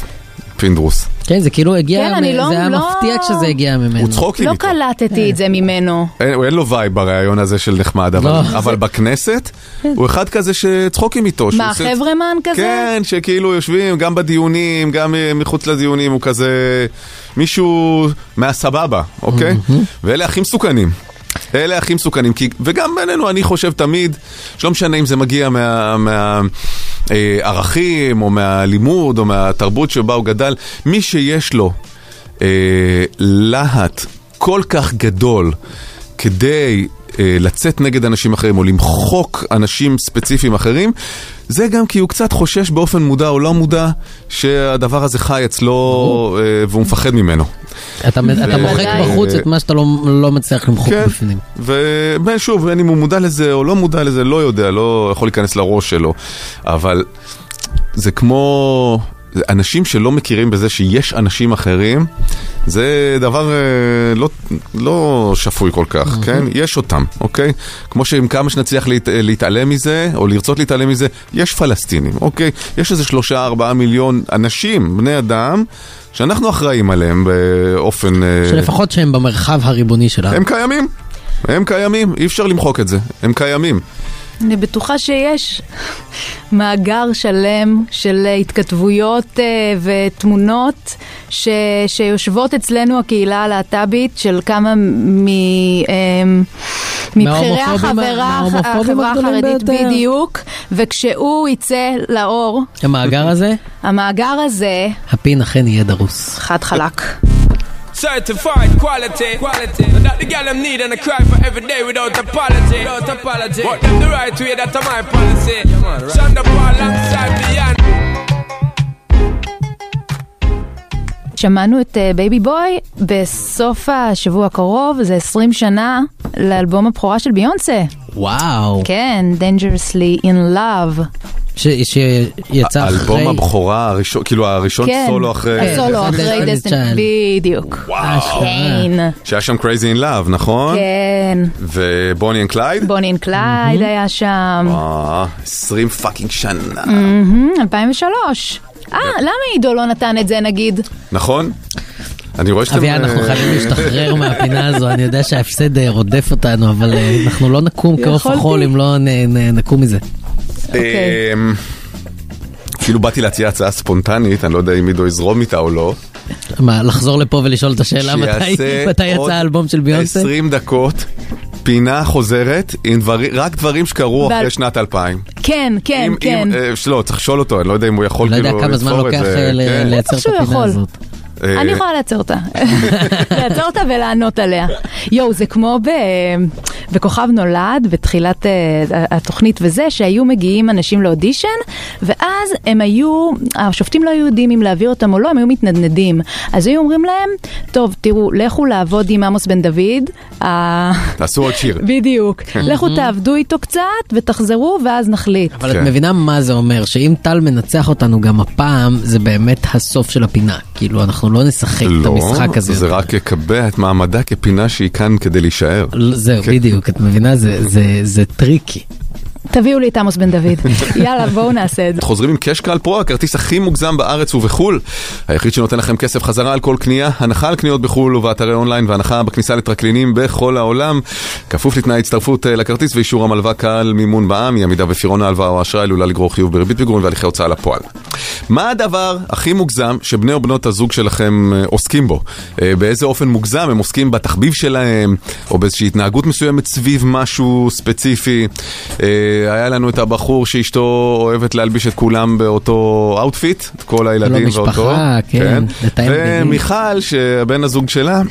C: פינדרוס.
D: כן, זה כאילו הגיע,
E: כן, אני לא-
D: זה היה
E: לא-
D: מפתיע כשזה הגיע ממנו. כן.
C: הוא צחוקים
E: לא
C: איתו.
E: קלטתי את זה ממנו.
C: אין, אין לו וייב בריאיון הזה של נחמד, אבל,
E: לא. כן.
C: אבל בכנסת הוא אחד כזה שצחוקים איתו. שהוא
E: מה,
C: עושה-
E: חברמן כזה?
C: כן, שכאילו יושבים גם בדיונים, גם אה, מחוץ לדיונים, הוא כזה מישהו מהסבבה, אוקיי? ואלה הכי מסוכנים. אלה הכי מסוכנים, כי, וגם בינינו אני חושב תמיד, שלא משנה אם זה מגיע מהערכים מה, אה, ערכים, או מהלימוד או מהתרבות שבה הוא גדל, מי שיש לו אה, להט כל כך גדול כדי אה, לצאת נגד אנשים אחרים או למחוק אנשים ספציפיים אחרים, זה גם כי הוא קצת חושש באופן מודע או לא מודע שהדבר הזה חי אצלו אה, והוא מפחד ממנו.
D: אתה, אתה
C: ו-
D: מוחק
C: אה, כן.
D: בחוץ את מה שאתה לא, לא מצליח למחוק בפנים.
C: ושוב, בין אם הוא מודע לזה או לא מודע לזה, לא יודע, לא יכול להיכנס לראש שלו. אבל זה כמו... אנשים שלא מכירים בזה שיש אנשים אחרים, זה דבר אה, לא, לא שפוי כל כך, כן? יש אותם, אוקיי? כמו שעם כמה שנצליח להת, להתעלם מזה, או לרצות להתעלם מזה, יש פלסטינים, אוקיי? יש איזה שלושה, ארבעה מיליון אנשים, בני אדם, שאנחנו אחראים עליהם באופן... אה,
D: שלפחות שהם במרחב הריבוני שלנו.
C: הם קיימים, הם קיימים, אי אפשר למחוק את זה, הם קיימים.
E: אני בטוחה שיש מאגר שלם של התכתבויות אה, ותמונות ש, שיושבות אצלנו הקהילה הלהט"בית של כמה מ... אה, מבכירי
D: מההומופובים ה-
E: החברה,
D: מההומופובים
E: החברה
D: הגדולים
E: החרדית
D: ביותר.
E: בדיוק, וכשהוא יצא לאור,
D: המאגר הזה,
E: המאגר הזה
D: הפין אכן יהיה דרוס.
E: חד חלק.
M: Certified quality, quality. That the girl them need and I cry for every day without apology, without apology. What them the right way, that's my policy. Shonda Paul alongside Beyond.
E: שמענו את אה, בייבי בוי בסוף השבוע הקרוב, זה 20 שנה לאלבום הבכורה של ביונסה.
D: וואו.
E: כן, Dangerously in Love.
D: ש, שיצא אחרי...
C: אלבום הבכורה הראשון, כאילו הראשון
E: כן,
C: סולו אחרי... כן.
E: הסולו אחרי
D: Destiny's
E: דסטיני,
D: Child.
E: בדיוק. כן,
C: שהיה שם Crazy in Love, נכון?
E: כן.
C: ובוני אנד קלייד?
E: בוני אנד קלייד היה שם.
C: אה, 20 פאקינג שנה.
E: מהמם, 2003. אה, למה עידו לא נתן את זה נגיד?
C: נכון? אני רואה שאתם...
D: אביה, אנחנו
C: אה,
D: חייבים להשתחרר מהפינה הזו, אני יודע שההפסד אה, רודף אותנו, אבל אה, אנחנו לא נקום כעוף
C: יכולתי.
D: החול אם לא נ- נ- נקום מזה.
E: אוקיי.
C: אמ, כאילו באתי להציע הצעה ספונטנית, אני לא יודע אם עידו יזרום איתה או לא.
D: מה, לחזור לפה ולשאול את השאלה מתי
C: שיעשה
D: מתי
C: עוד
D: יצא האלבום של ביונסה?
C: 20 דקות, פינה חוזרת, עם דברים- רק דברים שקרו
E: ועל-
C: אחרי שנת 2000.
E: כן, כן,
C: אם-
E: כן.
C: אם- אה, לא, צריך לשאול אותו, אני לא יודע אם הוא יכול
D: לא
C: כאילו
D: יודע כמה זמן
C: לבחור את
D: לוקח
C: זה,
D: אה, ל-
C: כן.
D: לייצר את
E: שהוא
D: הפינה
E: יכול.
D: הזאת.
C: אה,
E: אני יכולה לעצור אותה. לעצור אותה ולענות עליה. יואו, זה כמו ב... בכוכב נולד, בתחילת אה, התוכנית וזה, שהיו מגיעים אנשים לאודישן, ואז הם היו, השופטים לא היו יודעים אם להעביר אותם או לא, הם היו מתנדנדים. אז היו אומרים להם, טוב, תראו, לכו לעבוד עם עמוס בן דוד. ה-
C: תעשו עוד שיר.
E: בדיוק. לכו
D: Mhm.
E: תעבדו איתו קצת ותחזרו ואז נחליט.
D: אבל
C: כן.
D: את מבינה מה זה אומר, שאם טל מנצח אותנו גם הפעם, זה באמת הסוף של הפינה. כאילו, אנחנו לא נשחק את המשחק הזה.
C: לא, זה
D: יותר.
C: רק יקבע את מעמדה כפינה שהיא כאן כדי להישאר.
D: זהו,
C: כן.
D: בדיוק, את מבינה? זה- זה- זה טריקי.
E: תביאו לי את עמוס בן דוד. יאללה, בואו נעשה את זה.
C: חוזרים עם קאש קל פרו, הכרטיס הכי מוגזם בארץ ובחול. היחיד שנותן לכם כסף חזרה על כל קנייה, הנחה על קניות בחול ובאתרי אונליין והנחה בכניסה לטרקלינים בכל העולם. כפוף לתנאי הצטרפות אה, לכרטיס ואישור המלווה קהל מימון בע"מ, אי עמידה בפירעון ההלוואה או האשראי עלולה לגרור חיוב בריבית פיגורים והליכי הוצאה לפועל. מה הדבר הכי מוגזם שבני או בנות הזוג שלכם אה, עוסקים בו? אה, באיזה אופן מוגזם הם עוסקים בתחביב שלהם, או באיזושהי התנהגות מסוימת סביב משהו ספציפי. אה, היה לנו את הבחור שאשתו אוהבת להלביש את כולם באותו אאוטפיט, את כל הילדים
D: המשפחה,
C: ואותו.
D: לא כן, לתאם בגדים.
C: ומיכל, שהבן הזוג שלה,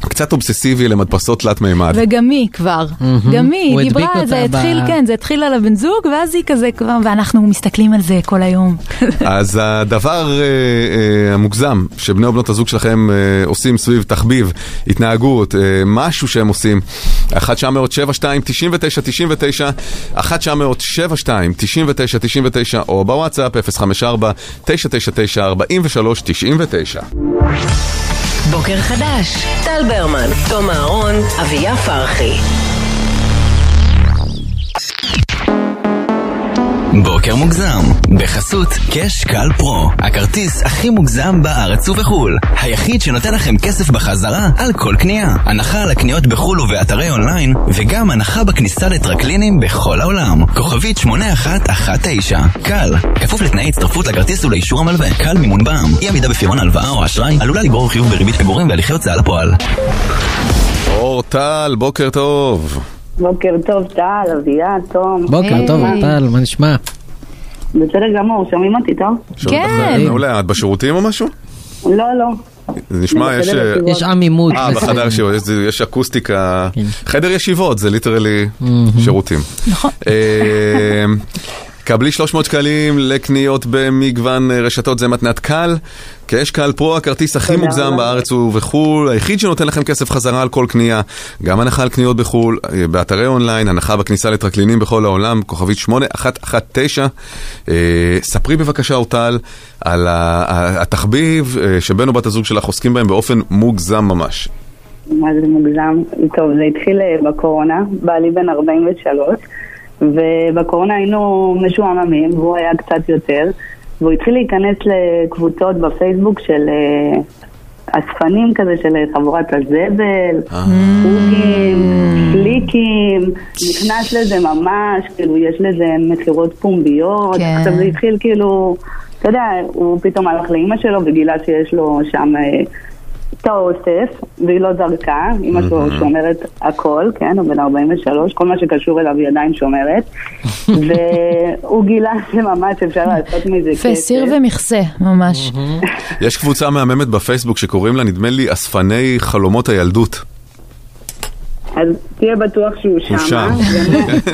C: קצת אובססיבי למדפסות תלת מימד.
E: וגם היא כבר, גם היא,
C: הוא
E: היא דיברה
C: הדביק
E: על זה,
C: אותה ב-
E: התחיל, כן, זה התחיל על הבן זוג, ואז היא כזה כבר, ואנחנו מסתכלים על זה כל היום.
C: אז הדבר אה, אה, המוגזם שבני או בנות הזוג שלכם אה, עושים סביב תחביב, התנהגות, אה, משהו שהם עושים, 1 900 72 99 99 1 900 72 99 99 או בוואטסאפ 054 999 43 99
B: בוקר חדש, טל ברמן, תום אהרון, אביה פרחי.
A: בוקר מוגזם, בחסות קאש קל פרו, הכרטיס הכי מוגזם בארץ ובחו"ל, היחיד שנותן לכם כסף בחזרה על כל קנייה, הנחה על הקניות בחו"ל ובאתרי אונליין, וגם הנחה בכניסה לטרקלינים בכל העולם, כוכבית 8119, קל, כפוף לתנאי הצטרפות לכרטיס ולאישור המלווה, קל מימון בע"מ, אי עמידה בפירעון הלוואה או אשראי, עלולה לגרור חיוב בריבית פיגורים והליכי הוצאה לפועל.
C: אור טל, בוקר טוב.
N: בוקר טוב, טל, אביה, תום.
D: בוקר טוב,
N: כן.
D: טל, מה נשמע?
N: בסדר גמור, שומעים אותי טוב?
C: שומעים אותך? אה, מעולה, את בשירותים או משהו?
N: לא, לא.
C: זה נשמע, יש... אה,
D: יש עם עימות.
C: אה,
D: בסדר.
C: בחדר ישיבות, יש- יש אקוסטיקה, חדר ישיבות, זה ליטרלי שירותים. נכון. אמ, קבלי 300 שקלים לקניות במגוון אה, רשתות, זה מתנת קל. קאש קל פרו, הכרטיס הכי מוגזם בארץ ובחו"ל, היחיד שנותן לכם כסף חזרה על כל קנייה. גם הנחה על קניות בחו"ל, אה, באתרי אונליין, הנחה בכניסה לטרקלינים בכל העולם, כוכבית 8119. אה, ספרי בבקשה, אורטל, על ה- ה- התחביב אה, שבן או בת הזוג שלך עוסקים בהם באופן מוגזם ממש.
N: מה זה מוגזם? טוב, זה התחיל אה, בקורונה, בעלי בן 43, ובקורונה היינו משועממים, והוא היה קצת יותר, והוא התחיל להיכנס לקבוצות בפייסבוק של אה, אספנים כזה, של אה, חבורת הזבל, חוגים, פליקים, נכנס לזה ממש, כאילו, יש לזה מכירות פומביות, עכשיו זה התחיל כאילו... אתה יודע, הוא פתאום הלך לאימא שלו וגילה שיש לו שם אה, את האוסף, והיא לא זרקה, אמא שלו
O: Mhm.
N: שומרת הכל, כן, הוא בן 43, כל מה שקשור אליו היא עדיין שומרת, והוא גילה שממש אפשר לעשות מזה כסף.
E: וסיר ומכסה, ממש.
C: יש קבוצה מהממת בפייסבוק שקוראים לה, נדמה לי, אספני חלומות הילדות.
N: אז תהיה בטוח שהוא שמה.
C: הוא שם.
N: באמת.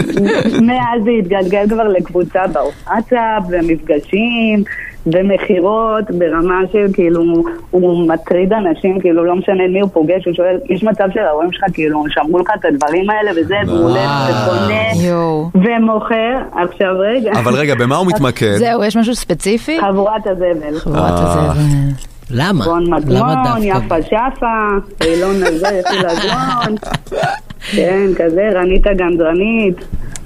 N: מאז זה התגלגל כבר לקבוצה בוואטסאפ, ומפגשים, ומכירות, ברמה של כאילו, הוא מטריד אנשים, כאילו, לא משנה את מי הוא פוגש, הוא שואל, יש מצב של ההורים שלך, כאילו, שמרו לך את הדברים האלה וזה, והוא הולך וקונה, ומוכר. עכשיו רגע.
C: אבל רגע, במה הוא מתמקד?
N: זהו, יש משהו ספציפי? חבורת הזבל.
C: אה,
D: למה?
N: רון
D: למה
N: מדמון,
D: דווקא?
N: יפה שפה, אילון הזה, יפי לזון. כן, כזה, רנית הגנדרנית.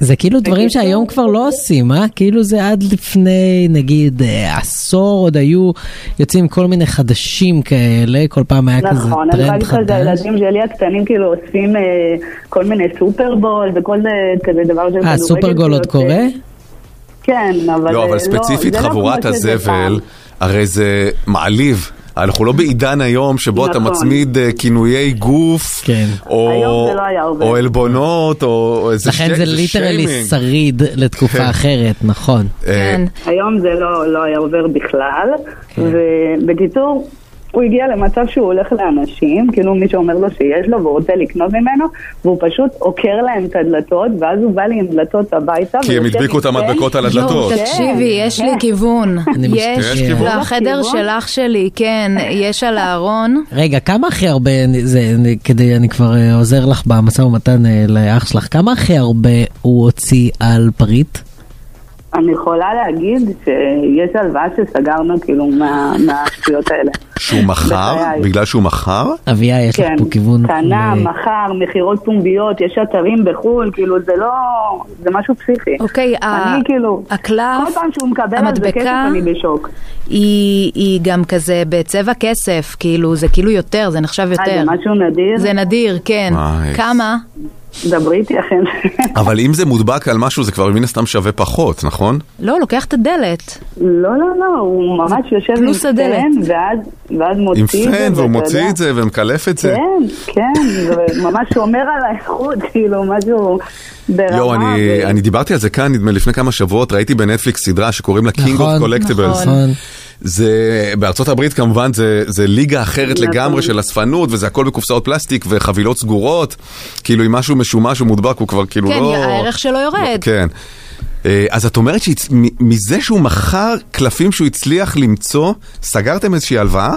D: זה כאילו דברים שהיום כבר לא עושים, אה? כאילו זה עד לפני, נגיד, אה, עשור עוד היו יוצאים כל מיני חדשים כאלה, כל פעם היה כזה
N: נכון, אני יכולה
D: טרנד
N: להגיד לך
D: חדש.
N: שהילדים שלי הקטנים כאילו אוספים אה, כל מיני סופרבול וכל אה, כזה דבר של
D: אה, סופרגול עוד
N: שיוצא.
D: קורה?
N: כן, אבל
C: לא,
N: אה,
C: אבל ספציפית
N: זה לא
C: חבורת
N: כמו שזה פעם.
C: הזבל, הרי זה מעליב. אנחנו לא בעידן היום שבו אתה
N: נכון.
C: מצמיד אה, כינויי גוף,
D: כן.
N: היום
C: או
N: זה לא היה עובד.
C: או עלבונות, או או איזה
D: לכן
C: ש-
D: זה ליטרלי
C: שיימינג.
D: שריד לתקופה אחרת, נכון.
C: אה,
N: היום זה לא, לא היה עובר בכלל,
D: כן.
N: ובקיצור, הוא הגיע למצב שהוא הולך לאנשים, כאילו מישהו אומר לו שיש לו והוא רוצה לקנות ממנו, והוא פשוט עוקר להם את הדלתות, ואז הוא בא לי עם דלתות הביתה.
C: כי הם
N: ויושב
C: הדביקו את
N: איתי,
C: המדבקות על הדלתות.
N: כן.
E: לא, תקשיבי, יש לי כיוון.
D: יש
E: יש,
D: כיוון?
E: בחדר של אח שלי, כן, יש על הארון.
D: רגע, כמה הכי הרבה, זה כדי, אני כבר אה, עוזר לך במשא ומתן אה, לאח שלך, כמה הכי הרבה הוא הוציא על פריט?
N: אני יכולה להגיד שיש הלוואה שסגרנו כאילו מה- מהשטויות האלה.
C: שהוא מכר?
N: בחיי.
C: בגלל שהוא מכר?
D: אביה, יש
N: כן,
D: אה,
E: נכון.
N: קנה,
C: ל-
N: מכר, מכירות פומביות, יש אתרים בחו"ל, כאילו זה לא, זה משהו פסיכי.
E: אוקיי, ה-
N: אני כאילו,
E: הקלף,
N: כל פעם שהוא מקבל על זה כסף
E: המדבקה,
N: אני בשוק.
E: היא, היא גם כזה בצבע כסף, כאילו, זה כאילו יותר, זה נחשב
N: אה,
E: יותר.
N: זה משהו נדיר?
E: זה נדיר, כן.
N: וואי.
E: כמה?
N: דברי איתי אכן.
C: אבל אם זה מודבק על משהו, זה כבר מן הסתם שווה פחות, נכון?
E: לא, לוקח את הדלת.
N: לא, לא, לא, הוא ממש יושב עם
E: פלוס הדלת.
N: פן, ואז, ואז מוציא
C: עם
N: את זה.
C: פן, והוא
N: ואתה
C: מוציא
N: יודע.
C: את זה ומקלף את זה.
N: כן, כן, זה ממש שומר על האיכות, כאילו, משהו ברמה.
C: יואו, אני, אני דיברתי על זה כאן, נדמה לי, לפני כמה שבועות, ראיתי בנטפליקס סדרה שקוראים לה King of Collectibles.
D: נכון.
C: זה, בארצות הברית כמובן זה, זה ליגה אחרת לגמרי של אספנות, וזה הכל בקופסאות פלסטיק וחבילות סגורות, כאילו אם משהו משומש ומודבק הוא כבר כאילו
E: כן,
C: לא...
E: הערך שלו יורד.
C: כן. אה, אז את אומרת שמזה שהוא מכר קלפים שהוא הצליח למצוא, סגרתם איזושהי הלוואה?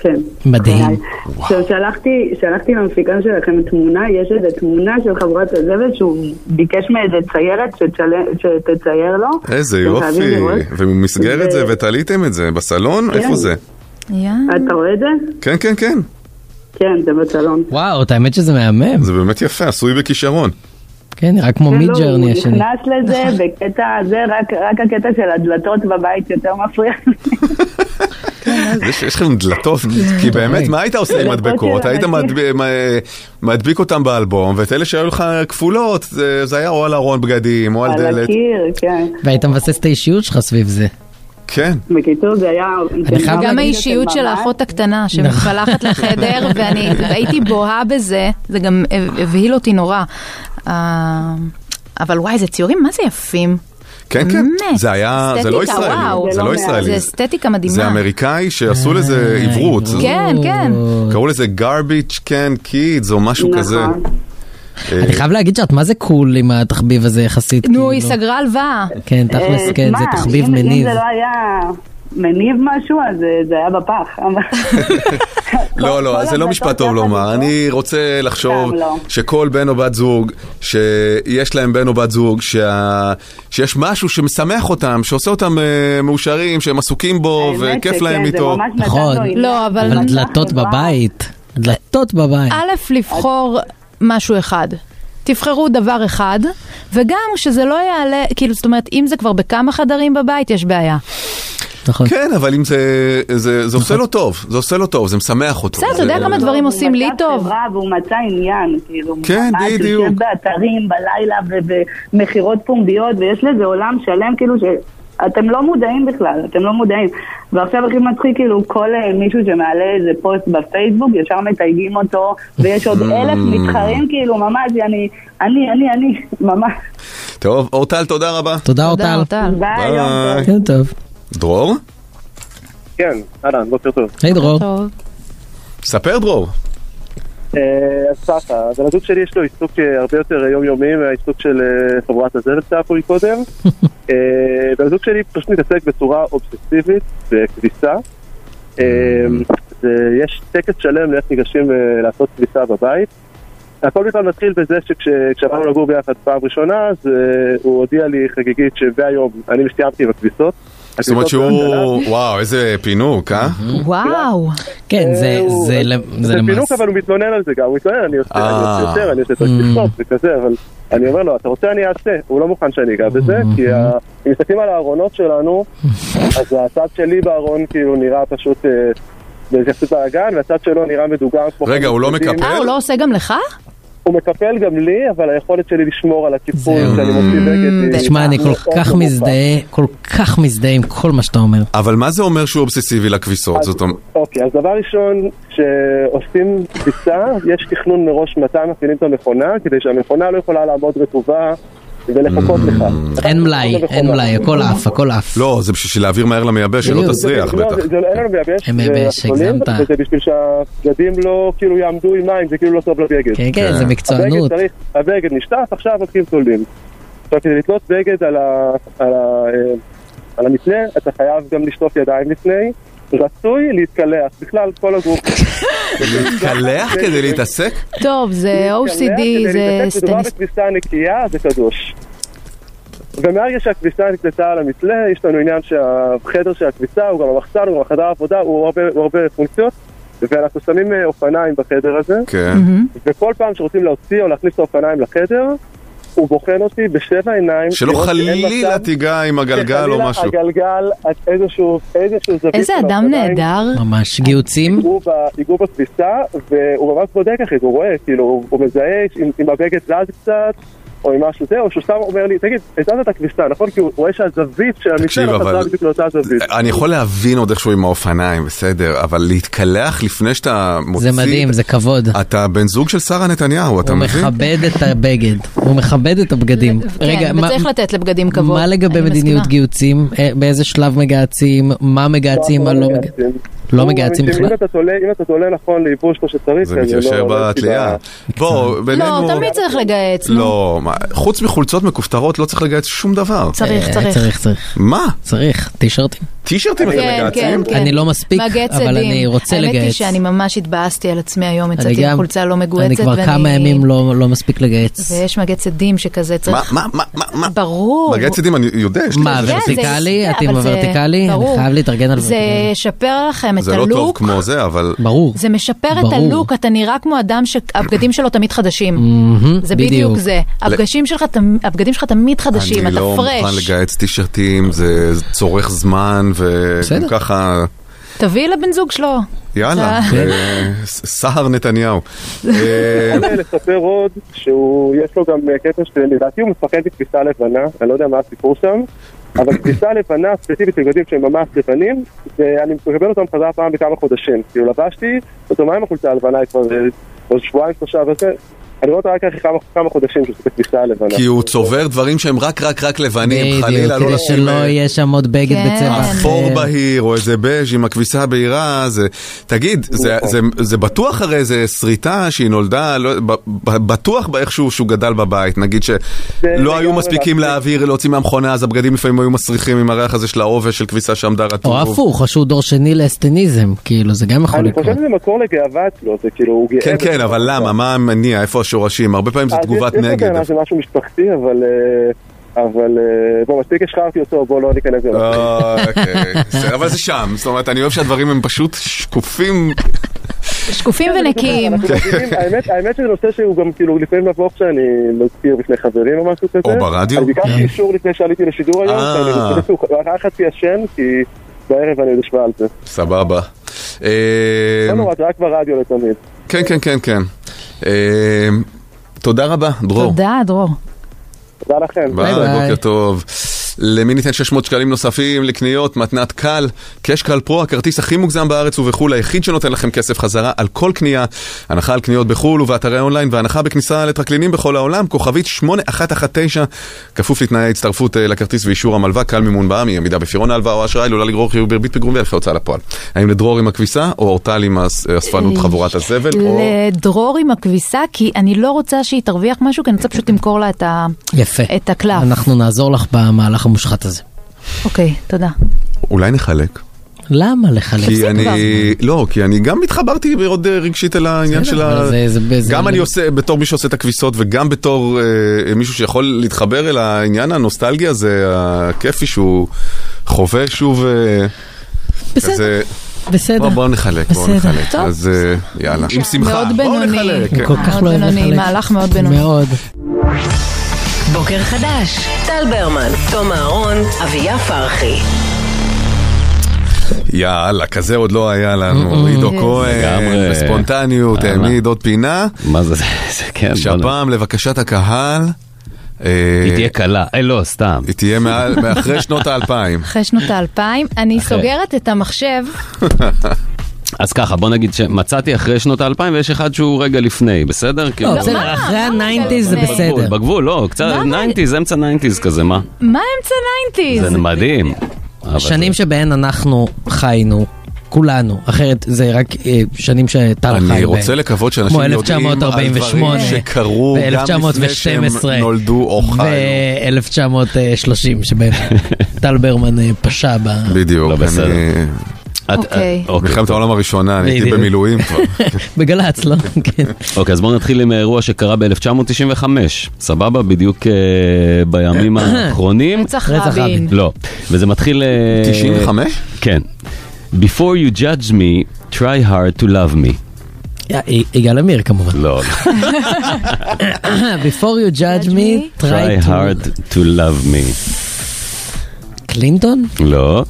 N: כן.
D: מדהים.
N: עכשיו, שלחתי, שלחתי למפיקה שלכם תמונה, יש איזו תמונה של חברת הזבל שהוא ביקש מאיזה ציירת שתצל- שתצייר לו.
C: איזה
N: כן, אתם חייבים
C: יופי,
N: לראות.
C: ובמסגרת זה ותליתם את זה בסלון?
N: כן.
C: איפה זה?
N: אתה רואה את זה?
C: כן, כן, כן.
N: כן, זה בסלון.
D: וואו, את האמת שזה מהמם.
C: זה באמת יפה, עשוי בכישרון.
D: כן, נראה כמו מיד
N: כן, לא,
D: ג'רני
N: הוא
D: השני.
N: נכנס לזה
E: נכון.
N: בקטע הזה, רק, רק הקטע של הדלתות בבית יותר מפריע.
C: זה שיש לכם דלתות, כי באמת, מה היית עושה עם מדבקות? היית מדב- מ- מדביק אותם באלבום, ואת אלה שהיו לך כפולות, זה- זה היה או על ארון בגדים, או על דלת.
N: הקיר, כן.
D: והיית מבסס את האישיות שלך סביב זה.
C: כן.
N: בקיצור, זה היה...
D: אני חייב
E: גם
D: להגיד... נכון.
E: האישיות של האחות הקטנה שמתפלחת לחדר, ואני הייתי בוהה בזה, זה גם הב- הבהיל אותי נורא. אה, אבל וואי, זה ציורים, מה זה יפים.
C: כן, כן.
E: באמת.
C: זה היה, זה לא
E: אסתטיקה,
C: ישראלי.
E: וואו.
C: זה לא ישראלי.
E: זה אסתטיקה מדהימה.
C: זה אמריקאי שעשו
D: אה,
C: לזה עברות.
E: כן, כן.
C: קראו לזה garbage can kids או משהו
E: נכון.
C: כזה.
D: אני חייב להגיד שאת מה זה קול עם התחביב הזה יחסית. כאילו.
E: נו, היא סגרה הלוואה.
D: כן, תכלס,
N: אה,
D: כן, זה
N: מה,
D: תחביב
N: אם-
D: מניב.
N: אם זה לא היה מניב משהו, אז אה, זה היה בפח. אבל-
C: לא, לא, זה לא משפט טוב לומר. אני רוצה לחשוב
N: גם לא.
C: שכל בן או בת זוג, שיש להם בן או בת זוג, שה- שיש משהו שמשמח אותם, שעושה אותם אה, מאושרים, שהם עסוקים בו,
D: האמת
C: וכיף
D: שכן,
C: להם
D: זה
C: איתו.
D: ממש נתן לו נכון. עניין.
E: לא, אבל...
D: אבל דלתות בבית. דלתות בבית.
E: א', לבחור משהו אחד. תבחרו דבר אחד, וגם שזה לא יעלה, כאילו, זאת אומרת, אם זה כבר בכמה חדרים בבית, יש בעיה.
D: נכון.
C: כן, אבל אם זה... זה זה עושה לו טוב, זה עושה לו טוב, זה משמח אותו.
E: בסדר, אתה יודע
C: זה-
E: כמה דברים עושים לי
N: לא, הוא מצא חברה והוא מצא עניין, כאילו.
C: כן,
N: ממש, הוא
C: בדיוק.
N: יושב באתרים, בלילה, ובמכירות פומביות, ויש לזה עולם שלם, כאילו, שאתם לא מודעים בכלל, אתם לא מודעים. ועכשיו הכי מצחיק, כאילו, כל אה, מישהו שמעלה איזה פוסט בפייסבוק, ישר מתייגים אותו, ויש עוד אלף מתחרים, כאילו, ממש, אני, אני, אני, אני, ממש.
C: טוב, אורטל, תודה רבה.
D: תודה,
N: אורטל. אורטל. ביי, יום
D: כן, טוב.
C: דרור?
O: כן, אהלן, בוקר טוב.
D: היי דרור.
C: ספר, דרור.
O: אה, אז ככה, הבן הזוג שלי יש לו עיסוק אה, הרבה יותר אה, יומיומי מהעיסוק של אה, חברת הזבל שהיה פה מקודם. אה, בן הזוג שלי פשוט מתעסק בצורה אובססיבית בכביסה. אה, זה- יש טקס שלם לאיך ניגשים אה, לעשות כביסה בבית. הכל בכלל מתחיל בזה שכשעברנו לגור ביחד פעם ראשונה, אז אה, הוא הודיע לי חגיגית שבהיום אני מסתיימתי עם הכביסות.
C: זאת אומרת
O: הכביסות לא
C: שהוא... וואו, איזה פינוק, אה?
E: וואו.
D: כן, זה- זה
O: אה, זה פינוק, אבל הוא מתלונן על זה גם, הוא מתלונן, אני עושה אני
C: אה.
O: עושה יותר, אני עושה יותר
D: mm.
O: לכתוב וכזה, אבל אני אומר לו, אתה רוצה אני אעשה, הוא לא מוכן שאני אגע בזה,
D: Mm-hmm.
O: כי ה- אם מסתכלים על הארונות שלנו, אז הצד שלי בארון כאילו נראה פשוט אה, בהתייחסות לאגן, והצד שלו נראה מדוגם כמו...
C: רגע, הוא לא
O: חמש
E: אה, הוא לא עושה גם לך?
O: הוא מקפל גם לי, אבל היכולת שלי לשמור על הטיפול שאני מוציא אה, בגד... היא-
D: תשמע, אני כל
O: מאוד
D: כך
O: נמוכה.
D: מזדהה, כל כך מזדהה עם כל מה שאתה אומר.
C: אבל מה זה אומר שהוא אובססיבי לכביסות? זאת אומרת...
O: אוקיי, אז דבר ראשון, כשעושים טיסה, יש תכנון מראש מתי מפעילים את המכונה, כדי שהמכונה לא יכולה לעמוד רטובה ולחכות לך.
D: אין מלאי, אין מלאי, הכל עף, הכל עף.
C: לא, זה בשביל להעביר מהר למייבש, שלא
D: בדיוק.
C: תסריח
O: לא,
C: בטח.
O: זה- זה לא- אין לנו מייבש,
D: אין
O: זה
D: מייבש,
O: הסוללים,
D: הגזמת.
O: וזה בשביל שהבגדים לא כאילו יעמדו עם מים, זה כאילו לא טוב לבגד.
D: כן, כן, זה מקצוענות.
O: הבגד צריך- הבגד נשטף, עכשיו הולכים סולדים. עכשיו, כדי לתלות בגד על ה- על ה- אה, על המפנה, אתה חייב גם לשטוף ידיים לפני. רצוי להתקלח, בכלל כל הגוף.
C: להתקלח כדי להתעסק?
E: טוב, זה OCD, זה
O: מדובר
E: סטניסט.
O: בכביסה נקייה, זה קדוש. ומהרגע שהכביסה נקלטה על המתלה, יש לנו עניין שהחדר של הכביסה הוא גם המחסן, הוא גם החדר העבודה, הוא הרבה, הוא הרבה פונקציות, ואנחנו שמים אה, אופניים בחדר הזה,
C: כן.
O: וכל פעם שרוצים להוציא או להכניס את האופניים לחדר, הוא בוחן אותי בשבע עיניים.
C: שלא
O: לראות שאין
C: חלילה
O: מצב
C: תיגע עם הגלגל או
O: שחלילה
C: משהו.
O: הגלגל, איזשהו, איזשהו זווית.
E: איזה
O: של
C: לא,
E: אדם
O: האופניים
E: נהדר.
D: ממש גיוצים.
O: ייגעו ב- ייגעו בכביסה, והוא ממש בודק אחי, הוא רואה, כאילו, הוא- הוא מזהה אם- אם הבגד זז קצת, או אם משהו זה, או שהוא סתם אומר לי, תגיד, הזזת את הכביסה, נכון? כי הוא רואה שהזווית של המקצה
C: תקשיב,
O: לא חזרה
C: אבל-
O: בדיוק לאותה זווית.
C: אני יכול להבין עוד איכשהו עם האופניים, בסדר, אבל להתקלח לפני שאתה מוציא...
D: זה מדהים, זה כבוד.
C: אתה בן זוג של שרה נתניהו, אתה
D: הוא
C: מבין?
D: מכבד את הבגד, הוא מכבד את הבגדים. רגע,
E: כן,
D: מה-
E: וצריך לתת לבגדים כבוד.
D: מה לגבי
E: אני
D: מדיניות
E: מסכימה.
D: גיוצים? אה, באיזה שלב מגהצים? מה מגהצים? מה לא מגהצים? לא
O: הוא
D: מגהצים
O: מאמין שאם
D: בכלל?
O: אתה תולה- אם אתה תולה נכון לייבוש כמו שצריך,
C: זה
O: אז לא-
C: מתיישר
O: לא אין
C: בתלייה. בוא, בינינו...
E: לא, תמיד צריך לגהץ, נו.
C: לא, מה, חוץ מחולצות מכופתרות לא צריך לגייס שום דבר.
E: צריך, אה, צריך. צריך,
C: מה?
D: צריך, טישרטים.
C: טישרטים אתם
E: כן, כן,
C: מגייסים?
E: כן. מגהץ
D: לא אבל
E: עדים.
D: אני רוצה
E: האמת היא
D: לגהץ.
E: שאני ממש התבאסתי על עצמי היום,
D: אני
E: יצאתי עם
D: גם-
E: חולצה לא מגוהצת.
D: אני כבר
E: ואני-
D: כמה ימים לא לא מספיק לגהץ.
E: ויש מגהץ עדים שכזה צריך...
C: מה, מה, מה, מה?
E: ברור.
C: מגייס עדים, אני יודע, יש לי...
D: מה,
C: זה-
E: כן, זה-
D: ורטיקלי?
E: כן,
D: את עם
E: אבל זה-
D: הוורטיקלי? אני
E: ברור.
D: חייב להתארגן על
E: זה
D: ורטיקלי.
E: ישפר לכם את
C: זה לא טוב
E: הלוק.
C: כמו זה, אבל...
D: ברור.
E: זה משפר את
D: ברור.
E: הלוק, אתה נראה כמו אדם שהבגדים שלו תמיד חדשים.
C: מהמם,
E: זה בדיוק
C: בדיוק.
E: זה. הבגדים שלך תמ- הבגדים שלך תמיד חדשים,
C: אני
E: אתה
C: לא מוכן
E: פרש.
C: לגייס טישרטים, זה זה צורך זמן, וגם ככה...
E: תביא לבן זוג שלו.
C: יאללה,
E: זה-
C: אה, ס- סהר נתניהו. אה,
O: אני רוצה לספר עוד שהוא, יש לו גם אה, קטע שלדעתי הוא מפחד מכביסה לבנה, אני לא יודע מה הסיפור שם, אבל כביסה לבנה, ספציפית לבגדים שהם ממש לבנים, ואני מקבל אותם חזרה פעם בכמה חודשים. כאילו לבשתי, אותו מה עם החולצה הלבנה היא כבר אה, עוד שבועיים שלושה וזה, אני רואה אותה רק אחרי כמה- כמה חודשים שזה בכביסה הלבנה.
C: כי הוא צובר דברים שהם רק רק רק לבנים, חלילה לא אה,
D: כדי
C: לשים
D: שלא יהיה שם עוד בגד
E: כן.
D: בצבע
C: אפור
D: אחר.
C: בהיר, או איזה בז' עם הכביסה הבהירה, זה... תגיד, זה- זה- זה בטוח הרי איזה שריטה שהיא נולדה, לא- ב- ב- בטוח באיכשהו שהוא גדל בבית, נגיד שלא היו מספיקים
O: נכון.
C: להעביר, להוציא מהמכונה, אז הבגדים לפעמים היו מסריחים עם הריח הזה של העובש של כביסה שעמדה רטוב.
D: או הפוך, או שהוא דור שני לאסטניזם, כאילו, זה גם יכול
O: אני
D: לקרות.
O: חושב שזה מקור לגאווה אצלו, זה כאילו, הוא גאה.
C: כן,
O: בזה.
C: כן, אבל למה? מה המניע? איפה השורשים? הרבה פעמים זו
O: אז יש-
C: תגובת
O: יש לו
C: נגד.
O: טענה שמשהו משפחתי, אבל... אה, אבל אה, בוא, מספיק השחררתי אותו, בוא לא ניכנס לזה.
C: אוקיי, בסדר, אבל זה שם, זאת אומרת, אני אוהב שהדברים הם פשוט שקופים.
E: שקופים ונקיים.
O: אנחנו
C: כן.
O: מבינים, האמת- האמת שזה נושא שהוא גם כאילו לפעמים מבוך שאני מזכיר בפני חברים או משהו כזה.
C: או ברדיו.
O: אני ביקשתי
C: כן.
O: אישור לפני שעליתי לשידור היום,
C: אה.
O: שאני חושב שהוא רק חצי ישן, כי בערב אני עוד אשמע על זה.
C: סבבה. אה,
O: לא נורא, זה רק ברדיו לתמיד.
C: כן, כן, כן, כן. אה, תודה רבה, דרור.
E: תודה, דרור.
O: תודה לכם.
C: ביי, בוקר טוב. למי ניתן 600 שקלים נוספים לקניות, מתנת קל, קש קל פרו, הכרטיס הכי מוגזם בארץ ובחו"ל, היחיד שנותן לכם כסף חזרה על כל קנייה, הנחה על קניות בחו"ל ובאתרי אונליין, והנחה בכניסה לטרקלינים בכל העולם, כוכבית 8119, כפוף לתנאי ההצטרפות אה, לכרטיס ואישור המלווה, קל מימון בעם, אי עמידה בפירעון ההלוואה או אשראי, עלולה לגרור חיוב בריבית פיגורים והליכי הוצאה לפועל. האם לדרור עם הכביסה, או אורטל עם הס- אה, אספנות חבורת הזבל, או...
E: לדרור עם הכביסה, כי אני לא רוצה שהיא תרוויח משהו, כי אני רוצה פשוט למכור לה את ה...
D: יפה.
E: את הקלף.
D: אנחנו נעזור לך במהלך המושחת הזה.
E: אוקיי, תודה.
C: אולי נחלק.
D: למה לחלק?
C: כי אני, לא, כי אני גם התחברתי מאוד אה, רגשית אל העניין
D: בסדר,
C: של ה...
D: אבל זה- זה- זה-
C: גם
D: זה-
C: אני עושה, בתור מי שעושה את הכביסות וגם בתור אה, מישהו שיכול להתחבר אל העניין הנוסטלגי הזה, הכיפי שהוא חווה שוב אה,
D: בסדר.
C: כזה...
D: בסדר.
C: בוא, בואו נחלק, בואו
D: בסדר.
C: נחלק.
D: טוב.
C: אז אה, יאללה, עם שמחה.
E: מאוד בינוני.
C: נחלק, כן. כל כך
E: מאוד
C: לא אוהב
E: בינוני,
C: לחלק.
E: מהלך מאוד בינוני.
D: מאוד.
B: בוקר חדש, טל ברמן, תום אהרון, אביה פרחי.
C: יאללה, כזה עוד לא היה לנו. עידו
D: כן.
C: כהן,
J: לגמרי.
C: בספונטניות,
J: אה,
C: העמיד עוד פינה.
J: מה זה, זה, זה כן.
C: שהפעם לבקשת הקהל... היא
J: תהיה קלה, אה לא, סתם.
C: היא תהיה מעל- מאחרי שנות האלפיים.
E: אחרי שנות האלפיים, אני סוגרת את המחשב.
J: אז ככה, בוא נגיד שמצאתי אחרי שנות האלפיים ויש אחד שהוא רגע לפני, בסדר? כאילו-
D: לא, בסדר, אחרי הניינטיז זה
E: לפני?
J: בגבול,
D: בסדר.
J: בגבול, לא, קצת ניינטיז, אמצע ניינטיז כזה, מה?
E: מה אמצע ניינטיז?
J: זה מדהים. אבל זה-
D: השנים שבהן אנחנו חיינו, כולנו, אחרת זה רק אה, שנים שטל חי בהן.
C: אני רוצה לקוות שאנשים
D: כמו
C: יודעים על דברים
D: 1948,
C: שקרו גם לפני שהם נולדו או חיו.
D: ו-1930, שבהם אה, טל ברמן אה, פשע ב...
J: לא,
C: בדיוק, אני...
E: אוקיי.
C: מלחמת העולם הראשונה, אני הייתי
J: בדיוק.
C: במילואים כבר.
D: בגל"צ, לא? כן.
J: אוקיי, אז בואו נתחיל עם אירוע שקרה ב-1995, סבבה? בדיוק אה, בימים האחרונים.
E: רצח רצח רבין. רבין.
J: לא, וזה מתחיל... אה,
C: 95?
J: כן. Before you judge me, try hard to love me.
D: יגאל עמיר כמובן.
J: לא.
D: Before you judge me,
J: Try
D: try to...
J: hard to love me.
D: קלינטון?
J: לא.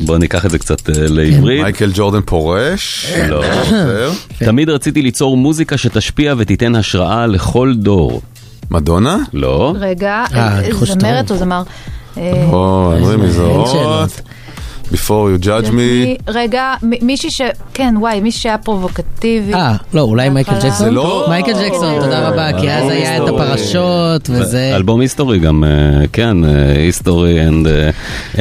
J: בוא ניקח את זה קצת אה, לעברית.
C: כן. מייקל ג'ורדן פורש?
J: לא.
C: עוזר.
D: כן.
J: תמיד רציתי ליצור מוזיקה שתשפיע ותיתן השראה לכל דור.
C: מדונה?
J: לא.
E: רגע,
J: אה, אני חושב
E: זמרת או זמר? אה,
C: או, אומרים לי
E: שאלות.
C: זרות. Before you נכון. judge
E: אה,
C: me.
E: מי- רגע, מ- מישהי ש... כן, וואי, מישהי שהיה פרובוקטיבית.
D: אה, לא, אולי מייקל
E: בהתחלה.
D: ג'קסון?
E: זה לא- אה,
D: מייקל ג'קסון, תודה רבה, כי אז היה את הפרשות וזה...
J: אלבום היסטורי גם, אה, כן, היסטורי and, אה,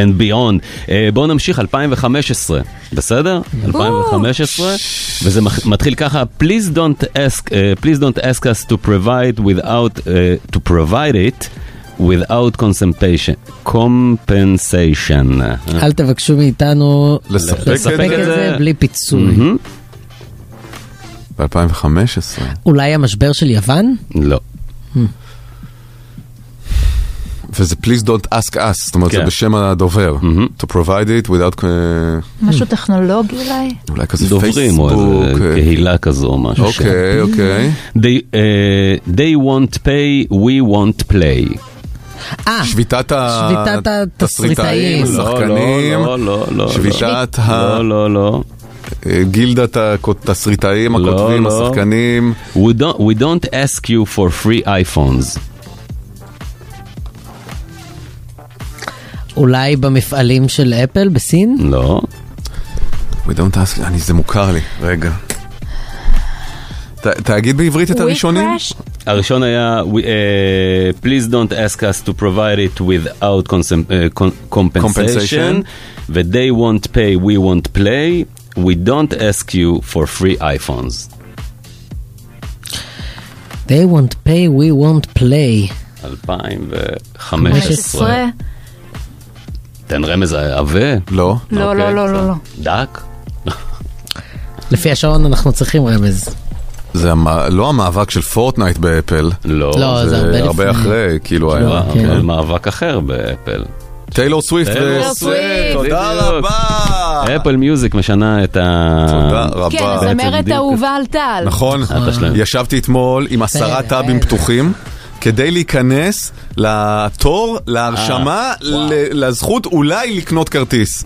J: and beyond. אה, בואו נמשיך, 2015, בסדר? 2015, וזה מח- מתחיל ככה, please don't ask, אה, please don't ask us to provide without, אה, to provide it. without compensation. compensation.
D: אל תבקשו מאיתנו
J: לספק את
D: לספק את זה
J: זה.
D: בלי פיצוי.
J: מהמם.
C: Mm-hmm. ב-2015.
D: אולי המשבר של יוון?
J: לא.
C: Hmm. וזה please don't ask us, זאת אומרת זה
J: כן. Mm-hmm.
C: בשם הדובר. To provide it without... אה,
E: משהו טכנולוגי אולי?
C: אולי כזה
J: דוברים או
C: פייסבוק,
J: איזה
C: אה.
J: קהילה כזו או משהו.
C: אוקיי,
J: שם.
C: אוקיי.
J: They, אה, they won't pay, we won't play.
D: אה,
C: שביתת ה-
D: שביתת התסריטאים.
J: לא,
C: שחקנים,
J: לא, לא, לא, לא.
C: שביתת
J: לא,
C: ה-
J: לא, לא.
C: אה, גילדת התסריטאים, הכותבים,
J: לא.
C: השחקנים.
J: We don't, we don't ask you for free iPhones.
D: אולי במפעלים של אפל בסין?
J: לא.
C: We don't ask, אני, זה מוכר לי, רגע. ת- תגיד בעברית את הראשונים.
J: הראשון היה, we, אה, please don't ask us to provide it without consum- אה, con- compensation,
C: Compensation.
J: ו-they won't pay, we won't play, we don't ask you for free iPhones.
D: They won't pay, we won't play.
J: 2015. תן רמז עבה. אוקיי.
C: לא.
E: לא, לא, לא, לא, לא.
J: דק?
D: לפי השעון אנחנו צריכים רמז.
C: זה המ- לא המאבק של פורטנייט באפל.
D: לא, זה הרבה
C: זה
D: לפני. כן,
C: הרבה אחרי, כאילו
J: לא,
C: היה.
J: אבל מאבק אחר באפל.
C: טיילור סוויפט.
J: טיילור
E: סוויפט,
C: תודה
J: בדיוק. אפל מיוזיק משנה את ה...
C: תודה רבה.
E: כן, הזמרת אהובה על טל.
C: אוקיי. נכון,
J: אתה שלם.
C: ישבתי אתמול עם עשרה טאבים פתוחים. כדי להיכנס לתור, להרשמה, ל- לזכות אולי לקנות כרטיס.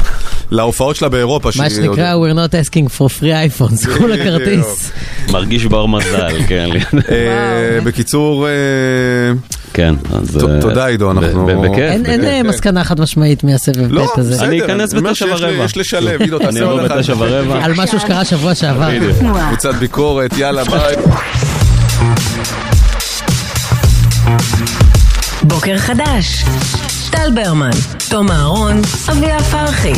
C: להופעות שלה באירופה.
D: מה
C: שהיא עוד-
D: שנקרא, we're not asking for free iPhone, זכו לכרטיס.
J: מרגיש בר מזל, כן.
C: אה, בקיצור...
J: כן, אז...
C: ת- תודה עידו, אנחנו...
D: אין אין, אה, מסקנה חד משמעית מהסבב
C: לא,
D: ב' הזה.
C: בסדר, אני אכנס אני אומר בתשע שיש לי- ורבע. יש לשלב, עידו, תעשה אני עוד אבוא אחד. בתשע ורבע.
D: על משהו שקרה שבוע שעבר.
C: קבוצת ביקורת, יאללה ביי.
B: בוקר חדש. טל ברמן, תום אהרון, אביה פרחי.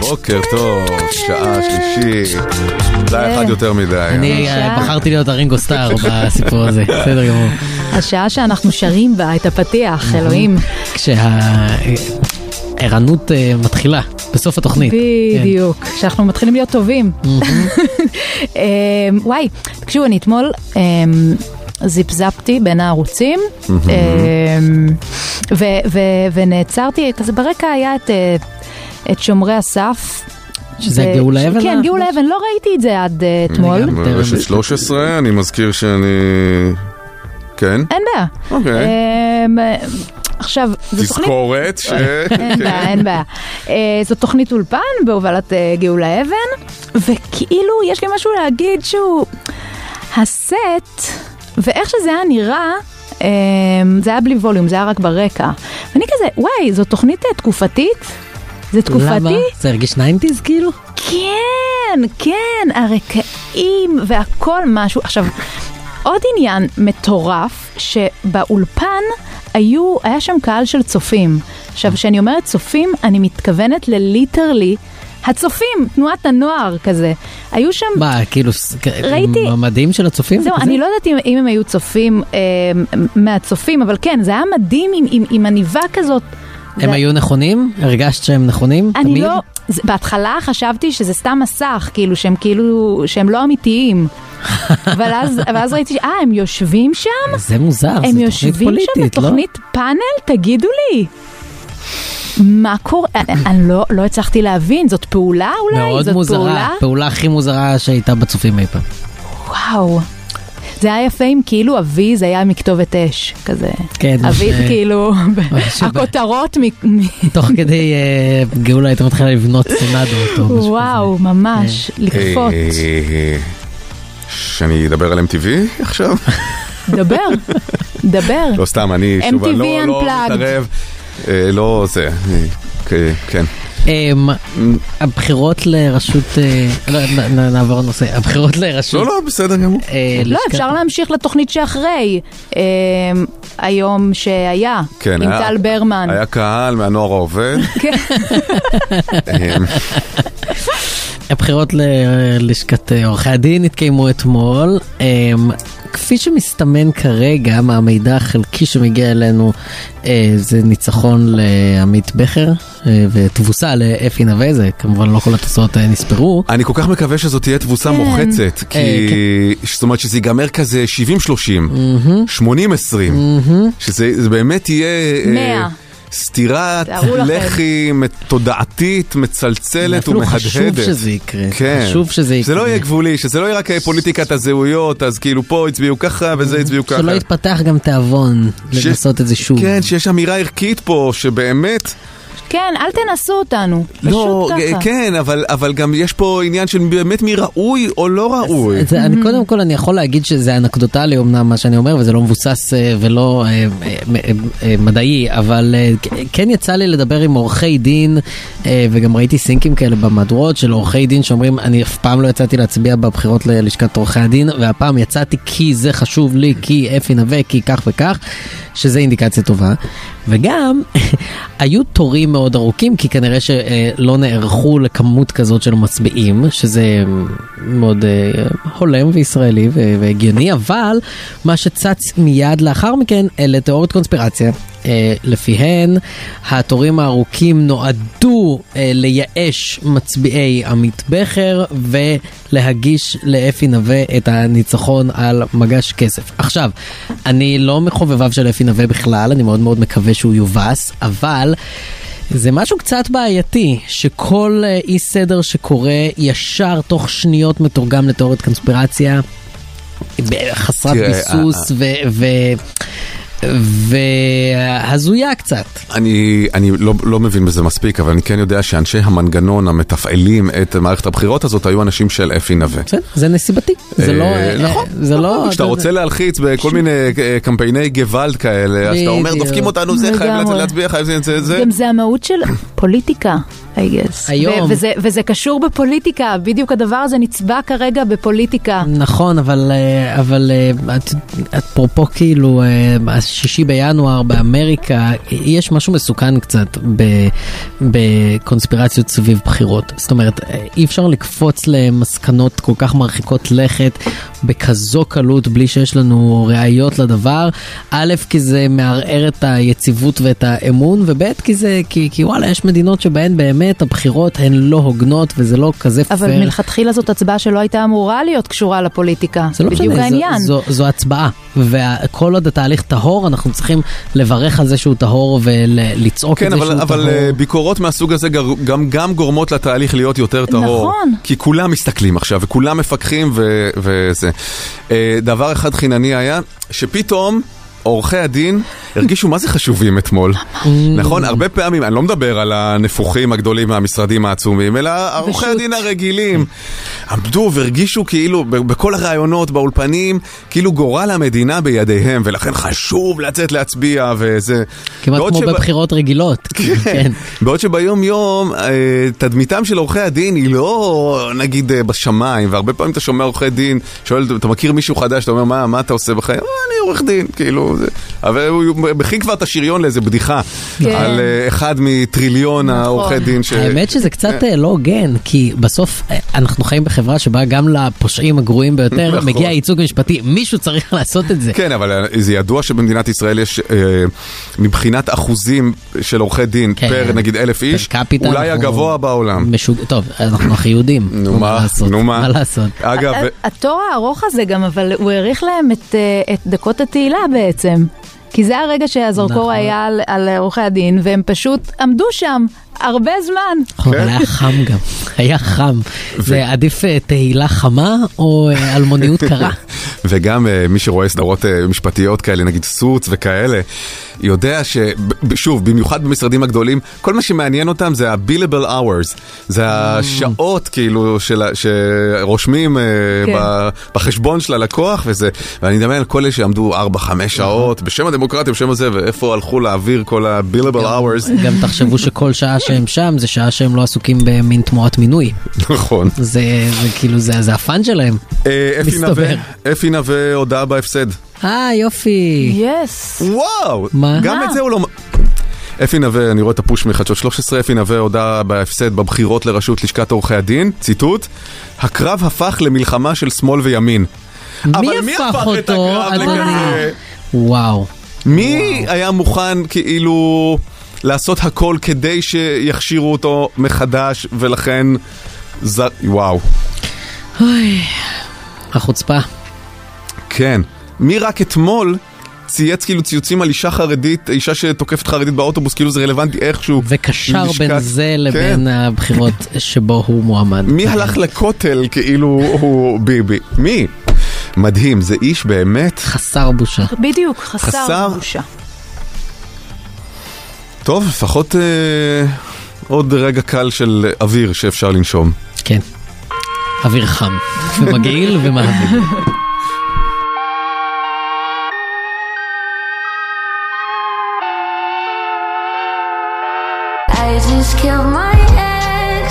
C: בוקר טוב, שעה שלישית. זה היה
E: כן.
C: אחד יותר מדי.
D: אני אה, בחרתי להיות הרינגו סטאר בסיפור הזה, בסדר גמור.
E: השעה שאנחנו שרים בה את הפתיח, אלוהים.
D: כשהערנות אה, מתחילה, בסוף התוכנית.
E: בדיוק, כשאנחנו מתחילים להיות טובים. אמ, וואי, תקשיבו, אני אתמול אמ, זיפזפתי בין הערוצים,
P: מהמם.
E: אמ, ו- ו- ונעצרתי, כזה ברקע היה את, אה, את שומרי הסף.
D: שזה
E: ו-
D: הגאולה
E: ש-
D: אבן
E: כן,
D: לה?
E: גאולה אבן, לא ראיתי את זה עד אה, אתמול.
C: ברשת 13, אני מזכיר שאני... כן?
E: אין בעיה.
C: אוקיי.
E: אמ, עכשיו, זו תוכנית...
C: תזכורת ש...
E: אין בעיה, אין בעיה. אה, זו תוכנית אולפן בהובלת אה, גאולה אבן, וכאילו יש לי משהו להגיד שהוא הסט, ואיך שזה היה נראה, אה, זה היה בלי ווליום, זה היה רק ברקע. ואני כזה, וואי, זו תוכנית אה, תקופתית? זה תקופתי?
D: כן. למה? זה הרגיש 90's כאילו?
E: כן, כן, הרקעים והכל משהו. עכשיו, עוד עניין מטורף, שבאולפן היו, היה שם קהל של צופים. עכשיו, כשאני אומרת צופים, אני מתכוונת לליטרלי הצופים, תנועת הנוער כזה. היו שם...
D: מה, כאילו, ס- כ-
E: ראיתי-
D: המדים של הצופים?
E: זהו,
D: כזה?
E: אני לא יודעת אם, אם הם היו צופים אה, מהצופים, אבל כן, זה היה מדהים עם, עם, עם עניבה כזאת
D: הם היו נכונים? הרגשת שהם נכונים?
E: אני
D: תמיד?
E: לא, זה- בהתחלה חשבתי שזה סתם מסך, כאילו שהם כאילו, שהם לא אמיתיים. אבל אז, אבל אז ראיתי, ש- אה, הם יושבים שם?
D: זה מוזר, זה
E: הם
D: תוכנית
E: יושבים שם
D: פוליטית, לא?
E: בתוכנית פאנל? תגידו לי. מה קורה? אני, אני לא, לא הצלחתי להבין, זאת פעולה אולי?
D: מאוד
E: זאת
D: מוזרה,
E: פעולה?
D: פעולה הכי מוזרה שהייתה בצופים אי פעם.
E: וואו. זה היה יפה אם כאילו אבי זה היה מכתובת אש, כזה.
D: כן,
E: אבי
D: ש-
E: כאילו,
D: שב-
E: הכותרות מ...
D: תוך כדי אה, גאולה הייתה מתחילה לבנות סנדו אותו. משהו.
E: וואו, ממש, לקפוץ.
C: אה, שאני אדבר על MTV עכשיו?
E: דבר, דבר.
C: לא סתם, אני שוב, אני לא
E: MTV
C: לא
E: Unplugged.
C: מתערב. אה, לא זה, אה, כ- כן.
D: אמ, הבחירות לראשות, אה, לא, נ- נ- נעבור לנושא, הבחירות לראשות.
C: לא, לא, בסדר גמור.
D: אה,
E: לא, אפשר להמשיך לתוכנית שאחרי. אה, היום שהיה,
C: כן,
E: עם
C: היה-
E: טל ברמן.
C: היה קהל מהנוער העובד.
E: כן.
C: אה,
D: הבחירות ללשכת אה, עורכי הדין התקיימו אתמול. אמ, כפי שמסתמן כרגע מהמידע החלקי שמגיע אלינו, אה, זה ניצחון לעמית בכר אה, ותבוסה לאפי נווה, זה כמובן לא כל התוצאות אה, נספרו.
C: אני כל כך מקווה שזאת תהיה תבוסה
D: כן.
C: מוחצת, כי...
D: אה,
C: זאת אומרת שזה ייגמר כזה 70-30, 80-20, שזה זה באמת יהיה... אה,
E: מאה.
C: סטירת
E: תארו לכם.
C: לחי תודעתית, מצלצלת
D: אפילו
C: ומהדהדת.
D: חשוב שזה יקרה,
C: כן.
D: חשוב שזה
C: שזה
D: יקרה.
C: לא יהיה גבולי, שזה לא יהיה רק אה, פוליטיקת הזהויות, אז כאילו פה הצביעו ככה וזה הצביעו ככה.
D: אה, שלא יתפתח גם תיאבון
C: ש-
D: לנסות את זה שוב.
C: כן, שיש אמירה ערכית פה, שבאמת...
E: כן, אל תנסו אותנו.
C: לא,
E: פשוט ככה.
C: כן, אבל, אבל גם יש פה עניין של באמת מי ראוי או לא ראוי.
D: זה, אני, קודם כל אני יכול להגיד שזה אנקדוטלי אמנם מה שאני אומר וזה לא מבוסס אה, ולא אה, אה, אה, אה, מדעי אבל אה, כ- כן יצא לי לדבר עם עורכי דין אה, וגם ראיתי סינקים כאלה במהדורות של עורכי דין שאומרים אני אף פעם לא יצאתי להצביע בבחירות ללשכת עורכי הדין והפעם יצאתי כי זה חשוב לי כי אפי נווה כי כך וכך שזה אינדיקציה טובה וגם היו תורים מאוד ארוכים כי כנראה שלא נערכו לכמות כזאת של מצביעים שזה מאוד אה, הולם וישראלי ו- והגיוני אבל מה שצץ מיד לאחר מכן אלה תיאוריות קונספירציה. אה, לפיהן התורים הארוכים נועדו אה, לייאש מצביעי עמית בכר ולהגיש לאפי נווה את הניצחון על מגש כסף. עכשיו, אני לא מחובביו של אפי נווה בכלל, אני מאוד מאוד מקווה שהוא יובס, אבל... זה משהו קצת בעייתי, שכל אה, אי סדר שקורה ישר תוך שניות מתורגם לתיאוריית קונספירציה ב- חסרת
C: תראה,
D: ביסוס
C: אה,
D: והזויה קצת.
C: אני, אני לא, לא מבין בזה מספיק, אבל אני כן יודע שאנשי המנגנון המתפעלים את מערכת הבחירות הזאת היו אנשים של אפי נווה.
D: בסדר, זה נסיבתי, זה
C: אה,
D: לא... אה,
C: נכון,
D: זה לא...
C: כשאתה רוצה להלחיץ בכל מיני אה, קמפייני גוואלד כאלה, אז אתה אומר,
D: בדיוק.
C: דופקים אותנו, זה חייב
E: לגמרי.
C: להצביע, חייב זה, זה, זה.
E: גם זה המהות של פוליטיקה, I guess.
D: היום.
E: ו- וזה, וזה קשור בפוליטיקה, בדיוק הדבר הזה נצבע כרגע בפוליטיקה.
D: נכון, אבל, אה, אבל אה, את- את אפרופו כאילו, אה, השישי בינואר באמריקה, יש משהו מסוכן קצת ב- בקונספירציות סביב בחירות. זאת אומרת, אה, אי אפשר לקפוץ למסקנות כל כך מרחיקות לכת בכזו קלות בלי שיש לנו ראיות לדבר. א', כי זה מערער את היציבות ואת האמון, וב', כי זה, כי, כי וואלה, יש מדינות שבהן באמת הבחירות הן לא הוגנות וזה לא כזה פייר.
E: אבל מלכתחילה זאת הצבעה שלא הייתה אמורה להיות קשורה לפוליטיקה.
D: זה לא
E: בדיוק
D: משנה,
E: העניין.
D: זו, זו, זו הצבעה. וכל עוד התהליך טהור, אנחנו צריכים לברך על זה שהוא טהור ולצעוק
C: כן,
D: את זה
C: אבל,
D: שהוא
C: אבל
D: טהור.
C: אה, ביקורות מהסוג הזה גר- גם, גם גורמות לתהליך להיות יותר טהור.
D: נכון.
C: כי כולם מסתכלים עכשיו, וכולם מפקחים ו, וזה. אה, דבר אחד חינני היה, שפתאום... עורכי הדין הרגישו מה זה חשובים אתמול.
D: אה.
C: נכון, הרבה פעמים, אני לא מדבר על הנפוחים הגדולים מהמשרדים העצומים, אלא עורכי הדין הרגילים עמדו והרגישו כאילו, ב- בכל הראיונות, באולפנים, כאילו גורל המדינה בידיהם, ולכן חשוב לצאת להצביע וזה.
D: כמעט
C: בעוד
D: כמו
C: שב-
D: בבחירות רגילות. כן.
C: בעוד שביום יום אה, תדמיתם של עורכי הדין היא לא נגיד אה, בשמיים והרבה פעמים אתה שומע עורכי דין שואל אתה מכיר מישהו חדש אתה אומר מה, מה אתה עושה בחיים "אה, אני עורך דין כאילו זה, אבל הוא מכין כבר את השריון לאיזה בדיחה.
D: כן. נכון.
C: על אה, אחד מטריליון העורכי דין ש... כן.
D: האמת שזה קצת אה, לא הוגן, כי בסוף אה, אנחנו חיים בחברה שבה גם לפושעים הגרועים ביותר
C: נכון.
D: מגיע ייצוג משפטי, מישהו צריך לעשות את זה.
C: כן, אבל אה, זה ידוע שבמדינת ישראל יש אה, מבחינת אחוזים של עורכי דין
D: כן.
C: פר נגיד אלף איש,
D: קפיטה
C: אולי
D: אנחנו-
C: הגבוה בעולם.
D: משוג... טוב, אנחנו הכי יהודים. נו מה,
C: נו מה.
D: מה לעשות?
C: אגב, אה,
E: ה- התור הארוך הזה גם, אבל הוא האריך להם את, אה, את דקות התהילה בעצם. כי זה הרגע שהזרקור
D: נכון.
E: היה על- על עורכי הדין, והם פשוט עמדו שם הרבה זמן.
C: כן?
D: נכון, היה חם גם, היה חם. זה עדיף אה, תהילה חמה או אה, אלמוניות קרה?
C: וגם אה, מי שרואה סדרות אה, משפטיות כאלה, נגיד סוץ וכאלה, יודע ששוב, במיוחד במשרדים הגדולים, כל מה שמעניין אותם זה ה-billable hours,
D: Mm.
C: זה השעות כאילו של, ה- שרושמים אה,
E: כן.
C: ב- בחשבון של הלקוח וזה, ואני מדמיין על כל אלה שעמדו 4-5
D: נכון.
C: שעות, בשם הדמוקרטיה, בשם הזה, ואיפה הלכו להעביר כל ה-billable hours.
D: גם תחשבו שכל שעה שהם שם זה שעה שהם לא עסוקים במין תמורת מינוי.
C: נכון.
D: זה זה כאילו, זה זה הפאן שלהם.
C: אה, אפי
D: מסתבר.
C: נווה- אפי נווה הודעה בהפסד.
D: אה, יופי.
E: יס.
C: וואו.
D: מה?
C: גם את זה הוא לא... אפי נווה, אני רואה את הפוש מחדשות 13, אפי נווה הודה בהפסד בבחירות לראשות לשכת עורכי הדין, ציטוט, הקרב הפך למלחמה של שמאל וימין.
D: מי הפך אותו, אדוני? וואו.
C: מי היה מוכן כאילו לעשות הכל כדי שיכשירו אותו מחדש, ולכן... ז... וואו.
D: אוי, החוצפה.
C: כן. מי רק אתמול צייץ כאילו ציוצים על אישה חרדית, אישה שתוקפת חרדית באוטובוס, כאילו זה רלוונטי איכשהו.
D: וקשר בין
C: ללשכת-
D: זה
C: כן.
D: לבין הבחירות שבו הוא מועמד.
C: מי הלך לכותל כאילו הוא ביבי? מי? מדהים, זה איש באמת...
D: חסר בושה.
E: בדיוק, חסר,
C: חסר?
E: בושה.
C: טוב, לפחות אה, עוד רגע קל של אוויר שאפשר לנשום.
D: כן. אוויר חם. ומגעיל ומהוויל.
P: I just killed my ex.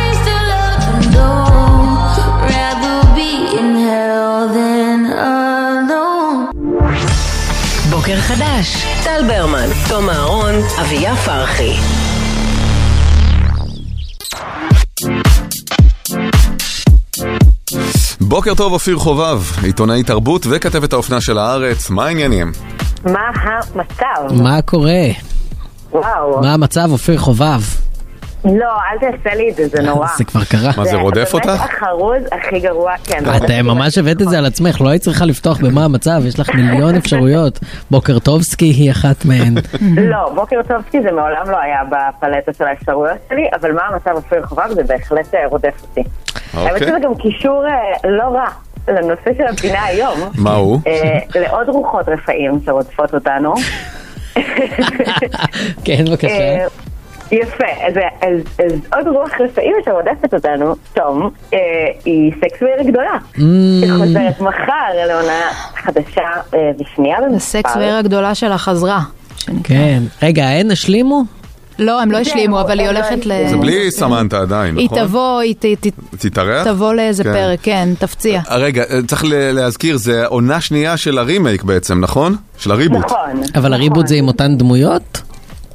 P: I still love though. Rather be in hell than alone.
B: בוקר חדש, טל ברמן, תום אהרון, אביה פרחי.
C: בוקר טוב, אופיר חובב, עיתונאי תרבות וכתבת האופנה של הארץ, מה העניינים?
Q: מה המצב?
D: מה קורה?
Q: וואו.
D: מה המצב, אופיר חובב?
Q: לא, אל תעשה לי את זה, זה נורא.
D: זה כבר קרה. מה, זה רודף אותך?
Q: באמת החרוז הכי גרוע, כן. זה
D: את אה, ממש הבאת את זה על עצמך, לא היית צריכה לפתוח במה המצב, יש לך מיליון אפשרויות. בוקר טובסקי היא אחת מהן.
Q: לא, בוקר טוב, כי זה מעולם לא היה בפלטה של האפשרויות שלי, אבל מה המצב אופיר חובב זה בהחלט אה, רודף אותי.
C: אוקיי.
Q: האמת שזה גם קישור אה, לא רע לנושא של המדינה היום.
C: מה הוא?
Q: אה, לעוד רוחות רפאים שרודפות אותנו.
D: כן, בבקשה.
Q: אה, יפה, אז, אז, אז עוד רוח רפאים שרודפת אותנו, תום, אה, היא סקס ועיר גדולה.
D: Mm,
Q: שחוזרת מחר לעונה חדשה אה, ושנייה במספר.
E: הסקס והעיר הגדולה שלה חזרה.
D: כן. רגע, הן השלימו?
E: לא, הם לא השלימו, אבל היא הולכת ל...
C: זה בלי סמנטה עדיין,
E: היא
C: נכון?
E: תבוא, היא ת- ת-
C: תתארח?
E: תבוא לאיזה
C: כן.
E: פרק, כן, תפציע.
C: רגע, אה, צריך ל- להזכיר, זה עונה שנייה של הרימייק בעצם, נכון? של הריבוט.
D: אבל הריבוט זה עם אותן דמויות?
Q: נכון.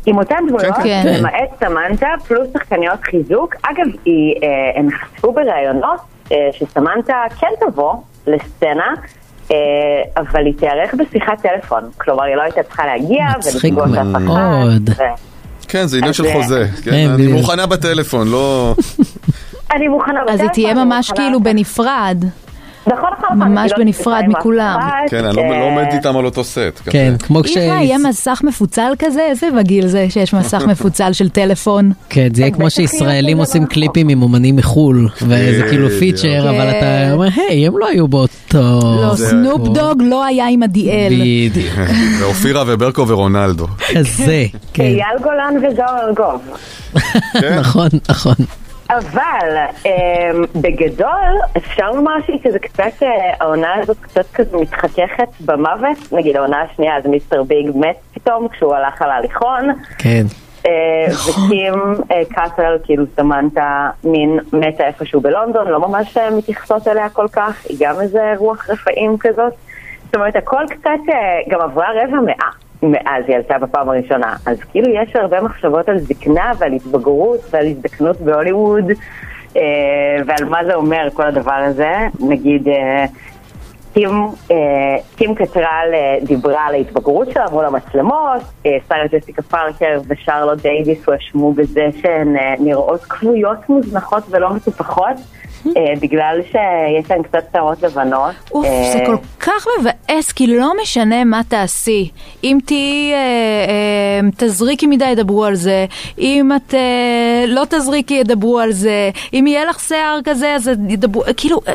Q: עם אותן דמויות,
D: כן, כן.
Q: למעט סמנטה, פלוס שחקניות חיזוק. אגב, היא, אה, הם חשפו בראיונות אה, שסמנטה כן תבוא לסצנה. אה, אבל היא תיארך בשיחת טלפון, כלומר היא לא הייתה צריכה להגיע
D: מצחיק
Q: ולפגוש אף אחד.
D: מאוד.
Q: ו-
C: כן, זה עניין
Q: אז,
C: של
Q: אה,
C: חוזה.
D: כן,
C: כן, אני
D: בדיוק.
C: מוכנה בטלפון, לא...
E: אוקיי.
Q: אני מוכנה
E: אז היא תהיה ממש כאילו בנפרד.
Q: נכון, נכון.
E: ממש בנפרד מכולם.
C: כן, אני לא לא עומד איתם על אותו סט.
D: כן, כמו כש...
E: אימא, יהיה מסך מפוצל כזה? איזה מגעיל זה שיש מסך מפוצל של טלפון.
D: כן, זה יהיה כמו שישראלים עושים קליפים עם אומנים מחול, וזה
C: אה,
D: כאילו
E: בדיוק.
D: פיצ'ר, אבל
E: כן.
D: אתה אומר, היי, הם לא היו באותו...
E: לא, סנופ דוג לא היה עם עדיאל.
D: בדיוק.
C: ואופירה וברקו ורונלדו.
D: כזה, כן.
Q: אייל גולן וגאו אלגוב.
C: כן?
D: נכון, נכון.
Q: אבל אמ, בגדול, אפשר לומר שהיא כזה קצת, אה, העונה הזאת קצת כזה מתחככת במוות. נגיד העונה השנייה, אז מיסטר ביג מת פתאום כשהוא הלך על ההליכון.
D: כן.
Q: אה, וקים אה, קאסל, כאילו סמנתה מין מתה איפשהו בלונדון, לא ממש אה, מתייחסות אליה כל כך, היא גם איזה רוח רפאים כזאת. זאת אומרת, הכל קצת אה, גם עברה רבע מאה מאז היא עלתה בפעם הראשונה. אז כאילו יש הרבה מחשבות על זקנה ועל התבגרות ועל הזדקנות בהוליווד, אה, ועל מה זה אומר כל הדבר הזה. נגיד, אה, קים, אה, קים קטרל אה, דיברה על ההתבגרות שלה מול המצלמות, אה, שרה ג'סיקה פארקר ושרלוט דייוויס הואשמו בזה שהן אה, נראות כבויות מוזנחות ולא מטופחות. אה, בגלל שיש להן קצת שערות לבנות.
E: אוף, זה
Q: אה,
E: כל כך מבאס, כי לא משנה מה תעשי. אם תהיי, אה, אה, תזריקי מדי, ידברו על זה. אם את אה, לא תזריקי, ידברו על זה. אם יהיה לך שיער כזה, אז ידברו... כאילו, אה,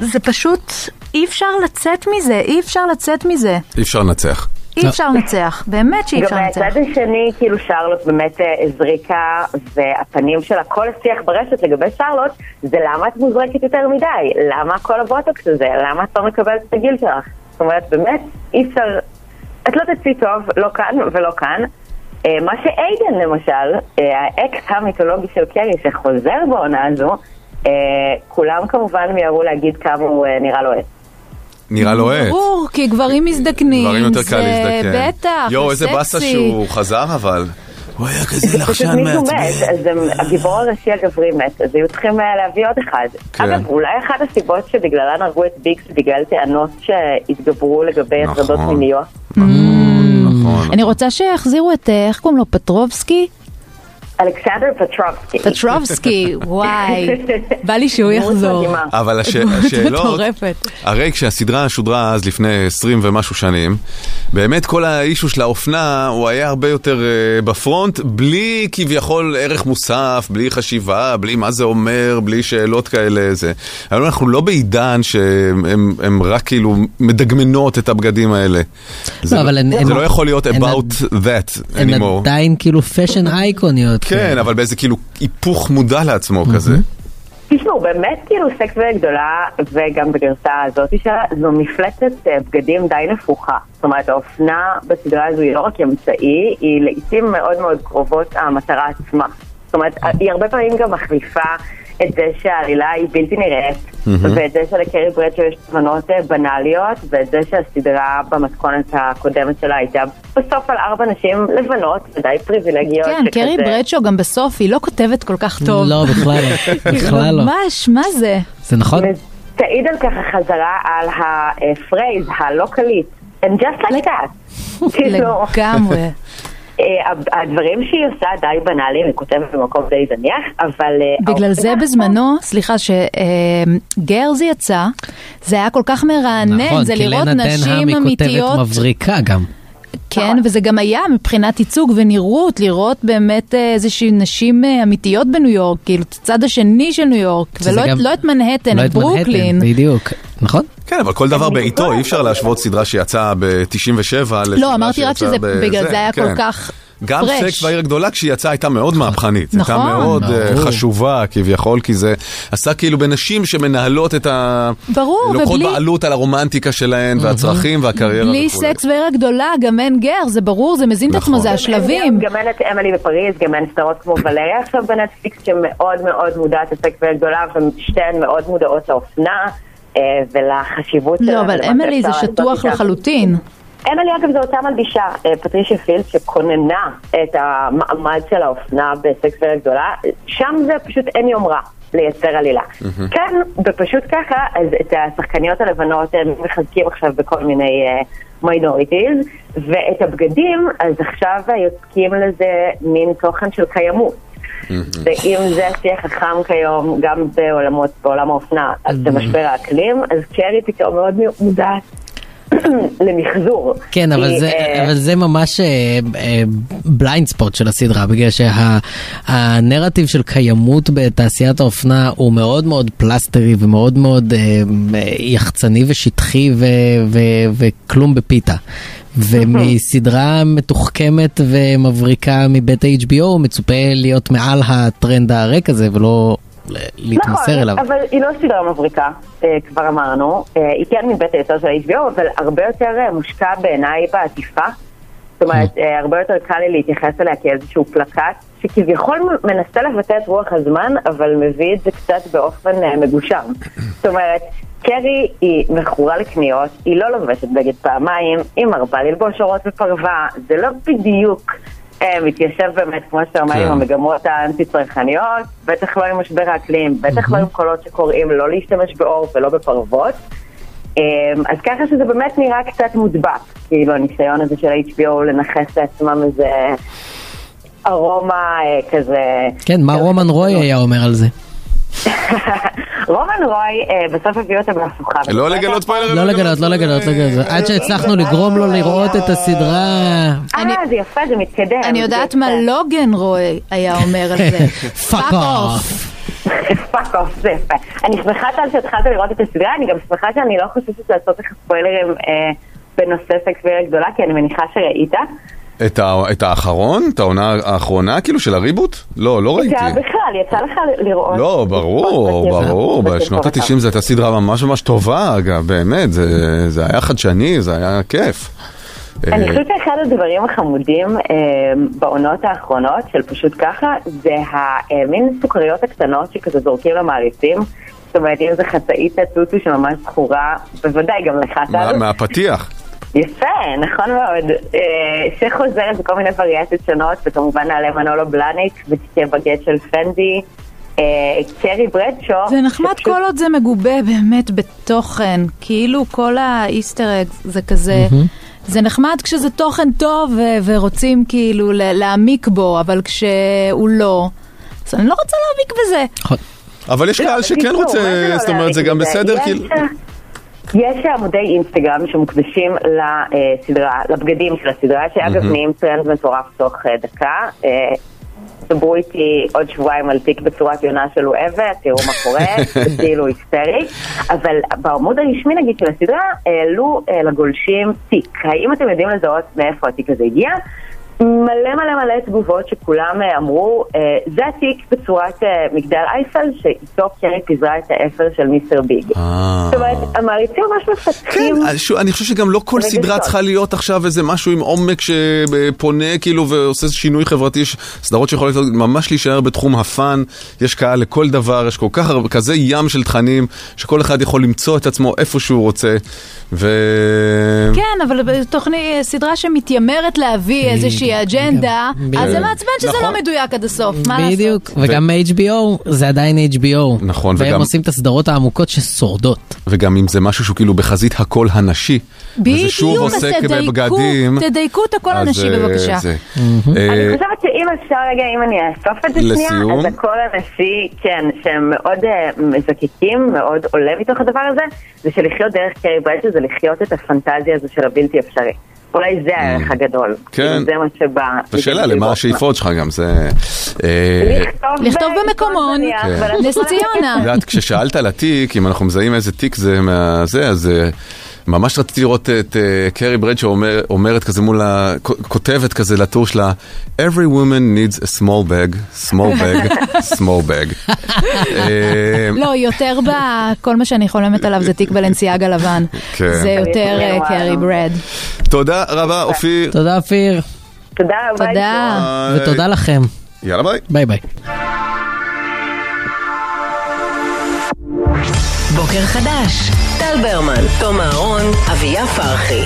E: זה פשוט... אי אפשר לצאת מזה, אי אפשר לצאת מזה.
C: אי אפשר לנצח.
E: אי אפשר לנצח, באמת שאי אפשר
Q: גם
E: לנצח.
Q: מהצד השני, כאילו שרלוט באמת אה, הזריקה, והפנים שלה, כל השיח ברשת לגבי שרלוט, זה למה את מוזרקת יותר מדי? למה כל הבוטוקס הזה? למה את לא מקבלת את הגיל שלך? זאת אומרת, באמת, אי אפשר... את לא תצאי טוב, לא כאן ולא כאן. אה, מה שאיידן למשל, אה, האקס המיתולוגי של קרי, שחוזר בעונה הזו, אה, כולם כמובן מיהרו להגיד כמה הוא אה, נראה לוהט.
C: נראה לו עט.
E: ברור, כי גברים מזדקנים,
C: דברים יותר קל להזדקן.
E: זה בטח,
C: יואו, איזה
E: זה
C: באסה
E: סקסי.
C: שהוא חזר אבל. הוא היה כזה
Q: פשוט
C: לחשן
Q: מישהו
C: מעצבן.
Q: מת, אז הם- הגיבור הראשי הגברי מת, אז היו צריכים אה, להביא עוד אחד.
C: כן.
Q: אגב, אולי אחת הסיבות שבגללן הרגו את ביקס בגלל טענות שהתגברו לגבי הטרדות מיניות.
E: אני רוצה שיחזירו את, אה, איך קוראים לו, פטרובסקי?
Q: אלכסנדר פטרובסקי.
E: פטרובסקי, וואי. בא לי שהוא יחזור.
C: אבל הש-
E: דמות
C: השאלות,
E: מטורפת.
C: הרי כשהסדרה שודרה אז לפני 20 ומשהו שנים, באמת כל האישו של האופנה הוא היה הרבה יותר אה, בפרונט, בלי כביכול ערך מוסף, בלי חשיבה, בלי מה זה אומר, בלי שאלות כאלה זה. היום אנחנו לא בעידן שהן רק כאילו מדגמנות את הבגדים האלה. זה,
D: לא, אבל הן-
C: זה
D: הן-
C: לא יכול להיות
D: הן
C: about that
D: הן
C: anymore.
D: עדיין כאילו פאשן אייקוניות.
C: כן, אבל באיזה כאילו היפוך מודע לעצמו כזה.
Q: תשמעו, באמת כאילו סקס גדולה, וגם בגרסה הזאת שלה, זו מפלצת אה, בגדים די נפוחה. זאת אומרת, האופנה בסדרה הזו היא לא רק אמצעי, היא לעיתים מאוד מאוד קרובות המטרה עצמה. זאת אומרת, היא הרבה פעמים גם מחליפה את זה שהעלילה היא בלתי נראית,
P: מהמם.
E: Mm-hmm.
Q: ואת זה שלקרי ברדשו יש תובנות אה, בנאליות, ואת זה שהסדרה במתכונת הקודמת שלה הייתה בסוף על ארבע נשים לבנות, ודי פריבילגיות.
E: כן, קרי
Q: שכזה-
E: ברדשו גם בסוף, היא לא כותבת כל כך טוב.
D: לא, בכלל לא. בכלל לא.
E: ממש, מה
Q: אה,
E: זה?
D: זה נכון?
Q: תעיד על כך החזרה על הפרייז הלא קליט, and just like that. כאילו,
E: לגמרי.
Q: אה, הב- הדברים שהיא עושה די בנאליים, היא כותבת במקום די זניח, אבל... אה,
E: בגלל
Q: העובדה-
E: זה בזמנו, סליחה, שגרזי יצא, זה היה כל כך מרענן,
D: נכון,
E: כן, זה
D: כי
E: לראות
D: לנה דנהם
E: נשים
D: היא כותבת
E: אמיתיות.
D: מבריקה גם.
E: כן, וזה גם היה מבחינת ייצוג ונראות, לראות באמת אה, איזושהי נשים אה, אמיתיות בניו יורק, כאילו, את הצד השני של ניו יורק,
D: שזה
E: ולא את-
D: גם-
E: לא את מנהטן,
D: לא
E: את ברוקלין.
D: מנהטן, בדיוק, נכון?
C: כן, אבל כל דבר בעיתו, אי אפשר להשוות סדרה שיצאה ב-97 לסדרה
E: לא, אמרתי רק
C: שיצאה
E: שזה
C: בזה,
E: בגלל זה היה
C: כן.
E: כל כך
C: גם
E: fresh.
C: סקס בעיר הגדולה כשהיא יצאה הייתה מאוד מהפכנית. נכון.
E: נכון.
C: הייתה מאוד אה,
E: ברור.
C: חשובה כביכול, כי זה עשה כאילו בנשים שמנהלות את ה...
E: ברור,
C: לוקחות
E: ובלי-
C: בעלות על הרומנטיקה שלהן והצרכים והקריירה
E: בלי
C: וכו'.
E: סקס והעיר הגדולה, גם אין גר, זה ברור, זה מזין את עצמו, זה השלבים.
Q: נכון. גם אין את אמילי בפריז, גם אין סדרות כמו ולריה עכשיו בנטפליקס שמאוד מאוד מודעת לסקס וגדולה, ושתיהן מאוד מודעות לאופנה אה, ולחשיבות
E: לא,
Q: שלה
E: אבל
Q: ולמה
E: אמילי זה
Q: שאפשר לעשות
E: שטוח
Q: איתה.
E: לחלוטין.
Q: אמילי אגב זו אותה מלבישה, אה, פטרישיה פילד, שכוננה את המעמד של האופנה בסקס וארץ גדולה, שם זה פשוט אין יומרה לייצר עלילה.
P: מהמם.
Q: כאן, בפשוט ככה, אז את השחקניות הלבנות הם מחזקים עכשיו בכל מיני מיינוריטיז, ואת הבגדים, אז עכשיו יוצקים לזה מין תוכן של קיימות. ואם זה השיח החם כיום, גם בעולמות, בעולם האופנה, אז
D: Mm-hmm.
Q: במשבר האקלים, אז קרי פתאום מאוד מודעת למחזור.
D: כן, אבל
Q: היא,
D: זה,
Q: אה,
D: אבל זה ממש אה, בליינד ספוט של הסדרה, בגלל שהנרטיב של קיימות בתעשיית האופנה הוא מאוד מאוד פלסטרי ומאוד מאוד אה, אה, יחצני ושטחי ו, ו, וכלום בפיתה. ומסדרה מתוחכמת ומבריקה מבית ה-HBO מצופה להיות מעל הטרנד הריק הזה ולא ל- להתמסר אליו.
Q: נכון, אבל היא לא סדרה מבריקה, אה, כבר אמרנו. אה, היא כן מבית היסוד של ה-HBO, אבל הרבה יותר אה, מושקע בעיניי בעטיפה. זאת אומרת, אה, הרבה יותר קל לי להתייחס אליה כאיזשהו פלקט, שכביכול מ- מנסה לבטא את רוח הזמן, אבל מביא את זה קצת באופן אה, מגושם. זאת אומרת, קרי היא מכורה לקניות, היא לא לובשת בגד פעמיים, היא מרבה ללבוש אורות ופרווה, זה לא בדיוק אה, מתיישב באמת, כמו שאתה אומר,
R: כן.
Q: עם המגמות האנטי-צרכניות, בטח לא עם משבר האקלים, בטח לא עם קולות שקוראים לא להשתמש באור ולא בפרוות. אמ, אז ככה שזה באמת נראה קצת מודבק, כאילו הניסיון הזה של ה-HBO לנכס לעצמם איזה ארומה אה, כזה.
D: כן, מה רומן רוי היה אומר על זה?
Q: רומן רוי אה, בסוף הביא אותה בהפוכה.
C: לא לגלות ספוילרים.
D: לא לגלות, לא לגלות, לא לגלות. עד שהצלחנו לגרום לו לראות את הסדרה...
E: אה,
Q: זה יפה, זה מתקדם.
E: אני יודעת מה לוגן רואה היה אומר על זה.
D: פאק אוף.
Q: פאק אוף, זה יפה. אני שמחה טל שהתחלת לראות את הסדרה, אני גם שמחה שאני לא חוששת לעשות לך ספוילרים אה, בנושא סקספיר הגדולה, כי אני מניחה שראית.
C: את ה- את האחרון? את העונה האחרונה כאילו של הריבוט? לא, לא ראיתי.
Q: זה בכלל, יצא לך לראות.
C: לא, ברור, ברור, בשנות ה-90 זו הייתה סדרה ממש ממש טובה, אגב, באמת, זה- זה היה חדשני, זה היה כיף.
Q: אני
C: אה,
Q: חושבת שאחד הדברים החמודים אה, בעונות האחרונות של פשוט ככה, זה המין סוכריות הקטנות שכזה זורקים למעריצים. זאת אומרת, אם זה חצאית הטוטו שממש זכורה, בוודאי גם לך
C: מה-
Q: טל.
C: מהפתיח.
Q: יפה, נכון מאוד. אה, שחוזרת בכל מיני וריאציות שונות, וכמובן נעלה מנולו בלניק ותיקי בגט של פנדי. אה, קרי ברדשו.
E: זה נחמד כל עוד זה מגובה באמת בתוכן, כאילו כל האיסטר אג זה כזה,
Q: מהמם.
E: זה נחמד כשזה תוכן טוב ו- ורוצים כאילו ל- להעמיק בו, אבל כשהוא לא, אז אני לא רוצה להעמיק בזה.
C: אבל יש קהל שכן רוצה, זאת אומרת, זה גם בסדר,
Q: יש-
C: כאילו...
Q: יש עמודי אינסטגרם שמוקדשים לסדרה, לבגדים של הסדרה, שאגב
R: מהמם.
Q: נהיים טרנד מטורף תוך אה, דקה. אה, דברו איתי עוד שבועיים על תיק בצורת יונה של אוהבת, תראו מה קורה, כאילו היסטרי. אבל בעמוד הרשמי נגיד של הסדרה העלו אה, לגולשים תיק. האם אתם יודעים לזהות מאיפה התיק הזה הגיע? מלא מלא מלא תגובות שכולם אה, אמרו, אה, זה התיק בצורת אה, מגדל אייפל שאיתו קרי פיזרה את האפר של מיסטר ביג.
C: כאילו.
Q: זאת אומרת, המעריצים ממש מפתחים...
C: כן, אז שוב, אני חושב שגם לא כל
Q: רגשות.
C: סדרה צריכה להיות עכשיו איזה משהו עם עומק שפונה כאילו ועושה שינוי חברתי, יש סדרות שיכולות להיות- ממש להישאר בתחום הפאן, יש קהל לכל דבר, יש כל כך הרבה, כזה ים של תכנים, שכל אחד יכול למצוא את עצמו איפה שהוא רוצה, ו...
E: כן, אבל תוכנית, סדרה שמתיימרת להביא איזושהי אג'נדה, אז זה
D: בדיוק.
E: מעצבן שזה
D: נכון.
E: לא מדויק עד הסוף, מה לעשות?
D: בדיוק, וגם HBO זה עדיין HBO.
C: נכון,
D: והם
C: וגם-
D: עושים את הסדרות העמוקות ששורדות.
C: וגם אם זה משהו שהוא כאילו בחזית הקול הנשי, וזה שוב
E: בדיוק, אז
C: עוסק
E: תדייקו,
C: בבגדים,
E: תדייקו את הכל
C: אז,
E: הנשי
C: אה,
E: בבקשה.
C: זה.
Q: אני
C: אה,
Q: חושבת שאם אפשר רגע, אם אני אאסוף את זה שנייה,
C: לסיום.
Q: אז הקול הנשי, כן, שהם מאוד אה, מזקקים, מאוד עולה מתוך הדבר הזה, זה שלחיות דרך קרי ברדשו זה לחיות את הפנטזיה הזו של הבלתי אפשרי. אולי זה הערך הגדול.
C: Mm.
Q: כאילו,
C: כן.
Q: זה מה שבא...
C: השאלה למה השאיפות שלך גם, זה... אה,
E: לכתוב במקומון,
C: כן.
E: נס
C: את
E: ציונה.
C: יודעת, כששאלת על התיק, אם אנחנו מזהים איזה תיק זה מה... זה, אז אה, ממש רציתי לראות את אה, קרי ברדשו אומר, אומרת כזה מול ה... כ- כותבת כזה לטור שלה, Every woman needs a small bag, small bag, small bag. אה,
E: לא, יותר ב... כל מה שאני חולמת עליו זה תיק בלנסיאגה לבן.
C: כן.
E: זה יותר אה, קרי ברד.
C: תודה רבה, אופיר.
D: תודה אופיר.
Q: תודה רבה.
E: תודה.
C: ביי.
D: ותודה לכם.
C: יאללה ביי.
D: ביי ביי.
B: בוקר חדש, טל ברמן, תום אהרון, אביה פרחי.